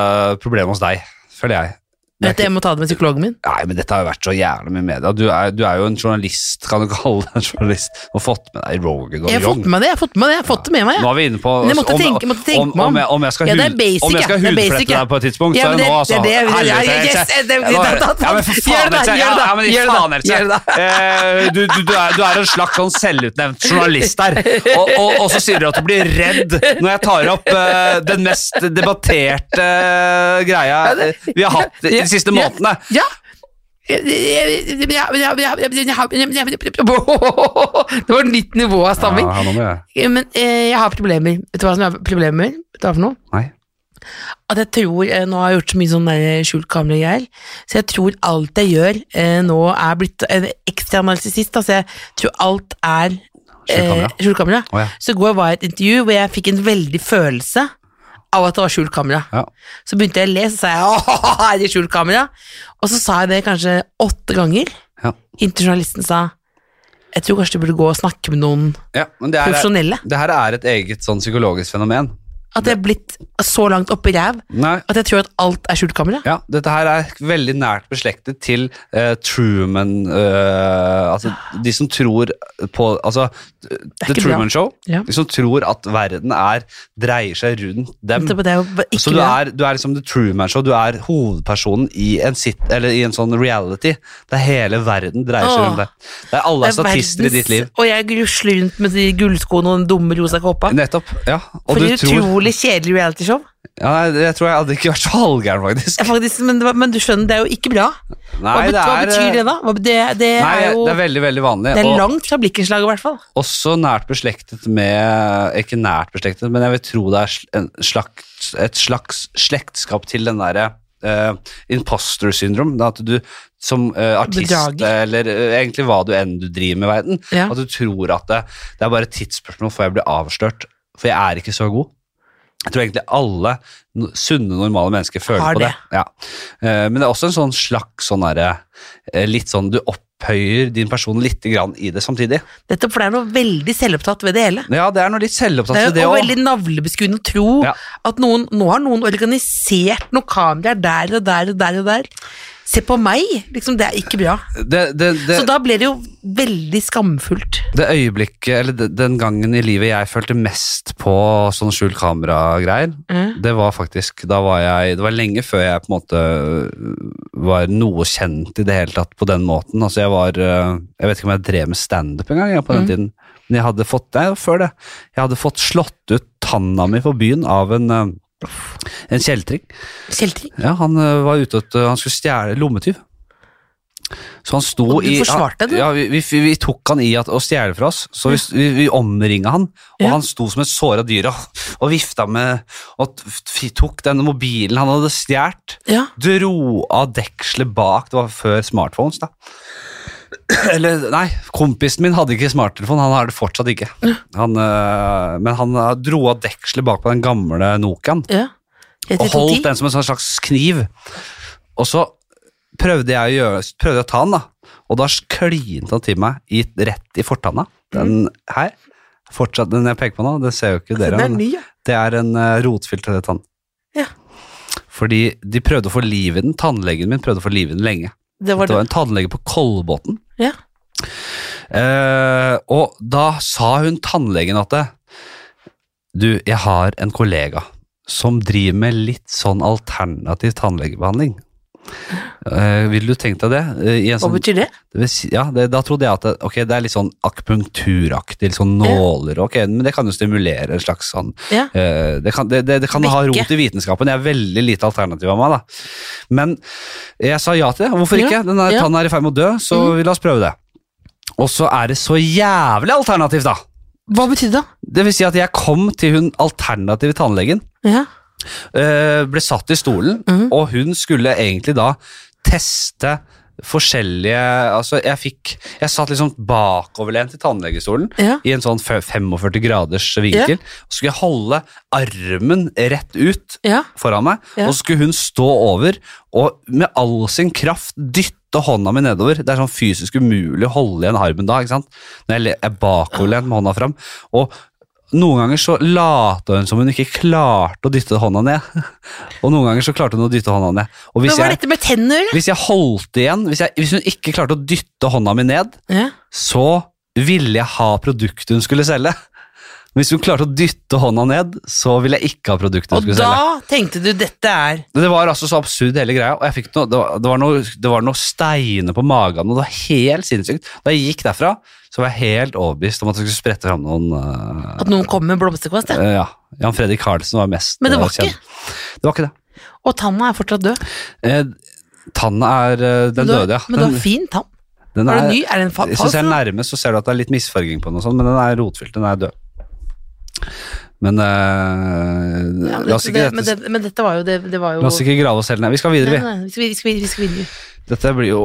problemet hos deg, føler jeg. Det er
Vet du, jeg må ta det med psykologen min.
Nei, men dette har jo vært så jævlig mye media. Du er, du er jo en journalist, kan du kalle deg en journalist, og fått med deg Rogan og
Jeg har fått
Young.
med meg det, jeg har fått med meg det, jeg har fått det med meg.
Nå
Ja.
er vi inne på
Men jeg måtte
om,
tenke- måtte tenke
om,
meg om.
om, jeg, om jeg skal,
Ja, det er
hud-
basic,
om jeg skal
ja. Det er basic,
hudflette
ja.
deg på et tidspunkt, så
Ja, men
er det
det-
nå, altså.
det er det-
Helvete,
ja, ja, yes,
Else.
det- det-
Ja, nå er
da- da-
Ja, men for
gjør
faen,
det,
Else.
gjør det,
Ja, men i
gjør det,
faen, Else.
gjør det.
Eh, du, du, du, er, du er en slags sånn selvutnevnt journalist der, og, og, og så sier du at du blir redd når jeg tar opp eh, den mest debatterte greia eh, vi har hatt de siste månedene.
Ja. Det var nytt nivå av stamming.
Ja, nå må jeg-
Men eh, jeg har problemer. Vet du hva som er problemer? Vet du hva for noe?
Nei.
At jeg tror, eh, Nå har jeg gjort så mye sånn der skjult kamera-greier, så jeg tror alt jeg gjør eh, nå er blitt en ekstra narsissist. Altså, jeg tror alt er
Skjult kamera?
Eh, skjult kamera.
Å, ja.
Så i går var jeg i et intervju hvor jeg fikk en veldig følelse av at det var skjult kamera.
Ja.
Så begynte jeg å le, så sa jeg åh, er det skjult kamera? Og så sa jeg det kanskje åtte ganger,
Ja.
inntil journalisten sa jeg tror kanskje du burde gå og snakke med noen
Ja, men det, er,
profesjonelle.
det her er et eget sånn psykologisk fenomen.
At jeg er blitt så langt oppi ræv
Nei,
at jeg tror at alt er skjult kamera.
Ja, dette her er veldig nært beslektet til eh, Truman eh, Altså, de som tror på Altså, The
ikke bra.
Truman Show.
Ja.
De som tror at verden er dreier seg rundt dem.
Nettopp, det er jo ba- ikke
Så du
bra.
er, du er liksom The Truman Show, du er hovedpersonen i en, sit, eller i en sånn reality der hele verden dreier seg
Åh.
rundt deg. Det er alle er statister altså i
verdens-
ditt liv.
Og jeg grusler rundt med de gullskoene og den dumme rosa kåpa.
Nettopp. Ja. Og
For
du
det er et
tror
utrolig kjedelig realityshow.
ja, nei, Det tror jeg hadde ikke vært så halvgæren, faktisk.
Ja, faktisk, Men, det var- men du skjønner, det er jo ikke bra. Hva,
Nei,
bet-
det
hva
er,
betyr det, da? Hva, det, det
Nei,
er jo
det er veldig, veldig vanlig.
det er
og-
langt fra blikkenslaget, i hvert fall.
Også nært beslektet med Ikke nært beslektet, men jeg vil tro det er sl- en slags, et slags slektskap til den derre eh, imposter syndrome. Da, at du som eh, artist,
Bedrager.
eller eh, egentlig hva du enn du driver med i verden,
Ja.
at du tror at det, det er bare et tidsspørsmål før jeg blir avslørt, for jeg er ikke så god. Jeg tror egentlig alle no- sunne, normale mennesker føler
Har
på det.
det.
Ja. Eh, Men det er også en sånn slags sånn derre eh, Litt sånn du opphøyer din person lite grann i det samtidig.
Dette, for det er noe veldig selvopptatt ved det hele.
Ja, det er noe litt selvopptatt
Det er
ved altså, det
jo og
òg.
veldig navlebeskuende å tro
Ja.
at noen, nå har noen organisert noen kameraer der og der og der og der. Se på meg! Liksom, det er ikke bra.
Det, det, det,
Så da ble det jo veldig skamfullt.
det øyeblikket, eller de- den gangen i livet jeg følte mest på sånn skjult kamera-greier,
Mm.
det var faktisk Da var jeg Det var lenge før jeg på en måte øh, var noe kjent i det hele tatt på den måten. Altså, jeg var eh, Jeg vet ikke om jeg drev med standup engang jeg, på
Mm.
den tiden. Men jeg hadde fått Nei, det var før det. Jeg hadde fått slått ut tanna mi på byen av en eh, en kjeltring.
Kjeltring.
Ja, han eh, var ute etter Han skulle stjele lommetyv. Så han sto
Og du
i
forsvarte det?
Ja, vi, vi, vi tok han i at, å stjele fra oss, så vi, vi, vi omringa han. Og
Ja.
han sto som et såra dyr og, og vifta med Og t- f- tok denne mobilen han hadde stjålet.
Ja.
Dro av dekselet bak. Det var før smartphones, da. Eller, nei, kompisen min hadde ikke smarttelefon. Han har det fortsatt ikke. Han, eh, men han eh, dro av dekselet bak på den gamle Nokiaen
ja.
og holdt den som en sånn slags kniv. Og så prøvde jeg å, gjøre, prøvde jeg å ta den, da. Og da klinte han til meg i, rett i fortanna. Den her. Fortsatt, den jeg peker på nå, det ser jo ikke dere.
Den Mm. Altså, er
men
ny, ja.
det er en eh, rotfiltrert tann.
Ja.
Fordi de prøvde å få liv i den. Tannlegen min prøvde å få liv i den lenge.
Det var
Det var
den.
en tannlege på Kolbotn.
Ja.
Eh, og da sa hun tannlegen at det, Du, jeg har en kollega som driver med litt sånn alternativ tannlegebehandling. Eh, ville du tenkt deg det? Eh, i en
Hva
sånn-
betyr det?
det vil si- ja, det, da trodde jeg at det, ok, det er litt sånn akupunkturaktig, litt sånn nåler, ok, men det kan jo stimulere en slags sånn,
Ja.
eh, det kan, det, det, det kan ha
Vekke.
rot i vitenskapen, det er veldig lite alternativ av meg da. Men jeg sa ja til det, hvorfor
Ja,
ikke? Den der
ja. Mm.
tannen er i ferd med å dø, så vi la oss prøve det. Og så er det så jævlig alternativt da.
Hva betydde det?
Det vil si at jeg kom til hun alternative tannlegen,
Ja.
eh, ble satt i stolen,
Mhm.
og hun skulle egentlig da teste forskjellige Altså, jeg fikk Jeg satt liksom bakoverlent i tannlegestolen.
Ja.
I en sånn fe- 45 graders vinkel. Og skulle jeg holde armen rett ut
Ja.
foran meg,
Ja.
og så skulle hun stå over og med all sin kraft dytte hånda mi nedover. Det er sånn fysisk umulig å holde igjen armen da, ikke sant? Når jeg le- er bakoverlent med hånda fram. Og noen ganger så lata hun som hun ikke klarte å dytte hånda ned. Og noen ganger så klarte hun å dytte hånda ned. Og
Men
hvis
hva er
jeg,
dette med tenner, eller?
hvis jeg holdt igjen, hvis, jeg, hvis hun ikke klarte å dytte hånda mi ned,
Ja.
så ville jeg ha produktet hun skulle selge. Hvis hun klarte å dytte hånda ned, så ville jeg ikke ha produktet hun
Og
skulle selge.
da tenkte du dette er
Det var altså så absurd hele greia, og jeg fikk noe, det, var, det, var noe, det var noe steiner på magen, og det var helt sinnssykt. Da jeg gikk derfra, så var jeg helt overbevist om at det skulle sprette fram noen eh,
at noen kommer med blomsterkvast, ja.
eh, Ja, Jan Fredrik Karlsen var mest
Men det
eh,
var ikke.
Det var ikke det.
Og tanna er fortsatt død.
Eh, tanna er eh, Den
Men du har-
døde, ja.
Men du har
Den-
fin tann.
den
Har
er-
du ny? Er den fa-
Hvis du
falsk?
ser
eller?
nærme, så ser du at det er litt misfarging på den, og sånn, men den er rotfylt. Den er død. Men eh,
Ja, men
la oss
det-
ikke,
men,
dette,
det, men dette var jo Det, det var jo
la oss ikke grave oss selv ned. Vi skal videre,
Nei,
vi.
nei, vi skal, vi skal, vi skal videre.
Dette blir jo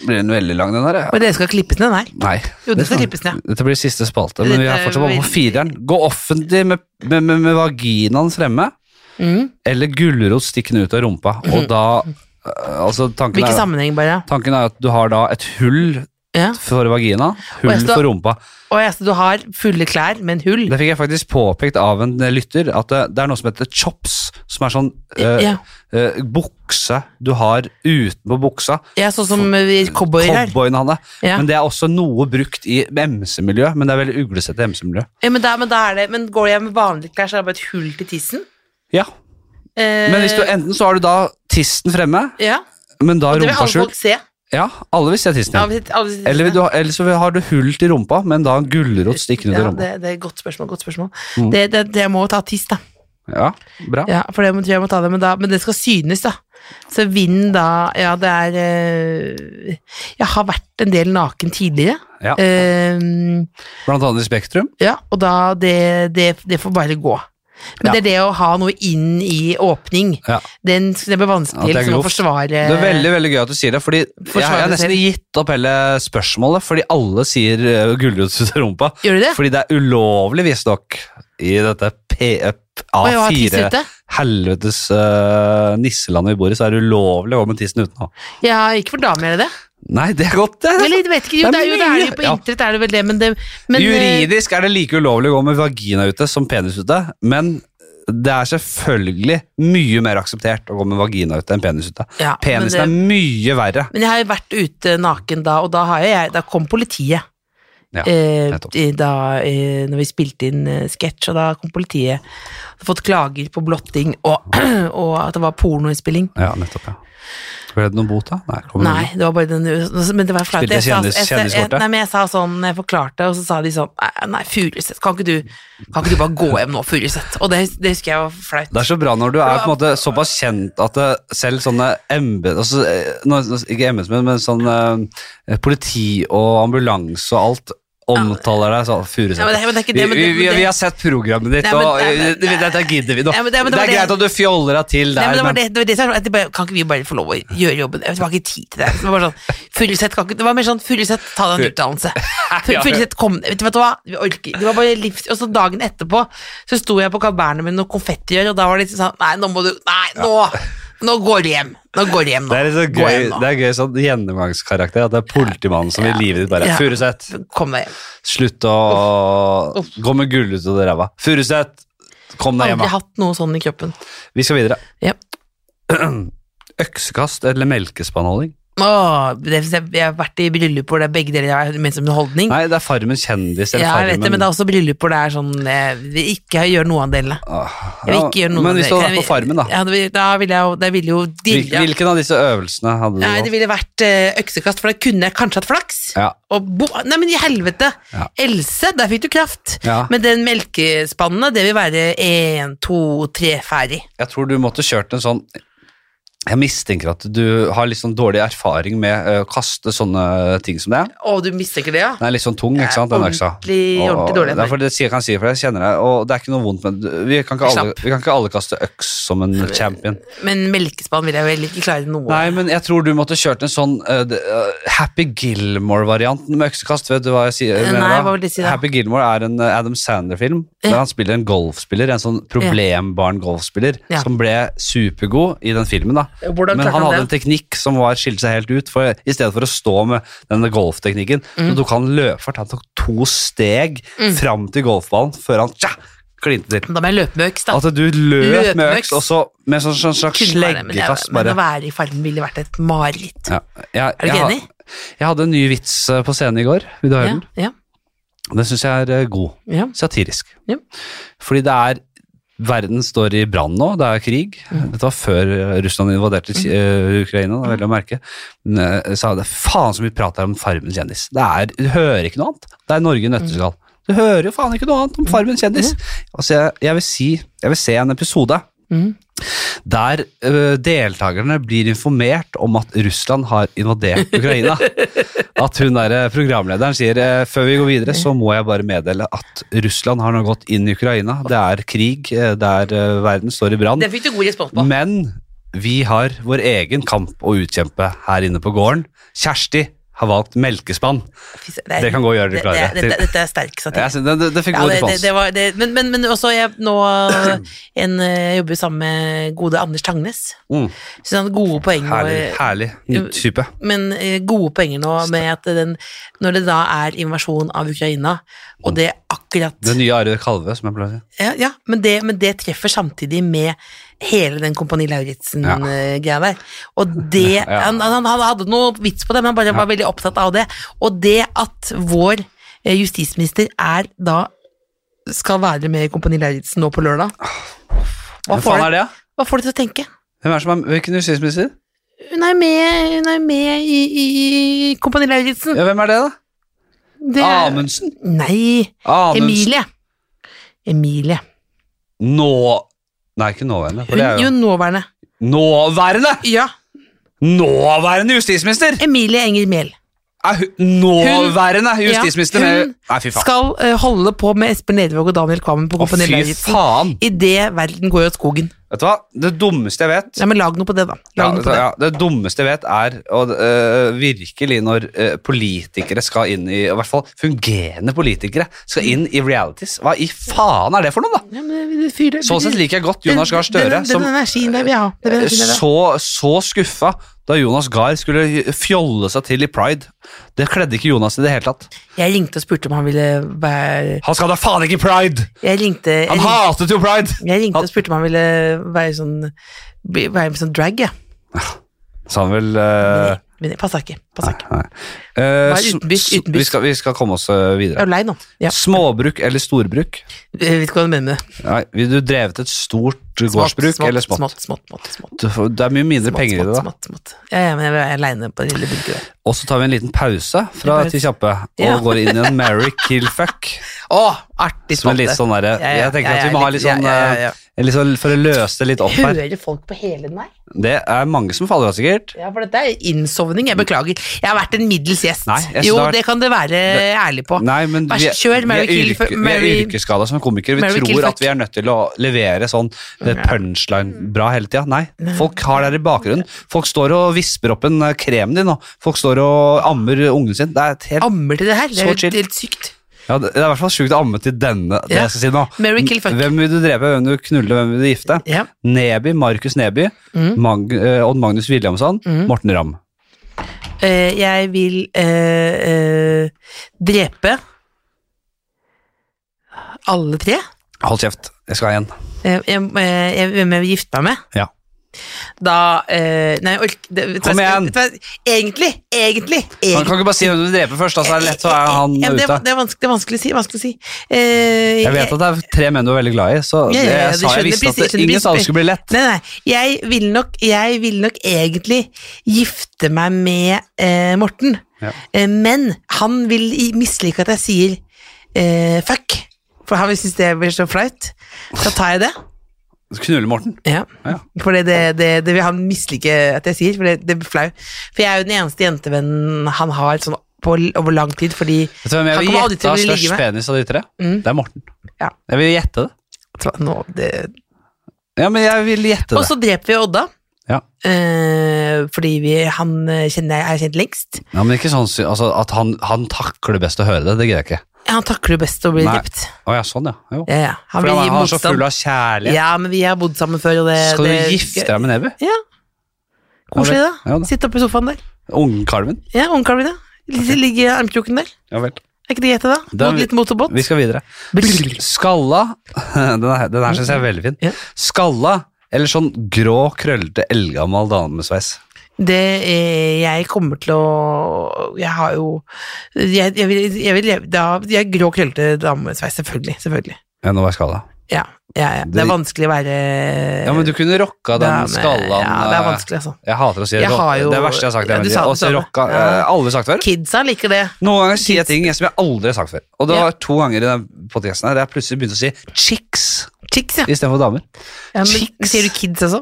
blir en veldig lang, den her. Ja.
Men det skal klippes ned, nei.
Nei.
Jo, det skal
kan-
klippes ned.
Dette blir siste spalte, men vi er
Dette
fortsatt bare på
blir-
fireren. Gå offentlig med, med, med, med vaginaen fremme,
Mm.
eller gulrot stikkende ut av rumpa. Og da eh, Altså, tanken
Hvilken
er,
sammenheng, bare?
tanken er at du har da et hull
Ja.
for vagina,
Og jeg
hull
skal-
for rumpa.
Og ja, så du har fulle klær, men hull.
Det fikk jeg faktisk påpekt av en lytter, at eh, det, det er noe som heter chops, som er sånn eh,
Ja,
eh, bukse du har utenpå buksa.
ja sånn som vi cowboyer her.
Cowboyen han er.
Ja.
Men det er også noe brukt i MC-miljø, men det er veldig uglesett i MC-miljø.
Ja, men, da, men, da er det, men går jeg med vanlige klær, så er det bare et hull til tissen?
Ja,
Eh,
Men hvis du, enten så har du da tisten fremme,
Ja,
men da
det vil
rumpa
alle folk
skjult.
se.
Ja, alle vil se tissen
Ja,
din.
hvis- alle vil se
Eller, vil
tissen,
du, ha- eller så vil- har du hull til rumpa, men da en gulrot stikkende ut i
ja,
rumpa.
det, det er et godt spørsmål. Godt spørsmål.
Mm.
Det, det, det jeg må ta tiss, da.
Ja, bra.
Ja, for det må- tror jeg må ta det, men, da, men det skal synes, da. Så vinden da Ja, det er eh, Jeg har vært en del naken tidligere.
Ja.
Eh,
Blant annet i Spektrum.
ja, og da det, det, det får bare gå. Men
Ja.
det er det å ha noe inn i åpning.
Ja.
Den, det blir
At
vanskelig
det er
liksom, å
grovt.
forsvare
Det er veldig veldig gøy at du sier det, fordi jeg, jeg
Forsvar
har
deg
nesten
selv.
gitt opp hele spørsmålet, fordi alle sier eh, gulrot ut av rumpa.
Gjør du det?
Fordi det er ulovlig, visstnok, i dette
Å, ja, tiss
PA4
ute?
helvetes eh, nisselandet vi bor i, så er det ulovlig å gå med tissen utenå.
Ja, ikke for damer, er det det?
Nei, det er godt, det!
Eller, jeg vet ikke, jo,
Det
det
er
er jo, det er det
mye.
jo på
Ja.
internett, er det vel det, men det men, eh,
Juridisk er det like ulovlig å gå med vagina ute som penis ute, men det er selvfølgelig mye mer akseptert å gå med vagina ute enn penis ute.
Ja, men
Penisen
det-
er mye verre.
Men jeg har jo vært ute naken da, og da, har jo jeg, da kom politiet.
Ja,
eh,
nettopp.
i- da, eh, når vi spilte inn eh, sketsj, og da kom politiet. Hadde fått klager på blotting og, og at det var pornoinnspilling.
Ja, nettopp, ja. Ble det noen bot, da? Nei. kommer det
Nei, det var bare den Men det var flaut.
Spilte
Jeg sa-
kjendis-
jeg sa- jeg-
kjendiskortet?
Nei, men jeg sa sånn, jeg forklarte, og så sa de sånn Nei, nei Furuseth, kan, ikke du- kan ikke du bare gå hjem nå, Furuseth? Og det, det husker jeg var flaut.
Det er så bra når du er på en måte såpass kjent at det, selv sånne embet, altså, eh, nå- nå- ikke embetsmenn, men sånn eh, politi og ambulanse og alt omtaler deg sånn
Ja, men det-
Furuseth.
men det er ikke
Vi,
det, men det-
vi, vi,
men det-
vi har sett programmet ditt,
Nei, men-
og
nei,
eh,
men-
det- dette gidder vi nå.
Nei, men det-
Det
men det var
er
det-
greit at du fjoller deg til
Nei, men
der,
det var
men
det, det, var det som var sånn, at jeg bare, Kan ikke vi bare få lov å gjøre jobben? Jeg har ikke tid til det. Det var, bare sånn, Furuseth, kan ikke, det var mer sånn Furuseth, ta deg en utdannelse. Fu- Furuseth, kom deg- Vet du vet du hva, vi orker Det var bare livs... Og så dagen etterpå så sto jeg på kabernet med noe konfettier, og da var det liksom sånn Nei, nå må du Nei, nå! Nå går du hjem. Nå går du hjem, nå.
det er litt sånn
Gå hjem
gøy,
nå.
det er gøy sånn gjennomgangskarakter, at det er politimannen som i livet ditt bare
Ja.
Furuseth,
Kom deg hjem.
slutt å gå med gull ut av ræva. Furuseth, kom deg hjem,
Aldri
da.
hatt noe sånn i kroppen.
Vi skal videre.
Ja.
Øksekast eller melkespannholding?
Åh, det, jeg har vært i bryllup hvor det er begge deler jeg har ment som en holdning.
Nei, det er Farmen kjendis eller
Mm. ja, jeg vet
Farmen
det, men det er også bryllup hvor det er sånn eh, vi Ikke gjør noe av delene.
Åh,
Jeg vil
Ah, ja,
ikke gjøre noe
Men
med
hvis
det.
du
Kan
hadde vært
jeg-
på Farmen, da.
Ja, det vil, da ville jeg jo, det ville jo
Hvil-
dirra.
Hvilken av disse øvelsene hadde du
Nei, det
valgt?
ville vært eh, øksekast, for da kunne jeg kanskje hatt flaks.
Ja.
Og bo, nei, men i helvete!
Ja.
Else, der fikk du kraft.
Ja.
Men den melkespannene, det vil være én, to, tre, ferdig.
Jeg tror du måtte kjørt en sånn Jeg mistenker at du har litt sånn dårlig erfaring med eh, å kaste sånne ting som det er.
Å, du mistenker det, ja?
Den er litt sånn tung, ikke sant? Den øksa.
Ordentlig,
Og-
ordentlig dårlig.
Derfor det sier, jeg kan si, for jeg kjenner deg, og det er ikke noe vondt med det. Vi kan ikke alle,
Slapp.
vi kan ikke alle kaste øks som en champion.
Men melkespann vil jeg vel ikke klare noe av.
Nei, men jeg tror du måtte kjørt en sånn eh, det, eh, Happy Gilmore-varianten med øksekast. Vet du hva jeg sier?
Eh,
mener
nei,
da?
hva vil det si da?
Happy Gilmore er en eh, Adam Sander-film der
Ja.
han spiller en golfspiller, en sånn problembarn-golfspiller,
Ja.
som ble supergod i den filmen. da.
Hvordan
men
klarte
han
han
hadde en
det?
teknikk som var, skilte seg helt ut. for I stedet for å stå med denne golfteknikken,
Mm.
så tok han løpefart. Han tok to steg fram til golfballen før han tja, klinte til.
Da må jeg løpe med øks, da.
At du løp
Løp
med øks,
med øks.
og så med sånn, sånn slags
Kunne være det, men, jeg,
sleggekast.
men
bare.
å være i farmen ville vært et mareritt.
Ja, jeg,
Er du
jeg
ikke
ha-
enig?
Jeg hadde en ny vits eh, på scenen i går. Vil du høre
Ja,
den?
ja,
Den syns jeg er eh, god.
ja.
Satirisk.
Ja.
Fordi det er Verden står i brann nå, det er krig.
Mm.
Dette var før eh, Russland invaderte Ki- eh, Ukraina, det er veldig å merke. Men, eh, sa det faen så mye prat her om Farmen kjendis. Det er, du hører ikke noe annet. Det er Norge i
Mm.
nøtteskall. Du hører jo faen ikke noe annet om Farmen kjendis. Altså, jeg, jeg vil si Jeg vil se en episode
Mhm.
der ø, deltakerne blir informert om at Russland har invadert Ukraina. At hun der, ø, programlederen sier «Eh, før vi går videre, så må jeg bare meddele at Russland har nå gått inn i Ukraina. Det er krig, eh, det er ø, verden står i brann.
Den fikk du god respons på.
Men vi har vår egen kamp å utkjempe her inne på gården. Kjersti har valgt melkespann.
Fy søren, er-
Dere kan gå og gjøre dere klare
Det, det, dette- dette er sterk satir.
Jeg synes Det, det, det fikk
Ja,
god
det, det,
respons.
det var, det, men, men, men også jeg, nå en, eh, jobber jo sammen med gode Anders Tangnes.
Mm.
Så han har gode poeng nå, eh,
Herlig, herlig type.
men eh, gode poenger nå med at den, når det da er invasjon av Ukraina, og det akkurat
Mm. Den nye Are Kalve, som jeg pleier å si.
Ja, ja men, det, men det treffer samtidig med hele den Kompani
Ja.
Lauritzen-greia der. Og det
Ja.
han, han, han hadde noe vits på det, men han bare var veldig opptatt av det. Og det at vår eh, justisminister er da skal være med i Kompani Lauritzen nå på lørdag hva
Hvem
får,
faen er
det,
det, da?
hva får det til å tenke?
Hvem er som er, hvilken justisminister?
Hun er med, hun er med i, i, i Kompani Lauritzen.
Ja, hvem er det, da?
Det er-
Amundsen?
Nei,
Amundsen.
Emilie. Emilie.
Nå... Nei, ikke nåværende. For
Hun,
det er
jo,
jo
nåværende.
Nåværende!
Ja,
Nåværende justisminister!
Emilie Enger Mehl.
Er hun nåværende justisminister
Ja,
med
hun
Nei, fy faen.
skal eh, holde på med Espen Nedvåg og Daniel Kvammen på
Å,
Kompani
fy
Lauritzen.
faen!
Idet verden går i skogen.
Vet du hva? Det dummeste jeg vet
Nei, men lag noe på det, da.
ja,
Lag noe på
det.
det.
Ja, det dummeste jeg vet er og, øh, virkelig når øh, politikere skal inn i, i hvert fall fungerende politikere, skal inn i realities. Hva i faen er det for noe, da?
Ja, men det fyrer-
Sånn sett liker jeg godt Jonas Gahr Støre,
Den, den,
som
den energien der vi har. Den energien der vi har.
så, så skuffa da Jonas Gahr skulle fjolle seg til i Pride. Det kledde ikke Jonas i det hele tatt.
Jeg ringte og spurte om han ville være
Han skal da faen ikke i Pride!
Jeg ringte, jeg,
Han
ringte-
hatet jo Pride!
jeg ringte
Han-
og spurte om han ville være sånn bli- Være med sånn drag, jeg.
Sa han vel eh,
Men- Men det passa ikke. Passa ikke.
Nei. Eh,
Bare
s-
utenbys,
s-
utenbys.
Vi, skal, vi skal komme oss eh,
Jeg er
videre.
lei nå. Ja.
Småbruk eller storbruk?
Jeg vet ikke hva du mener med det.
Nei, Vil du drevet et stort
Smått,
gårdsbruk
smått,
eller smått?
Smått, smått, smått, smått.
Du får- Det er mye mindre
Smått,
penger i det, da.
smått, smått, smått. Ja, ja, men jeg er aleine på det lille bygget der.
Og så tar vi en liten pause fra
Pause.
Ti kjappe og
Ja.
går inn i en Mary kill fuck.
Å, artig
Som er litt sånn derre
Ja, ja,
Jeg tenker
ja,
at
ja,
vi må ha litt
litt-
sånn
ja, ja, ja, ja.
eh, litt sånn For å løse det litt opp her.
Hører folk på hele den her?
Det er mange som faller av, sikkert.
Ja, for dette er innsovning. Jeg beklager. Jeg har vært en middels gjest.
Nei, jeg synes
jo,
det har vært-
det kan det være ærlig på.
Nei, men
Vær
vi,
så kjør,
vi,
Mary
er
kill fuck-
yrke, vi er
Mary-
yrkesskada som komikere. Vi
Mary kill
tror at
fuck.
vi er nødt til å levere sånn eh, punchline bra hele tida. Nei, folk har det her i bakgrunnen. Folk står og visper opp en eh, krem din, og folk står og ammer ungen sin. Det er et helt
Ammer til det her? Det
Så
er jo
chill.
helt sykt.
Ja, det det er i hvert fall sjukt å amme til denne. Det
Ja.
jeg skal si nå.
Mary kill fuck.
Hvem vil du drepe, hvem vil du knulle, hvem vil du gifte?
Ja.
Neby, Markus Neby,
Mm.
Mag eh, Odd Magnus Williamson, Morten Ramm.
Eh, jeg vil eh, eh, drepe alle tre.
Hold kjeft, jeg skal ha en.
Eh, jeg, eh, jeg, hvem jeg vil gifte meg med.
Ja.
Da eh, Nei, jeg orker det- vet du hva
Kom
jeg skal-
igjen.
vet du hva jeg- Egentlig! Egentlig!
Han
egentlig.
kan ikke bare si hvem du vil drepe først, da, så er det lett, så er han
Ja, men det,
ute.
er- det, er vanskelig, det er vanskelig å si. Vanskelig å si. Eh,
Jeg vet at det er tre menn du er veldig glad i, så
Ja, ja,
det,
ja,
jeg,
du
sa, jeg
skjønner
visste at
prinsipp-
det, ingen sa det skulle bli lett.
Nei, nei. Jeg vil nok, jeg vil nok egentlig gifte meg med eh, Morten,
Ja.
eh, men han vil i- mislike at jeg sier eh, fuck, for han vil synes det blir så flaut. Så tar jeg det.
Knulle Morten.
Ja.
Ja.
For det, det, det, det vil han mislike at jeg sier, for det, det blir flau. For jeg er jo den eneste jentevennen han har sånn på, over lang tid, fordi
Vet du hvem jeg
Han
vil
kommer aldri
gjette
til å
har
bli
størst
ligge med.
penis av de tre?
Mm.
Det er Morten.
Ja.
Jeg vil gjette det.
nå, det,
Ja, men jeg vil gjette
Og
det.
så dreper vi Odda.
Ja.
Eh, fordi vi, han eh, kjenner jeg er kjent lengst.
Ja, men ikke sånn sy- altså, at han, han takler det best å høre det, det greier jeg ikke.
Ja, Han takler jo best å bli
Nei.
drept.
Å ja, sånn ja. Jo.
Ja, ja. Han
For
vil
han
gi
er- han er så
motstand.
full av kjærlighet.
Ja, men vi har bodd sammen før, og det
Skal du
det,
gifte deg med Neby?
Ja. Koselig, da.
Ja, da.
Sitte oppe i sofaen der.
Ungkalven?
Ja, ungkaren min, ja. Ligge- Ligge i armkroken der.
Ja vel.
Er ikke det greit, da?
Da-
Mot litt mot og
Vi
båt.
skal videre. Skalla Den her, den her syns jeg er veldig fin.
Ja.
Skalla eller sånn grå, krøllete, eldgammel damesveis.
Det eh, jeg kommer til å Jeg har jo Jeg, jeg vil, jeg vil leve da, Jeg er grå, krøllete damesveis, selvfølgelig. Selvfølgelig.
Ja, nå var jeg skalla.
Ja, ja, ja. Det
Det-
er vanskelig å være
Ja, men du kunne rocka den
dame-
skallaen
Ja, det er
eh,
vanskelig, altså.
Jeg hater å si det.
Jeg
rock-
har jo-
det er verste jeg har sagt.
Ja,
jeg
du
vet
sa
ikke.
det
Å si
samme.
rocka
Ja.
eh, Alle sagt før.
Kidsa liker det.
Noen ganger sier jeg ting som jeg aldri har sagt før. Og det var to ganger i den podcasten her jeg plutselig begynte å si chicks
Chicks, ja.
istedenfor damer.
ja men,
Chicks.
sier du kids også?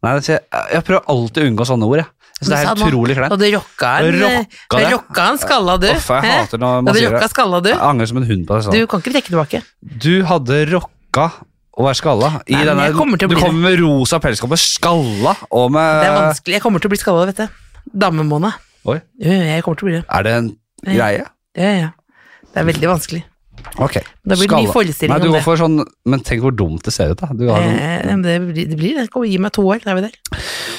Nei, det sier jeg, jeg prøver alltid å unngå sånne ord. Jeg, jeg synes det er
Men
helt
sa man-
utrolig kleint.
Og du rocka en,
Rocka
du
det.
rocka en skalla, du.
Uff, jeg
Hæ?
hater når
Og
man
du
sier
rocka
det.
skalla, du.
Jeg angrer som en hund på det.
Du
Sånn.
kan ikke trekke tilbake.
Du, hadde rocka å være skalla. I
Nei, men
denne,
jeg kommer til å
du
bli
kommer med rosa pelskåpe, skalla og med
Det er vanskelig. Jeg kommer til å bli skalla, vet du. Damemåne.
Eh. Oi.
Jo, jo, jeg kommer til å bli det.
Er det en
Ja.
greie?
Ja, ja. Det er veldig vanskelig.
Ok.
Da blir det mye
skalla.
forestilling
Nei, du
om
går
det.
For sånn, men tenk hvor dumt det ser ut, da. Du har sånn,
Eh, men det blir det. Blir, det. Kom, gi meg to år, da er vi der.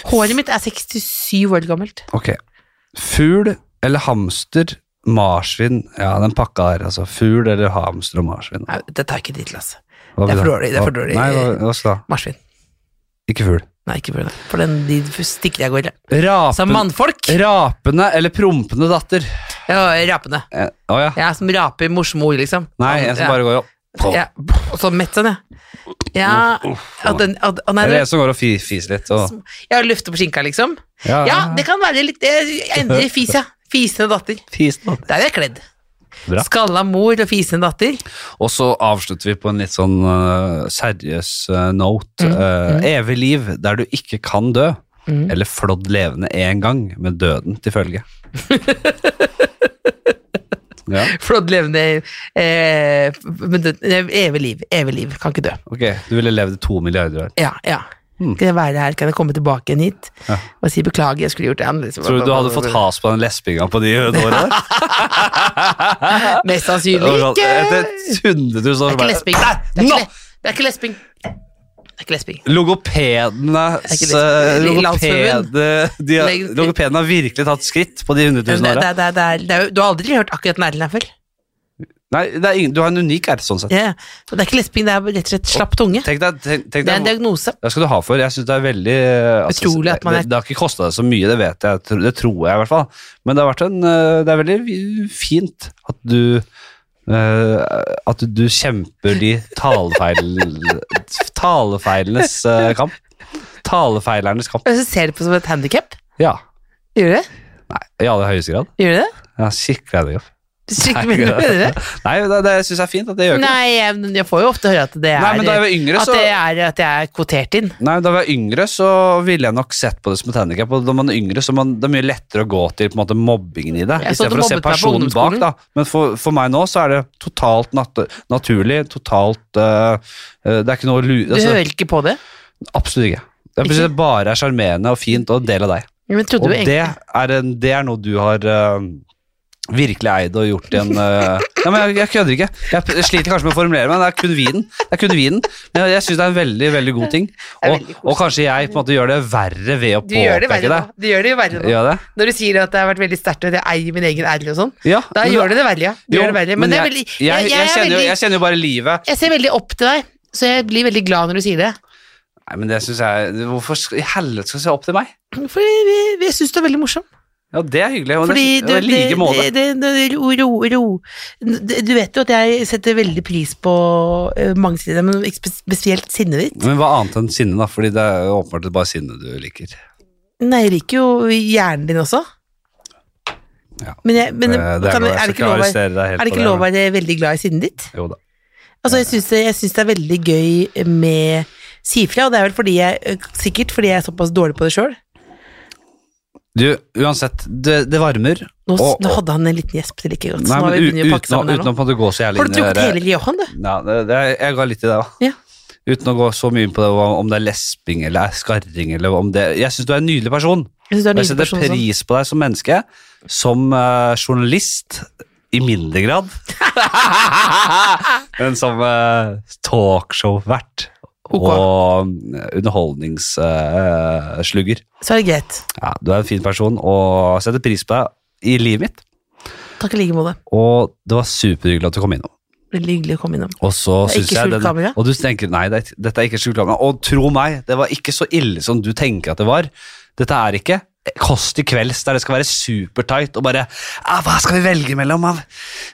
Håret mitt er 67 år gammelt.
ok. Fugl eller hamster, marsvin Ja, den pakka der, altså. Fugl eller hamster og marsvin.
Nei, det tar jeg ikke tid til, altså.
Hva vil
det er
du
for
ha?
dårlig, det er for dårlig.
Nei, hva, hva skal du ha?
Marsvin.
Ikke fugl.
Nei, ikke for det. For den, de stikker jeg av gårde. Som
Rapen,
mannfolk.
rapende eller prompende datter?
Ja, rapende.
Eh, Å ja.
Jeg er som raper morsomme ord, liksom.
Nei, en som
Ja.
bare går og
Ja, og så mett sånn, ja. Ja, at den, at, å, nei,
Eller
det,
en som går og fi- fiser litt. Og,
jeg har lufte på skinka, liksom. Ja, det kan være litt eh, Jeg jeg endrer fis, ja. Fisende datter. Der er jeg kledd.
Bra.
Skalla mor og fisende datter.
Og så avslutter vi på en litt sånn eh, seriøs eh, note.
Mm,
Eh, evig liv der du ikke kan dø. Eller flådd levende én gang, med døden til følge. ja,
Flådd levende eh, men det- Evig liv. Evig liv. Kan ikke dø.
ok. Du ville levd i to milliarder år.
Ja, ja. Kan jeg være her? Kan jeg komme tilbake igjen hit?
Hmm. Ja.
Og si beklager, jeg skulle gjort det annerledes.
Tror du du hadde fått has på den lesbinga på de åra der?
Mest
Det sånn-
sannsynlig
var sånn,
ikke.
Etter 100 000 år
Det er
så
ikke
bare-
lesbing.
Nei,
Det er ikke,
nå!
le- det er ikke lesbing. er ikke lesbing. Er
Logopedenes
ikke det-
eh,
Landsforbund?
logopede, de, har-
Legg-
Logopeden har virkelig tatt skritt på de 100 000
Det, det,
åra.
det, det, er- det er jo- du har aldri hørt akkurat den Erlend her før.
Nei, det er ingen, du har en unik R, sånn sett.
Ja, ja. Og Det er ikke lesbing, det er rett og slett slapp tunge.
Tenk deg, tenk, tenk
Det er en
deg
diagnose.
det skal du ha for. Jeg synes det er veldig eh, altså,
Utrolig at man
det,
er-
det har ikke kosta deg så mye, det vet jeg. tro- Det tror jeg i hvert fall. Men det har vært en eh, Det er veldig vi- fint at du eh, At du kjemper de talefeil, talefeilenes eh, kamp. Talefeilernes kamp.
Og så ser du på det som et handikap.
Ja.
Gjør du det?
Nei, I aller høyeste grad.
Gjør du det?
Jeg har skikkelig handikap.
Skikkelig mener du det?
Nei, det, det syns jeg er fint at det gjør ikke det.
Nei, jeg, jeg får jo ofte høre at det er,
Nei, men da jeg var yngre,
at,
så
det er at jeg er kvotert inn.
Nei, da jeg var yngre, så ville jeg nok sett på det som et handikap. Og når man er yngre, så er man, det er mye lettere å gå til på en måte, mobbingen i det.
Jeg så at
Istedenfor
du
å se
mobbet meg på
personen bak,
ungdomsskolen.
da. Men for, for meg nå, så er det totalt nat naturlig. Totalt eh, eh, Det er ikke noe lu...
Du
Altså,
hører ikke på det.
absolutt ikke. Det er plutselig bare er sjarmerende og fint og en del av deg.
Men trodde
Og
du
det
egentlig
er, en, det er noe du har eh, virkelig eid og gjort i en eh, Nei, men jeg, jeg kødder ikke. Jeg p- sliter kanskje med å formulere meg, men det er kun vinen. Det er kun vinen. Men jeg syns det er en veldig, veldig god ting. Og,
er veldig
og kanskje jeg på en måte gjør det verre ved å
Du gjør det
påpeke
verre
det.
nå. Du gjør det jo verre nå.
Gjør jeg det?
Når du sier at det har vært veldig sterkt og at jeg eier min egen ære og sånn,
Ja.
da
men
gjør det det verre, ja. Du
jo,
gjør det verre. Men det er veldig,
jeg,
jeg,
jeg,
jeg,
jeg,
er
kjenner jo, jeg
veldig,
kjenner jo bare livet.
jeg ser veldig opp til deg, så jeg blir veldig glad når du sier det.
Nei, men det syns jeg Hvorfor sk- i helvete skal du se opp til meg?
For jeg, jeg syns du er veldig morsom.
Ja, det er hyggelig. Og
Fordi
det, det, er i like måte.
det, det, det, ro, ro, ro. Det- Du vet jo at jeg setter veldig pris på eh, mange sider, men ikke spe- spesielt sinnet ditt.
Men hva annet enn sinne, da? Fordi det er jo åpenbart bare sinne du liker.
Nei, jeg liker jo hjernen din også.
Ja.
Men, jeg,
Eh,
men
det er,
kan,
lov, jeg
er,
skal
det ikke
ikke
lov, å-
arrestere deg helt
er det
på
ikke lov å
men-
være veldig glad i sinnet ditt?
Jo da.
Altså, jeg syns det, jeg synes det er veldig gøy med si fra, og det er vel fordi jeg, eh, sikkert fordi jeg er såpass dårlig på det sjøl.
Du, uansett, det, det varmer.
Nå, s-
Og-
nå hadde han en liten gjesp til ikke godt, så
Nei, men
nå har vi
u-
begynt å pakke
uten, å-
sammen her
uten å
nå.
på en måte gå så jævlig
Har
inn
du
i
drukket
det der-
hele Johan, du?
Nei, det, det, jeg ga litt i det, da.
Ja.
Uten å gå så mye inn på det, hva- om det er lesbing eller er skarring eller om det Jeg syns du er en nydelig person.
Jeg synes du er en
Jeg
nydelig
setter
person sånn, også.
pris på deg som menneske. Som eh, journalist i mindre grad. Men som eh, talkshow-vert.
Ok.
Og eh, underholdningsslugger.
Så er det greit.
ja, du er en fin person, og jeg setter pris på deg i livet mitt.
Takk i like måte.
Og det var superhyggelig at du kom innom.
Veldig hyggelig å komme innom.
Og så
Det er
synes
ikke
jeg
skjult kamera?
Og du tenker nei, det, er- dette er ikke skjult kamera. Og tro meg, det var ikke så ille som du tenker at det var. Dette er ikke Kost i kvelds, der det skal være supertight og bare «Ah, Hva skal vi velge mellom av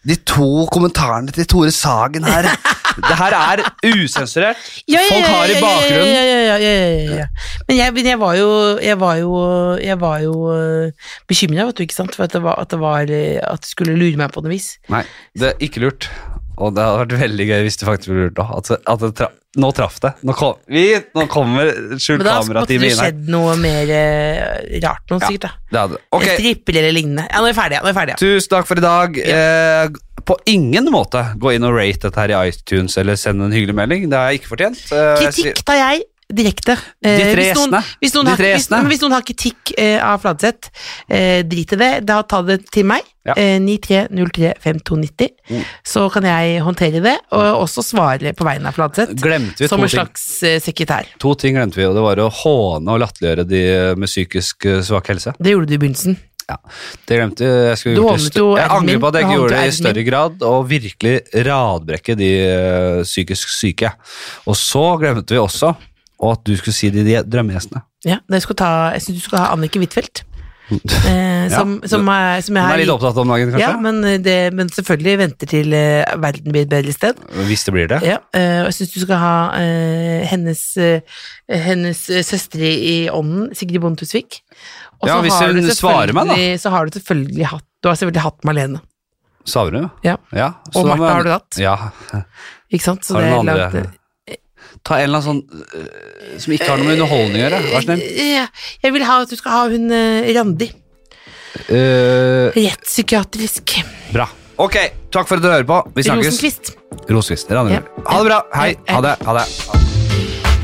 de to kommentarene til Tore Sagen her? det her er usensurert. Folk har i bakgrunnen
Ja, ja, ja, ja, ja, ja, ja. Men jeg, men jeg var jo, jeg var jo, jeg var jo bekymra, vet du, ikke sant, for at det, var, at, det var, eh, at du skulle lure meg på noe vis.
Nei, det er ikke lurt. Og det hadde vært veldig gøy hvis det faktisk ble lurt. da. At, at det tra nå traff det. Nå, kom, vi, nå kommer skjult
Men da måtte
kameratime
det jo
inn her.
skjedd noe mer eh, rart noe,
Ja.
sikkert, da.
Det hadde. Ok,
Stripper eller lignende. Ja, nå er vi ferdige. Nå er vi ferdige.
tusen takk for i dag. Eh, på ingen måte gå inn og rate dette her i iTunes eller send en hyggelig melding. Det har jeg ikke fortjent. Eh, jeg sier-
Kritikk tar jeg direkte. Eh,
De tre
hvis, noen,
gjestene.
hvis, noen
De
har,
tre
hvis,
gjestene.
men hvis noen har kritikk eh, av Fladseth, eh, drit i det. Da ta det til meg.
Ja.
Eh, 93035290.
Mm.
Så kan jeg håndtere det, og også svare på vegne av Fladseth.
Glemte vi
Som
to
en
ting.
slags eh, sekretær.
to ting glemte vi, og det var å håne og latterliggjøre de med psykisk eh, svak helse.
Det gjorde du i begynnelsen.
Det glemte jeg. Jeg, skulle
Du
gjort det i
hånet
stø-
jo
jeg
æren
angrer
min,
på at jeg
du
ikke
hånet
gjorde
jo
det i
æren
større grad, og virkelig radbrekke de eh, psykisk syke. Og så glemte vi også og at du skulle si de, de drømmegjestene.
Ja, da jeg, skulle ta, jeg syns du skal ha Anniken Huitfeldt. Eh, som,
Ja.
som, er,
Hun
som jeg
er litt opptatt om dagen,
Ja,
kanskje?
men, eh, det, men selvfølgelig venter til eh, verden blir et bedre sted.
Hvis det blir det.
Ja, eh, og jeg syns du skal ha eh, hennes, eh, hennes eh, søster i i ånden, Sigrid Bonde Tusvik. Og
Ja,
så
hvis
har
hun
du
svarer meg, da.
selvfølgelig- Så har du selvfølgelig hatt Du har selvfølgelig hatt Marlene.
Savner du?
Ja.
så
Og
da må-
Martha har du hatt.
Ja.
Ikke sant? Så
Har du
det er
noen
langt-
andre? Ta en eller annen sånn eh, som ikke har noe med underholdning å gjøre. Vær så snill.
Eh, Ja, jeg vil ha at du skal ha hun eh, Randi.
Eh,
Rettspsykiatrisk.
bra. Ok, takk for at dere hører på. Vi snakkes.
Rosenkvist.
Rosenkvist. Randager.
Ja.
Ha det bra. Hei.
Ja.
Ha det. Ha det.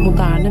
Moderne